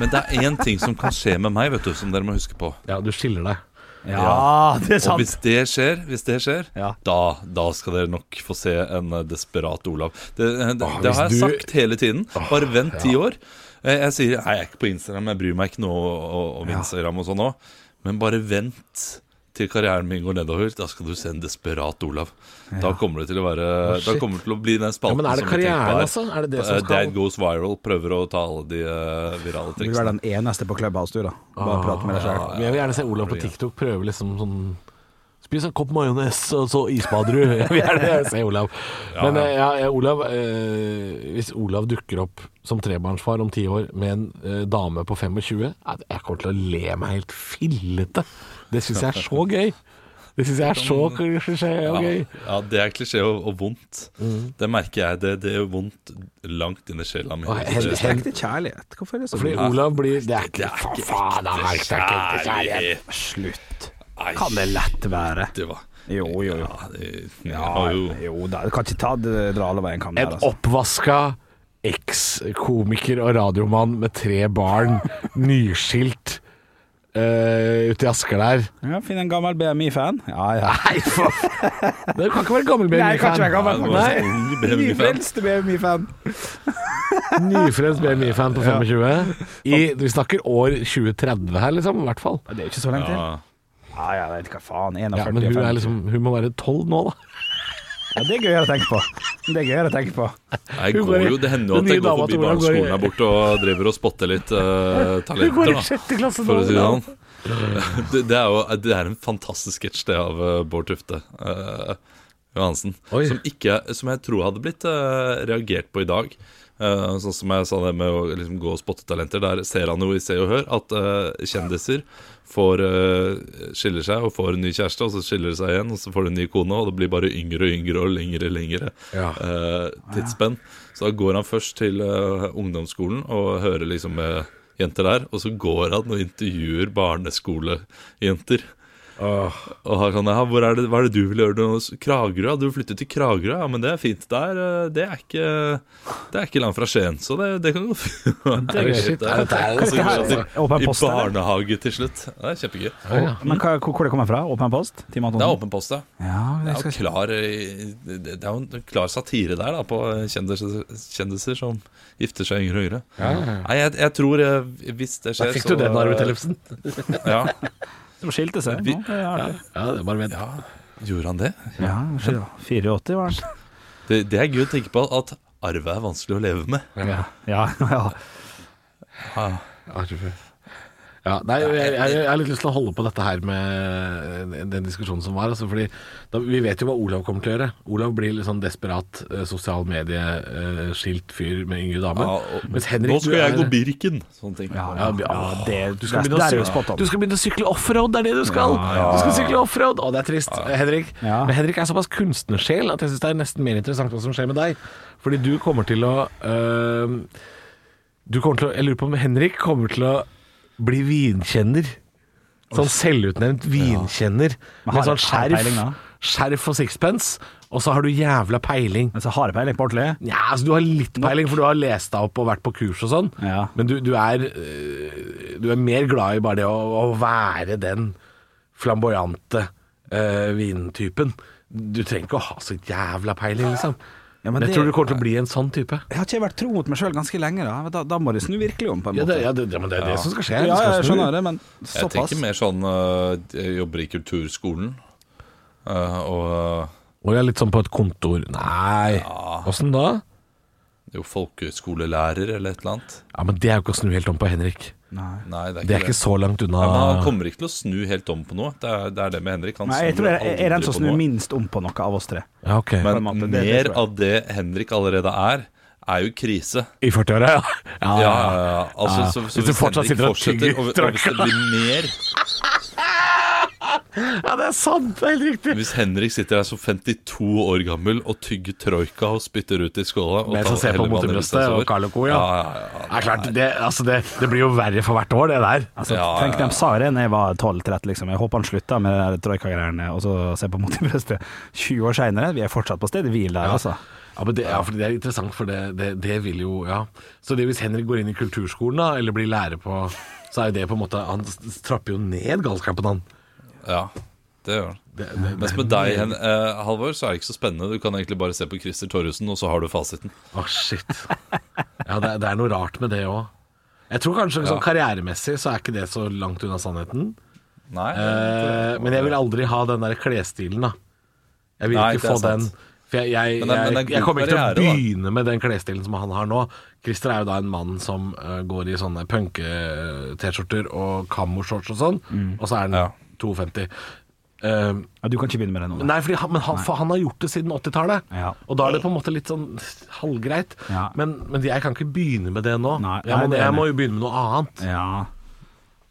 [SPEAKER 5] Men det er én ting som kan skje med meg, vet du, som dere må huske på.
[SPEAKER 3] Ja, du skiller deg.
[SPEAKER 8] Ja, det er
[SPEAKER 5] Og
[SPEAKER 8] sant.
[SPEAKER 5] hvis det skjer, hvis det skjer da, da skal dere nok få se en eh, desperat Olav. Det, eh, det,
[SPEAKER 14] Åh,
[SPEAKER 5] det har
[SPEAKER 14] Ah, hvis du-
[SPEAKER 5] jeg
[SPEAKER 14] Ah,
[SPEAKER 5] sagt hele tiden. Bare vent
[SPEAKER 14] ja.
[SPEAKER 5] ti år. Eh, Jeg sier nei, jeg er ikke på Instagram, jeg bryr meg ikke noe o- om
[SPEAKER 14] Ja.
[SPEAKER 5] Instagram og sånn nå. Men bare vent til karrieren min går nedover. Da skal du se en desperat Olav. Da
[SPEAKER 3] Ja.
[SPEAKER 5] kommer det til å være
[SPEAKER 3] Å, shit.
[SPEAKER 5] Da kommer det til å bli den
[SPEAKER 3] Ja,
[SPEAKER 5] spalten
[SPEAKER 3] men er det
[SPEAKER 5] som vi tenkte
[SPEAKER 3] karrieren,
[SPEAKER 5] på her.
[SPEAKER 3] altså? Er det det som
[SPEAKER 5] Eh,
[SPEAKER 3] skal-
[SPEAKER 5] Dad goes viral prøver å ta alle de eh, virale
[SPEAKER 8] Du vil være
[SPEAKER 5] triksene.
[SPEAKER 8] den eneste på Clubhouse, du, da. Bare prate med deg
[SPEAKER 3] Ah,
[SPEAKER 8] selv
[SPEAKER 3] ja, Men Jeg vil gjerne se Olav på TikTok prøve liksom sånn Spis en kopp majones, og så isbader du. Vi er det, sier Olav.
[SPEAKER 5] Ja,
[SPEAKER 3] Men
[SPEAKER 5] ja.
[SPEAKER 3] eh, ja, ja, Olav eh, Hvis Olav dukker opp som trebarnsfar om ti år med en eh, dame på 25, eh, jeg kommer til å le meg helt fillete. Det syns jeg er så gøy. Det syns jeg er så klisjé og gøy.
[SPEAKER 5] Ja, det er klisjé og, og vondt.
[SPEAKER 3] Mhm.
[SPEAKER 5] Det merker jeg. Det, det gjør vondt langt inn i sjela mi.
[SPEAKER 3] Og hen-
[SPEAKER 5] Det-
[SPEAKER 3] hen-
[SPEAKER 8] Ekte kjærlighet. Hvorfor er det sånn?
[SPEAKER 3] Fordi Olav blir Det er ikke Faen, faen, det er ikke ekte kjærlighet.
[SPEAKER 5] kjærlighet.
[SPEAKER 8] Slutt.
[SPEAKER 5] Nei.
[SPEAKER 8] Kan det lett være?
[SPEAKER 5] Det var
[SPEAKER 8] Jo, jo, jo.
[SPEAKER 5] Ja, jo.
[SPEAKER 8] jo da, du kan ikke ta det, dra alle veier en kam der.
[SPEAKER 3] En
[SPEAKER 8] altså.
[SPEAKER 3] oppvaska eks-komiker og radiomann med tre barn, nyskilt eh, ute i Asker der.
[SPEAKER 8] Ja, Finn en gammel BMI-fan. Ja, ja.
[SPEAKER 3] Nei, for Du kan ikke være gammel
[SPEAKER 8] Nei, jeg kan ikke være gammel.
[SPEAKER 3] BMI-fan.
[SPEAKER 8] faktisk.
[SPEAKER 5] Nei.
[SPEAKER 8] Nyfrelste BMI-fan.
[SPEAKER 3] Nyfrelst BMI-fan på 25. I, vi snakker år 2030 her, liksom. I hvert fall.
[SPEAKER 8] Det er jo ikke så langt til.
[SPEAKER 5] Ja.
[SPEAKER 8] Ja, jeg vet hva faen. 41
[SPEAKER 3] Ja, men hun, er
[SPEAKER 8] 50.
[SPEAKER 3] liksom, hun må være 12 nå, da.
[SPEAKER 8] ja, Det er gøyere å tenke på. Det er gøyere å tenke på.
[SPEAKER 5] Nei,
[SPEAKER 3] Hun går
[SPEAKER 5] går
[SPEAKER 3] i-
[SPEAKER 5] jo, det hender jo
[SPEAKER 3] den
[SPEAKER 5] at jeg
[SPEAKER 3] nye
[SPEAKER 5] går
[SPEAKER 3] dama
[SPEAKER 5] forbi
[SPEAKER 3] til Olav går i-
[SPEAKER 5] barneskolen her borte og driver og spotter litt eh,
[SPEAKER 3] Hun går
[SPEAKER 5] talenter,
[SPEAKER 3] i
[SPEAKER 5] da.
[SPEAKER 3] sjette klasse
[SPEAKER 5] For å
[SPEAKER 3] nå,
[SPEAKER 5] si det
[SPEAKER 3] Olav.
[SPEAKER 5] sånn. Det, det er jo det er en fantastisk sketsj, det, av eh, Bård Tufte eh, Johansen. Som, ikke, som jeg tror hadde blitt eh, reagert på i dag. Eh, sånn som jeg sa det med å liksom, gå og spotte talenter. Der ser han jo i Se og Hør at eh, kjendiser får, eh, skiller seg og får en ny kjæreste, og så skiller de seg igjen, og så får de en ny kone, og det blir bare yngre og yngre og lengre og lengre
[SPEAKER 3] Ja.
[SPEAKER 5] eh, tidsspenn. Så da går han først til eh, ungdomsskolen og hører liksom med jenter der, og så går han og intervjuer barneskolejenter. Og han kan, ja, hvor er det, Hva er det du vil gjøre? nå? S- Kragerø? Ja, Du flyttet til Kragerø? Ja, men det er fint. Der, eh, det, er ikke, det er ikke langt fra Skien, så det, det kan gå fint.
[SPEAKER 3] Det er shit, det er- det er-
[SPEAKER 5] Og så går han til-
[SPEAKER 8] Åpen post,
[SPEAKER 5] I
[SPEAKER 8] eller?
[SPEAKER 5] barnehage til slutt. Det er kjempegøy.
[SPEAKER 8] Men hva, hvor hvor det kommer fra? Åpen post? Team
[SPEAKER 5] Det er
[SPEAKER 8] Antonsen?
[SPEAKER 5] åpen post, ja.
[SPEAKER 8] Ja,
[SPEAKER 5] Det er,
[SPEAKER 8] jeg
[SPEAKER 5] jo
[SPEAKER 8] skal...
[SPEAKER 5] klar, eh, det det er jo en klar satire der da, på kjendiser, kjendiser som gifter seg yngre og yngre.
[SPEAKER 3] Ja, ja, ja.
[SPEAKER 5] Nei, jeg, jeg tror eh, hvis det skjer
[SPEAKER 3] Der fikk du den, Arve Tellefsen.
[SPEAKER 5] Ja.
[SPEAKER 8] De skilte seg.
[SPEAKER 5] Vi-
[SPEAKER 8] nå. Det er artig.
[SPEAKER 3] Ja, det er bare vent.
[SPEAKER 5] Gjorde han det?
[SPEAKER 8] Ja, skjønner. 84 var han.
[SPEAKER 5] det? Det er gøy å tenke på at arve er vanskelig å leve med.
[SPEAKER 3] Ja.
[SPEAKER 8] Ja, ja.
[SPEAKER 5] Ja.
[SPEAKER 3] Ja, nei, jeg, jeg, jeg har litt lyst til å holde på dette her med eh, den diskusjonen som var. Altså, fordi da, vi vet jo hva Olav kommer til å gjøre. Olav blir litt sånn desperat eh, sosial medie-skilt fyr med yngre damer.
[SPEAKER 5] og-
[SPEAKER 3] Mens Henrik
[SPEAKER 5] Nå skal jeg
[SPEAKER 3] du
[SPEAKER 5] gå
[SPEAKER 3] er,
[SPEAKER 5] Birken! Sånne ting.
[SPEAKER 3] ja, ja,
[SPEAKER 8] det-
[SPEAKER 3] du, skal
[SPEAKER 8] det-
[SPEAKER 3] begynne
[SPEAKER 8] der er
[SPEAKER 3] å
[SPEAKER 8] jo spot
[SPEAKER 3] sykle,
[SPEAKER 8] on.
[SPEAKER 3] du skal begynne å sykle offroad, det er det du skal! Du skal sykle offroad! Å, det er trist, Henrik.
[SPEAKER 8] Ja.
[SPEAKER 3] Men Henrik er såpass kunstnersjel at jeg syns det er nesten mer interessant hva som skjer med deg. Fordi du kommer til å øh, Du kommer til å Jeg lurer på om Henrik kommer til å bli vinkjenner. Sånn selvutnevnt vinkjenner.
[SPEAKER 8] Men
[SPEAKER 3] Med
[SPEAKER 8] har
[SPEAKER 3] sånn
[SPEAKER 8] han peiling
[SPEAKER 3] skjerf,
[SPEAKER 8] da?
[SPEAKER 3] skjerf og sixpence, og så har du jævla peiling.
[SPEAKER 8] Men så har jeg peiling på ordentlig.
[SPEAKER 3] Ja, altså Du har litt peiling, for du har lest deg opp og vært på kurs og sånn.
[SPEAKER 8] Ja.
[SPEAKER 3] Men du, du, er, øh, du er mer glad i bare det å, å være den flamboyante øh, vintypen. Du trenger ikke å ha så jævla peiling, liksom.
[SPEAKER 8] Ja, men
[SPEAKER 3] men jeg
[SPEAKER 8] det-
[SPEAKER 3] tror du kommer til å bli en sånn type.
[SPEAKER 8] Jeg har ikke vært tro mot meg sjøl ganske lenge, da. Men da. Da må de snu virkelig om, på en
[SPEAKER 3] Ja,
[SPEAKER 8] måte.
[SPEAKER 3] det, ja, det, ja, men det er det som skal skje.
[SPEAKER 8] Ja,
[SPEAKER 3] Du skal
[SPEAKER 8] jeg
[SPEAKER 3] snu.
[SPEAKER 8] skjønner det, men
[SPEAKER 5] Jeg
[SPEAKER 8] såpass.
[SPEAKER 5] tenker mer sånn eh, Jeg jobber i kulturskolen, eh, og eh,
[SPEAKER 3] Og jeg er litt sånn på et kontor. Nei, åssen da?
[SPEAKER 5] eh, jo folkehøyskolelærer eller et eller annet.
[SPEAKER 3] Ja, Men det er jo ikke å snu helt om på Henrik.
[SPEAKER 5] Nei, det er ikke
[SPEAKER 3] Det er ikke så langt unna.
[SPEAKER 5] Ja, men han kommer ikke til å snu helt om på noe. Det er det, er det med Henrik. Han
[SPEAKER 3] Altså,
[SPEAKER 8] Nei, jeg
[SPEAKER 5] snur
[SPEAKER 8] tror jeg, jeg er den
[SPEAKER 5] aldri
[SPEAKER 8] som
[SPEAKER 5] på
[SPEAKER 8] snur
[SPEAKER 5] noe.
[SPEAKER 8] minst om på noe av oss tre.
[SPEAKER 3] Ja, ok.
[SPEAKER 8] på en måte,
[SPEAKER 5] Men
[SPEAKER 8] det- det
[SPEAKER 5] mer
[SPEAKER 8] tror jeg.
[SPEAKER 5] av det Henrik allerede er, er jo krise.
[SPEAKER 3] I 40-åra, ja.
[SPEAKER 5] Ja,
[SPEAKER 3] Ja,
[SPEAKER 5] ja, ja. Altså,
[SPEAKER 3] Ja.
[SPEAKER 5] så, så
[SPEAKER 3] Hvis du
[SPEAKER 5] hvis
[SPEAKER 3] fortsatt
[SPEAKER 5] Henrik
[SPEAKER 3] sitter og
[SPEAKER 5] fortsetter, og,
[SPEAKER 3] tygger
[SPEAKER 5] og hvis det
[SPEAKER 3] trakka.
[SPEAKER 5] blir mer
[SPEAKER 3] ja, det er sant! Det er helt riktig.
[SPEAKER 5] Hvis Henrik sitter der som 52 år gammel og tygger troika og spytter ut i skåla og
[SPEAKER 3] Mens
[SPEAKER 5] tar
[SPEAKER 3] han ser på
[SPEAKER 5] hele
[SPEAKER 3] motebrøstet
[SPEAKER 5] vannet
[SPEAKER 3] og
[SPEAKER 5] utover.
[SPEAKER 3] Carlo Co, ja.
[SPEAKER 5] ja, ja,
[SPEAKER 3] Det er klart, det, altså det, det blir jo verre for hvert år, det der.
[SPEAKER 8] Altså,
[SPEAKER 5] Ja,
[SPEAKER 8] tenk,
[SPEAKER 5] ja, ja.
[SPEAKER 8] de sa jo det da jeg var 12-13, liksom. Jeg håper han slutta med de der troika-greiene, og så ser på mot i brøstet. 20 år seinere, vi er fortsatt på stedet hvil der, altså.
[SPEAKER 3] Ja, men det, ja, for det er interessant, for det, det, det vil jo ja. Så det hvis Henrik går inn i kulturskolen da, eller blir lærer på Så er jo det på en måte Han s- trapper jo ned galskapen, han.
[SPEAKER 5] Ja, det gjør han.
[SPEAKER 3] Det, det,
[SPEAKER 5] Mens med deg, Hen- eh, Halvor, så er det ikke så spennende. Du kan egentlig bare se på Christer Torjussen, og så har du fasiten.
[SPEAKER 3] Å, shit. Ja, det, det er noe rart med det òg. Jeg tror kanskje sånn karrieremessig så er ikke det så langt unna sannheten.
[SPEAKER 5] Nei,
[SPEAKER 3] Eh, men jeg vil aldri ha den der klesstilen, da. Jeg vil
[SPEAKER 5] Nei, det
[SPEAKER 3] ikke
[SPEAKER 5] er
[SPEAKER 3] få den.
[SPEAKER 5] sant.
[SPEAKER 3] For jeg, jeg,
[SPEAKER 5] Men det- men
[SPEAKER 3] jeg,
[SPEAKER 5] det er
[SPEAKER 3] jeg,
[SPEAKER 5] god
[SPEAKER 3] kommer ikke til å
[SPEAKER 5] karriere, da.
[SPEAKER 3] begynne med den klesstilen som han har nå. Christer er jo da en mann som eh, går i sånne eh,
[SPEAKER 5] Mm.
[SPEAKER 3] punke-T-skjorter og kammo-shorts og sånn, og så er han
[SPEAKER 5] Ja.
[SPEAKER 3] 52.
[SPEAKER 8] ja, du kan ikke begynne med det nå. da.
[SPEAKER 3] Nei, fordi han, men han,
[SPEAKER 8] Nei.
[SPEAKER 3] For han har gjort det siden 80-tallet,
[SPEAKER 8] Ja.
[SPEAKER 3] og da er det på en måte litt sånn halvgreit.
[SPEAKER 8] Ja.
[SPEAKER 3] Men, men jeg kan ikke begynne med det nå. jeg,
[SPEAKER 8] nei,
[SPEAKER 3] må,
[SPEAKER 8] det er
[SPEAKER 3] jeg må
[SPEAKER 8] enig.
[SPEAKER 3] jo begynne med noe annet.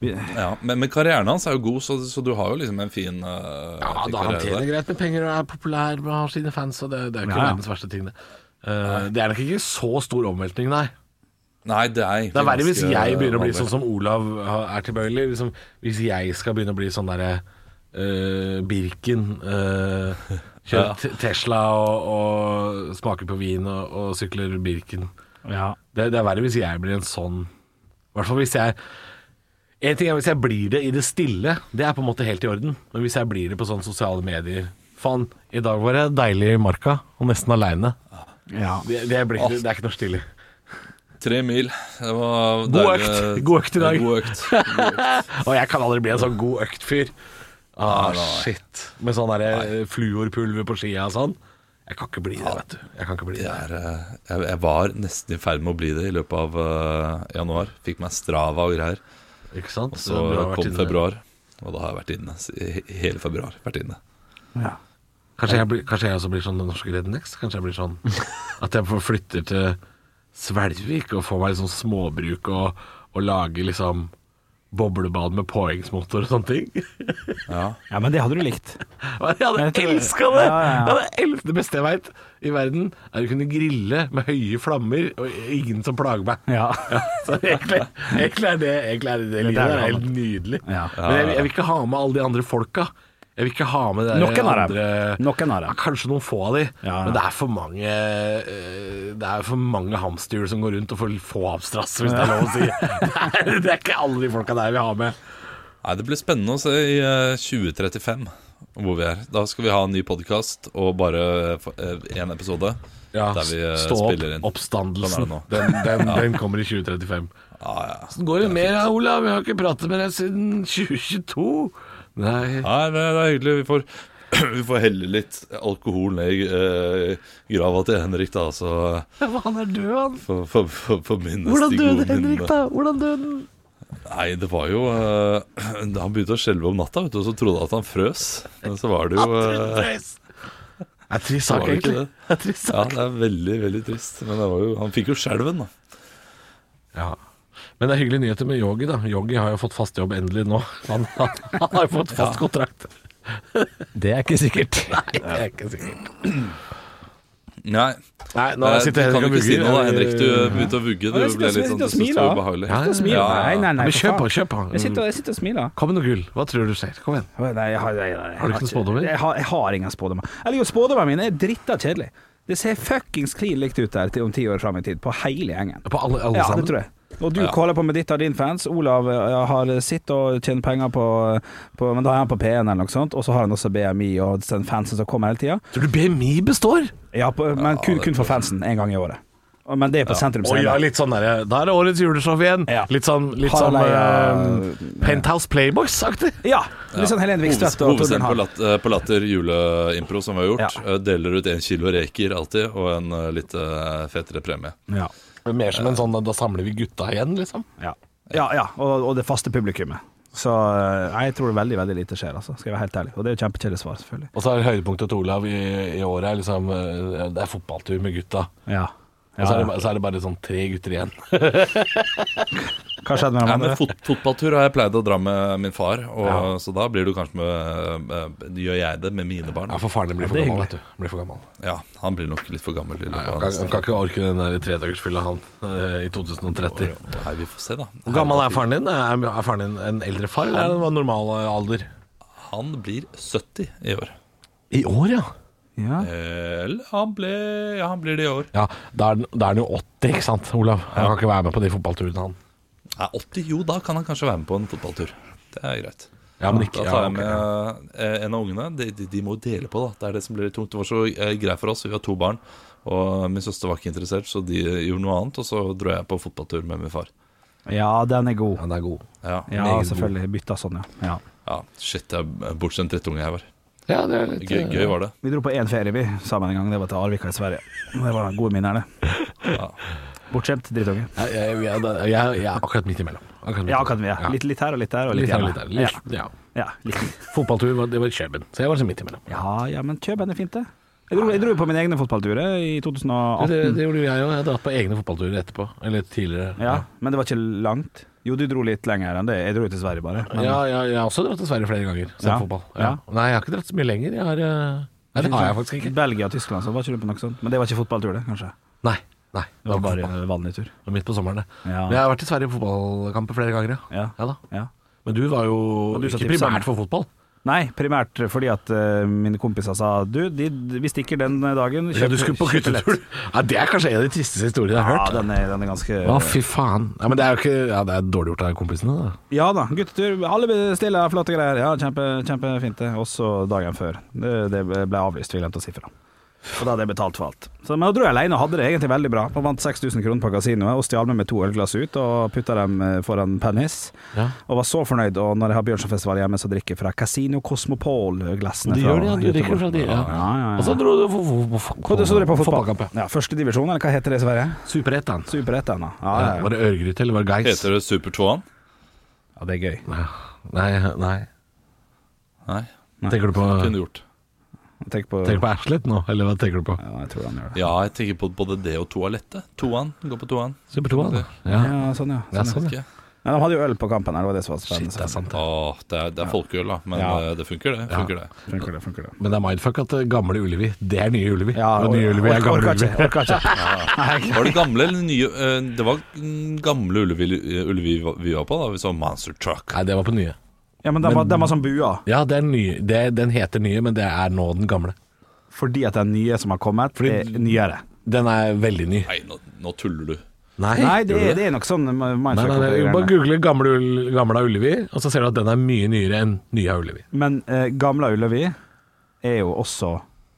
[SPEAKER 5] Ja, men, men karrieren hans er jo god, så, så du har jo liksom en fin uh,
[SPEAKER 3] Ja, da han tjener greit med penger og er populær og har sine fans, og det, det er jo ikke
[SPEAKER 5] Ja, ja.
[SPEAKER 3] verdens verste ting, det. Eh, det er nok ikke så stor omveltning, nei.
[SPEAKER 5] Nei, det er egentlig
[SPEAKER 3] Det er verre hvis
[SPEAKER 5] ganske
[SPEAKER 3] jeg begynner å bli
[SPEAKER 5] vanlig.
[SPEAKER 3] sånn som Olav har- er tilbøyelig. Liksom, hvis jeg skal begynne å bli sånn derre eh, Birken eh, Kjører
[SPEAKER 5] Ja.
[SPEAKER 3] te- Tesla og, og smaker på vin og, og sykler Birken. Det, det er verre hvis jeg blir en sånn I hvert fall hvis jeg En ting er hvis jeg blir det i det stille, det er på en måte helt i orden. Men hvis jeg blir det på sånne sosiale medier Faen, i dag var det deilig i marka, og nesten aleine. Det, det, blir ikke- det er ikke noe stilig.
[SPEAKER 5] Tre mil. Det var
[SPEAKER 3] God
[SPEAKER 5] deilig.
[SPEAKER 3] økt. God økt i dag.
[SPEAKER 5] God økt.
[SPEAKER 3] og jeg kan aldri bli en sånn god økt-fyr. Ah,
[SPEAKER 5] Nei, nei.
[SPEAKER 3] shit. Med sånn derre fluorpulver på skia og sånn. Jeg kan ikke bli det, vet du. Jeg kan ikke bli det.
[SPEAKER 5] er, eh, jeg, jeg var nesten i ferd med å bli det i løpet av eh, januar. Fikk meg Strava og greier.
[SPEAKER 3] Ikke sant?
[SPEAKER 5] Og
[SPEAKER 3] Så
[SPEAKER 5] så
[SPEAKER 3] du har vært
[SPEAKER 5] kom
[SPEAKER 3] inne.
[SPEAKER 5] februar, og da har jeg vært inne. s- i- i Hele februar. vært inne
[SPEAKER 3] Kanskje jeg, blir, kanskje jeg også blir sånn den norske Rednex? Kanskje jeg blir sånn at jeg får flytter til Svelvik og får meg liksom småbruk og, og lager liksom boblebad med påhengsmotor og sånne ting?
[SPEAKER 5] Ja.
[SPEAKER 8] men det hadde du likt.
[SPEAKER 3] Jeg hadde
[SPEAKER 8] Jeg tror-
[SPEAKER 3] elska det!
[SPEAKER 8] Ja, ja, ja.
[SPEAKER 3] Jeg hadde el- Det beste jeg veit i verden, er å kunne grille med høye flammer og ingen som plager meg.
[SPEAKER 8] Ja.
[SPEAKER 3] så egentlig, egentlig er det, egentlig er det, det livet. Det er helt nydelig. Men jeg, jeg vil ikke ha med alle de andre folka. Jeg vil ikke ha med det der
[SPEAKER 8] Noen av dem.
[SPEAKER 3] andre
[SPEAKER 8] Noen av dem.
[SPEAKER 3] ja, Kanskje noen få av de,
[SPEAKER 8] Ja, ja.
[SPEAKER 3] men det er for mange eh, Det er for mange hamsterhjul som går rundt, og for få hamsterass, hvis det er lov å si. Det er, det er ikke alle de folka der vi har med.
[SPEAKER 5] Nei, Det blir spennende å se i eh, 2035 hvor vi er. Da skal vi ha en ny podkast og bare én episode.
[SPEAKER 3] Ja,
[SPEAKER 5] der vi eh,
[SPEAKER 3] stå opp,
[SPEAKER 5] spiller inn.
[SPEAKER 3] oppstandelsen.
[SPEAKER 5] Sånn er det
[SPEAKER 3] Den,
[SPEAKER 5] nå.
[SPEAKER 3] den,
[SPEAKER 5] Ja.
[SPEAKER 3] den kommer i 2035.
[SPEAKER 5] Ja, ja.
[SPEAKER 3] Åssen går det med deg, Olav? Jeg har ikke pratet med deg siden 2022. Nei.
[SPEAKER 5] Nei, det det er hyggelig. Vi får, vi får helle litt alkohol ned i eh, grava til Henrik, da. Så
[SPEAKER 3] Ja, men han er død, han.
[SPEAKER 5] for, for, for, for minnes
[SPEAKER 3] Hvordan
[SPEAKER 5] de
[SPEAKER 3] døde
[SPEAKER 5] gode
[SPEAKER 3] Henrik,
[SPEAKER 5] minnene.
[SPEAKER 3] da? Hvordan døde han?
[SPEAKER 5] Nei, det var jo eh, da Han begynte å skjelve om natta, vet du, og så trodde han at han frøs. Men så var det jo eh,
[SPEAKER 3] er trist
[SPEAKER 5] så
[SPEAKER 3] sak,
[SPEAKER 5] var det ikke
[SPEAKER 3] egentlig.
[SPEAKER 5] det.
[SPEAKER 3] Det er trist
[SPEAKER 5] Ja,
[SPEAKER 3] sak.
[SPEAKER 5] det er veldig, veldig trist. Men det var jo, han fikk jo skjelven, da.
[SPEAKER 3] Ja. Men det er hyggelige nyheter med Yogi, da. Yogi har jo fått fast jobb endelig nå. Han, han, han har jo fått fast kontrakt.
[SPEAKER 6] Det er ikke sikkert.
[SPEAKER 3] Nei, det er ikke sikkert.
[SPEAKER 5] Nei.
[SPEAKER 3] Nei, nå
[SPEAKER 5] Eh,
[SPEAKER 3] sitter
[SPEAKER 5] du
[SPEAKER 3] Henrik
[SPEAKER 5] kan
[SPEAKER 3] og Eh,
[SPEAKER 5] ikke si
[SPEAKER 3] vugger.
[SPEAKER 5] noe, da, Henrik. Du eh, begynte å vugge.
[SPEAKER 3] Ja, jeg
[SPEAKER 5] Du
[SPEAKER 3] sitter
[SPEAKER 5] ble
[SPEAKER 3] og
[SPEAKER 5] litt
[SPEAKER 3] sitter
[SPEAKER 5] sånn
[SPEAKER 3] og
[SPEAKER 5] til synes det
[SPEAKER 3] smiler.
[SPEAKER 5] var ubehagelig.
[SPEAKER 3] Ja, ja, ja.
[SPEAKER 5] Ja, ja.
[SPEAKER 3] Men kjør på, kjør på.
[SPEAKER 8] Jeg sitter, jeg sitter og smiler.
[SPEAKER 3] Kom med noe gull. Hva tror du skjer? Kom igjen.
[SPEAKER 8] Nei, jeg har, jeg, jeg,
[SPEAKER 3] Har du ikke noen spådommer?
[SPEAKER 8] Jeg har, jeg har ingen spådommer. Eller jo, spådommene mine er dritta kjedelig. Det ser fuckings klin likt ut der til om ti år fram i tid, på hele gjengen.
[SPEAKER 3] På alle, alle
[SPEAKER 8] ja,
[SPEAKER 3] sammen?
[SPEAKER 8] det tror jeg. Og du
[SPEAKER 3] Ja.
[SPEAKER 8] holder på med ditt av din fans. Olav eh, har sitt og tjener penger på, på Men da har han på P1 eller noe sånt, og så har han også BMI og den fansen som kommer hele tida.
[SPEAKER 3] Tror du BMI består?
[SPEAKER 8] Ja, på, men kun, kun for fansen én gang i året. Og- Men det er på sentrum
[SPEAKER 3] Å ja, litt sånn der, Da er det årets juleshow igjen. Litt sån- litt
[SPEAKER 8] Har
[SPEAKER 3] sånn
[SPEAKER 8] de,
[SPEAKER 3] eh, Penthouse Playboys-aktig.
[SPEAKER 8] Ja, litt sånn Helene Vikstvedt og Torbjørn
[SPEAKER 5] Hovedscenen på,
[SPEAKER 8] Hall.
[SPEAKER 5] lat, eh, på Latter juleimpro som vi har gjort. eh, Deler ut en kilo reker alltid, og en eh, litt eh, fetere premie.
[SPEAKER 8] Ja.
[SPEAKER 3] Mer som en sånn da samler vi gutta igjen, liksom.
[SPEAKER 8] Ja, ja, ja og, og det faste publikummet. Så eh, jeg tror veldig veldig lite skjer, altså. skal jeg være helt ærlig. Og det er jo kjempekjedelig svar, selvfølgelig.
[SPEAKER 3] Og så er høydepunktet til Olav i, i året er liksom eh, Det er fotballtur med gutta.
[SPEAKER 8] Ja.
[SPEAKER 3] og så
[SPEAKER 8] Ja,
[SPEAKER 3] er, det, ba- så er det bare sånn tre gutter igjen.
[SPEAKER 8] Hva skjedde med
[SPEAKER 5] Nei,
[SPEAKER 8] dem
[SPEAKER 5] men
[SPEAKER 8] andre?
[SPEAKER 5] fot, Fotballtur har jeg pleid å dra med min far, og,
[SPEAKER 8] Ja.
[SPEAKER 5] så da blir du kanskje med eh, Gjør jeg det med mine barn?
[SPEAKER 3] Ja, for faren din blir
[SPEAKER 5] Ja,
[SPEAKER 3] for
[SPEAKER 5] det er
[SPEAKER 3] gammel,
[SPEAKER 5] hyggelig.
[SPEAKER 3] vet du. Blir for gammel.
[SPEAKER 5] Ja, han blir nok litt for gammel. i løpet
[SPEAKER 3] Nei,
[SPEAKER 5] av
[SPEAKER 3] han, kan, han
[SPEAKER 5] neste-
[SPEAKER 3] kan ikke orke den der tredagersfylla, han, eh, i 2030.
[SPEAKER 5] Nei, vi får se, da.
[SPEAKER 3] Hvor gammel er faren din? Er, er faren din en eldre far, eller er det en normal eh, alder?
[SPEAKER 5] Han blir 70 i år.
[SPEAKER 3] I år, ja.
[SPEAKER 5] Eller han ble Ja, han blir det i år.
[SPEAKER 3] Ja, Da er den- da er han jo 80, ikke sant, Olav? Han kan ikke være med på de fotballturene, han.
[SPEAKER 5] Nei, 80, jo, da kan han kanskje være med på en fotballtur. Det er greit.
[SPEAKER 3] Ja, men ikke-
[SPEAKER 5] da tar
[SPEAKER 3] ja,
[SPEAKER 5] jeg med eh, en av ungene. De, de, de må jo dele på, da. Det er det som blir litt tungt. Det var så eh, greit for oss, vi har to barn. Og min søster var ikke interessert, så de gjorde noe annet. Og så dro jeg på fotballtur med min far.
[SPEAKER 8] Ja, den er god.
[SPEAKER 3] Den er god.
[SPEAKER 5] Ja,
[SPEAKER 8] Ja,
[SPEAKER 5] meget god.
[SPEAKER 8] selvfølgelig. Bytta sånn, ja. ja.
[SPEAKER 5] Ja, shit, jeg er bortskjemt drittunge jeg var.
[SPEAKER 3] Ja, det er litt,
[SPEAKER 5] gøy,
[SPEAKER 8] eh,
[SPEAKER 5] gøy var det.
[SPEAKER 8] Vi dro på én ferie vi sammen en gang, det var til Arvika i Sverige. Det var gode minner, det.
[SPEAKER 5] Ja.
[SPEAKER 8] Bortskjemt drittunge.
[SPEAKER 3] Jeg, jeg, jeg, jeg, jeg er akkurat midt imellom. Akkurat midt
[SPEAKER 8] Ja, akkurat vi er.
[SPEAKER 3] Ja.
[SPEAKER 8] Litt, litt her og litt der. Og
[SPEAKER 3] Litt her og litt
[SPEAKER 8] hjemme.
[SPEAKER 3] der. Litt, ja.
[SPEAKER 8] Ja, litt.
[SPEAKER 3] Fotballtur var, det var i Kjøben, så jeg var liksom midt imellom.
[SPEAKER 8] Ja, ja, men Kjøben er fint, det. Jeg dro, jeg dro jo på mine egne fotballturer i
[SPEAKER 3] Det,
[SPEAKER 8] 2018.
[SPEAKER 3] det, det gjorde jo jeg òg. Jeg har dratt på egne fotballturer etterpå. Eller tidligere.
[SPEAKER 8] ja, Men det var ikke langt. Jo, du dro litt lenger enn det. Jeg dro jo til Sverige, bare.
[SPEAKER 3] Ja,
[SPEAKER 8] Men,
[SPEAKER 3] ja, jeg har også dratt til Sverige flere ganger. Sett
[SPEAKER 8] Ja.
[SPEAKER 3] fotball. Ja. Nei, jeg har ikke dratt så mye lenger. Jeg har, eh, nei, det har jeg faktisk ikke.
[SPEAKER 8] Belgia og Tyskland, så var ikke du på noe sånt. Men det var ikke fotballtur, det, kanskje?
[SPEAKER 3] Nei. nei
[SPEAKER 8] Det var bare vanlig tur.
[SPEAKER 3] Det var midt på sommeren, det.
[SPEAKER 8] Ja.
[SPEAKER 3] Men jeg har vært i Sverige på fotballkamper flere ganger, ja. Ja da. Men du var jo
[SPEAKER 8] Og du sa
[SPEAKER 3] ikke
[SPEAKER 8] tipset.
[SPEAKER 3] primært for fotball.
[SPEAKER 8] Nei, primært fordi at eh, mine kompiser sa Du, de, vi stikker den dagen.
[SPEAKER 3] Ja, du skulle på
[SPEAKER 8] kjøp billett.»
[SPEAKER 3] guttetur. Ja, det er kanskje en av de tristeste historiene jeg har
[SPEAKER 8] Ja,
[SPEAKER 3] hørt.
[SPEAKER 8] den er, den er ganske
[SPEAKER 3] Å, fy faen. Ja, men det er jo ikke ja, det er dårlig gjort av kompisene, da.
[SPEAKER 8] Ja da, guttetur. Alle bestiller flotte greier. Ja, kjempe, Kjempefint. det. Også dagen før. Det, det ble avlyst, vi glemte å si fra. Og da hadde jeg betalt for alt. Så, men da dro jeg alene og hadde det egentlig veldig bra. Og vant 6000 kroner på kasinoet og stjal med meg to ølglass ut og putta dem eh, foran Pennis.
[SPEAKER 3] Ja.
[SPEAKER 8] Og var så fornøyd. Og når jeg har Bjørnsonfestival hjemme, så drikker jeg fra Casino Cosmopol-glassene.
[SPEAKER 3] De
[SPEAKER 8] fra
[SPEAKER 3] gjør det, ja. Du
[SPEAKER 8] Göteborg.
[SPEAKER 3] drikker fra de, ja. Altså,
[SPEAKER 8] Ja, ja, ja.
[SPEAKER 3] Og så dro du på, på, på, på,
[SPEAKER 8] Hva du så dere på fotball?
[SPEAKER 3] fotballkamp, ja.
[SPEAKER 8] Ja, Førstedivisjon, eller hva heter det i Sverige?
[SPEAKER 3] Superettan.
[SPEAKER 8] Superettan, ja. Ja, ja,
[SPEAKER 3] Var
[SPEAKER 8] ja.
[SPEAKER 3] det Ørgryte, eller var det Geis?
[SPEAKER 5] Heter det Super 2-an?
[SPEAKER 8] ja, det er gøy.
[SPEAKER 3] Nei, nei. nei.
[SPEAKER 5] Nei.
[SPEAKER 3] Tenker du på,
[SPEAKER 5] Kunne gjort.
[SPEAKER 8] Tenk på,
[SPEAKER 3] tenker du på Ashlet nå, eller hva tenker du på?
[SPEAKER 8] Ja, jeg tror han gjør det.
[SPEAKER 5] Ja, jeg tenker på både det og toalettet. Toan. Gå på toan.
[SPEAKER 3] Super 2, da.
[SPEAKER 8] Ja,
[SPEAKER 3] Ja.
[SPEAKER 8] sånn, ja.
[SPEAKER 3] Ja, sånn,
[SPEAKER 5] ja.
[SPEAKER 8] Men de hadde jo øl på kampen her, det var det som var spennende.
[SPEAKER 3] Det er sant.
[SPEAKER 5] Åh, det er, det er folkeøl, da. Men
[SPEAKER 8] Ja.
[SPEAKER 5] eh, det funker, det.
[SPEAKER 3] Ja.
[SPEAKER 5] Funker, det.
[SPEAKER 8] Funker det, funker det.
[SPEAKER 3] Men det er mindfuck at eh, gamle Ullevi, det er nye Ullevi.
[SPEAKER 8] Ja,
[SPEAKER 3] og nye
[SPEAKER 8] orker-
[SPEAKER 3] Ullevi er gamle
[SPEAKER 8] orker ikke,
[SPEAKER 3] Ullevi.
[SPEAKER 8] orker ikke.
[SPEAKER 5] Var det gamle eller nye eh, Det var mm, gamle Ullevi, Ullevi vi var på da vi så Monster Truck.
[SPEAKER 3] Nei, det var på nye.
[SPEAKER 8] Ja, men de var, de var sånn bua.
[SPEAKER 3] Ja, det er nye. Det, den heter nye, men det er nå den gamle.
[SPEAKER 8] Fordi at den nye som har kommet, er nyere.
[SPEAKER 3] Den er veldig ny.
[SPEAKER 5] Nei, nå, nå tuller du.
[SPEAKER 8] Nei, det,
[SPEAKER 3] Gjorde
[SPEAKER 8] er-
[SPEAKER 3] du det?
[SPEAKER 8] det er nok sånn
[SPEAKER 3] Nei, nei, nei,
[SPEAKER 8] mindfuck.
[SPEAKER 3] bare google gamle, Ull- gamle Ullevi, og så ser du at den er mye nyere enn nye Ullevi.
[SPEAKER 8] Men eh, gamle Ullevi er jo også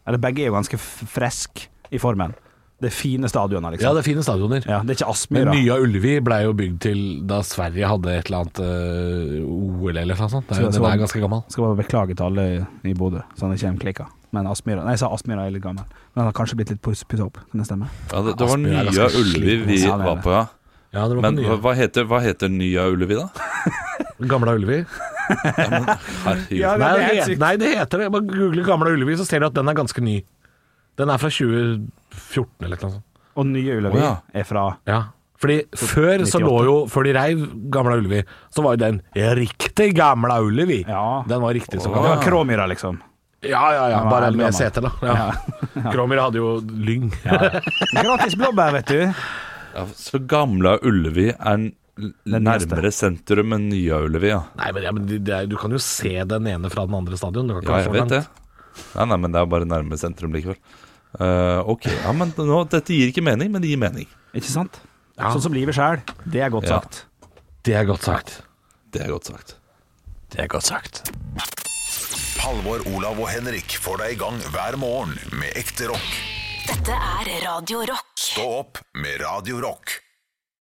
[SPEAKER 8] Eller begge er jo ganske friske i formen. Det er fine stadioner, liksom.
[SPEAKER 3] Ja, det er fine stadioner.
[SPEAKER 8] Ja, det er ikke
[SPEAKER 3] Men
[SPEAKER 8] Aspmyra.
[SPEAKER 3] nye Ullevi blei jo bygd til da Sverige hadde et eller annet eh, OL eller noe sånt. Det er,
[SPEAKER 8] Så-
[SPEAKER 3] sånn- jo-
[SPEAKER 8] så-
[SPEAKER 3] den er ganske gammel.
[SPEAKER 8] Skal bare beklage til alle i Bodø, så han ikke klikka. Men Aspmyra Nei, jeg sa Aspmyra er litt gammel. Men han har kanskje blitt litt puss- pussa opp, kan det stemme?
[SPEAKER 5] Ja, det, det var
[SPEAKER 3] Asbjørn er
[SPEAKER 5] nye
[SPEAKER 3] ganske
[SPEAKER 5] Ullevi
[SPEAKER 3] sliten,
[SPEAKER 5] vi
[SPEAKER 8] altså. Ja, det er
[SPEAKER 5] var
[SPEAKER 8] det.
[SPEAKER 5] på, ja.
[SPEAKER 3] Ja, det var på
[SPEAKER 5] Men hva
[SPEAKER 3] nye.
[SPEAKER 5] hva heter, hva heter nye Ullevi, da?
[SPEAKER 3] Gamla Ullevi.
[SPEAKER 8] Ja,
[SPEAKER 5] Herregud.
[SPEAKER 8] det-
[SPEAKER 3] Nei,
[SPEAKER 8] er
[SPEAKER 3] det
[SPEAKER 8] helt
[SPEAKER 3] heter, nei, det heter det. Bare google Gamla Ullevi, så ser du at den er ganske ny. Den er fra 2014 eller noe sånt.
[SPEAKER 8] Og nye Ullevi
[SPEAKER 5] Å, ja.
[SPEAKER 8] er fra
[SPEAKER 3] Ja. Fordi før så lå
[SPEAKER 8] 98.
[SPEAKER 3] jo Før de reiv Gamla Ullevi, så var jo den riktig Gamla Ullevi.
[SPEAKER 8] Ja.
[SPEAKER 3] Den var riktig så
[SPEAKER 8] Det
[SPEAKER 3] gammel.
[SPEAKER 8] var Kråmyra, liksom.
[SPEAKER 3] Ja, ja, ja.
[SPEAKER 8] Den var
[SPEAKER 3] Bare
[SPEAKER 8] eldgammel.
[SPEAKER 3] med sete, da. Ja. Kromir hadde jo lyng.
[SPEAKER 8] Gratis blåbær, vet du.
[SPEAKER 5] Ja, så gamle Ullevi er n- nærmere sentrum enn nye Ullevi, ja.
[SPEAKER 3] Nei, men, ja, men det er, Du kan jo se den ene fra den andre stadion. Du kan ikke
[SPEAKER 5] Ja,
[SPEAKER 3] gå
[SPEAKER 5] jeg
[SPEAKER 3] for
[SPEAKER 5] vet det.
[SPEAKER 3] langt.
[SPEAKER 5] Nei, nei, men det er bare nærme sentrum likevel. Eh, ok, ja, men nå, Dette gir ikke mening, men det gir mening.
[SPEAKER 8] Ikke sant?
[SPEAKER 3] Ja.
[SPEAKER 8] Sånn som livet sjæl. Det er godt
[SPEAKER 5] Ja.
[SPEAKER 8] sagt.
[SPEAKER 3] Det er godt sagt.
[SPEAKER 5] Det er godt sagt.
[SPEAKER 3] Det er godt sagt.
[SPEAKER 1] Halvor, Olav og Henrik får deg i gang hver morgen med ekte rock.
[SPEAKER 2] Dette er Radio Rock.
[SPEAKER 1] Stå opp med Radio Rock.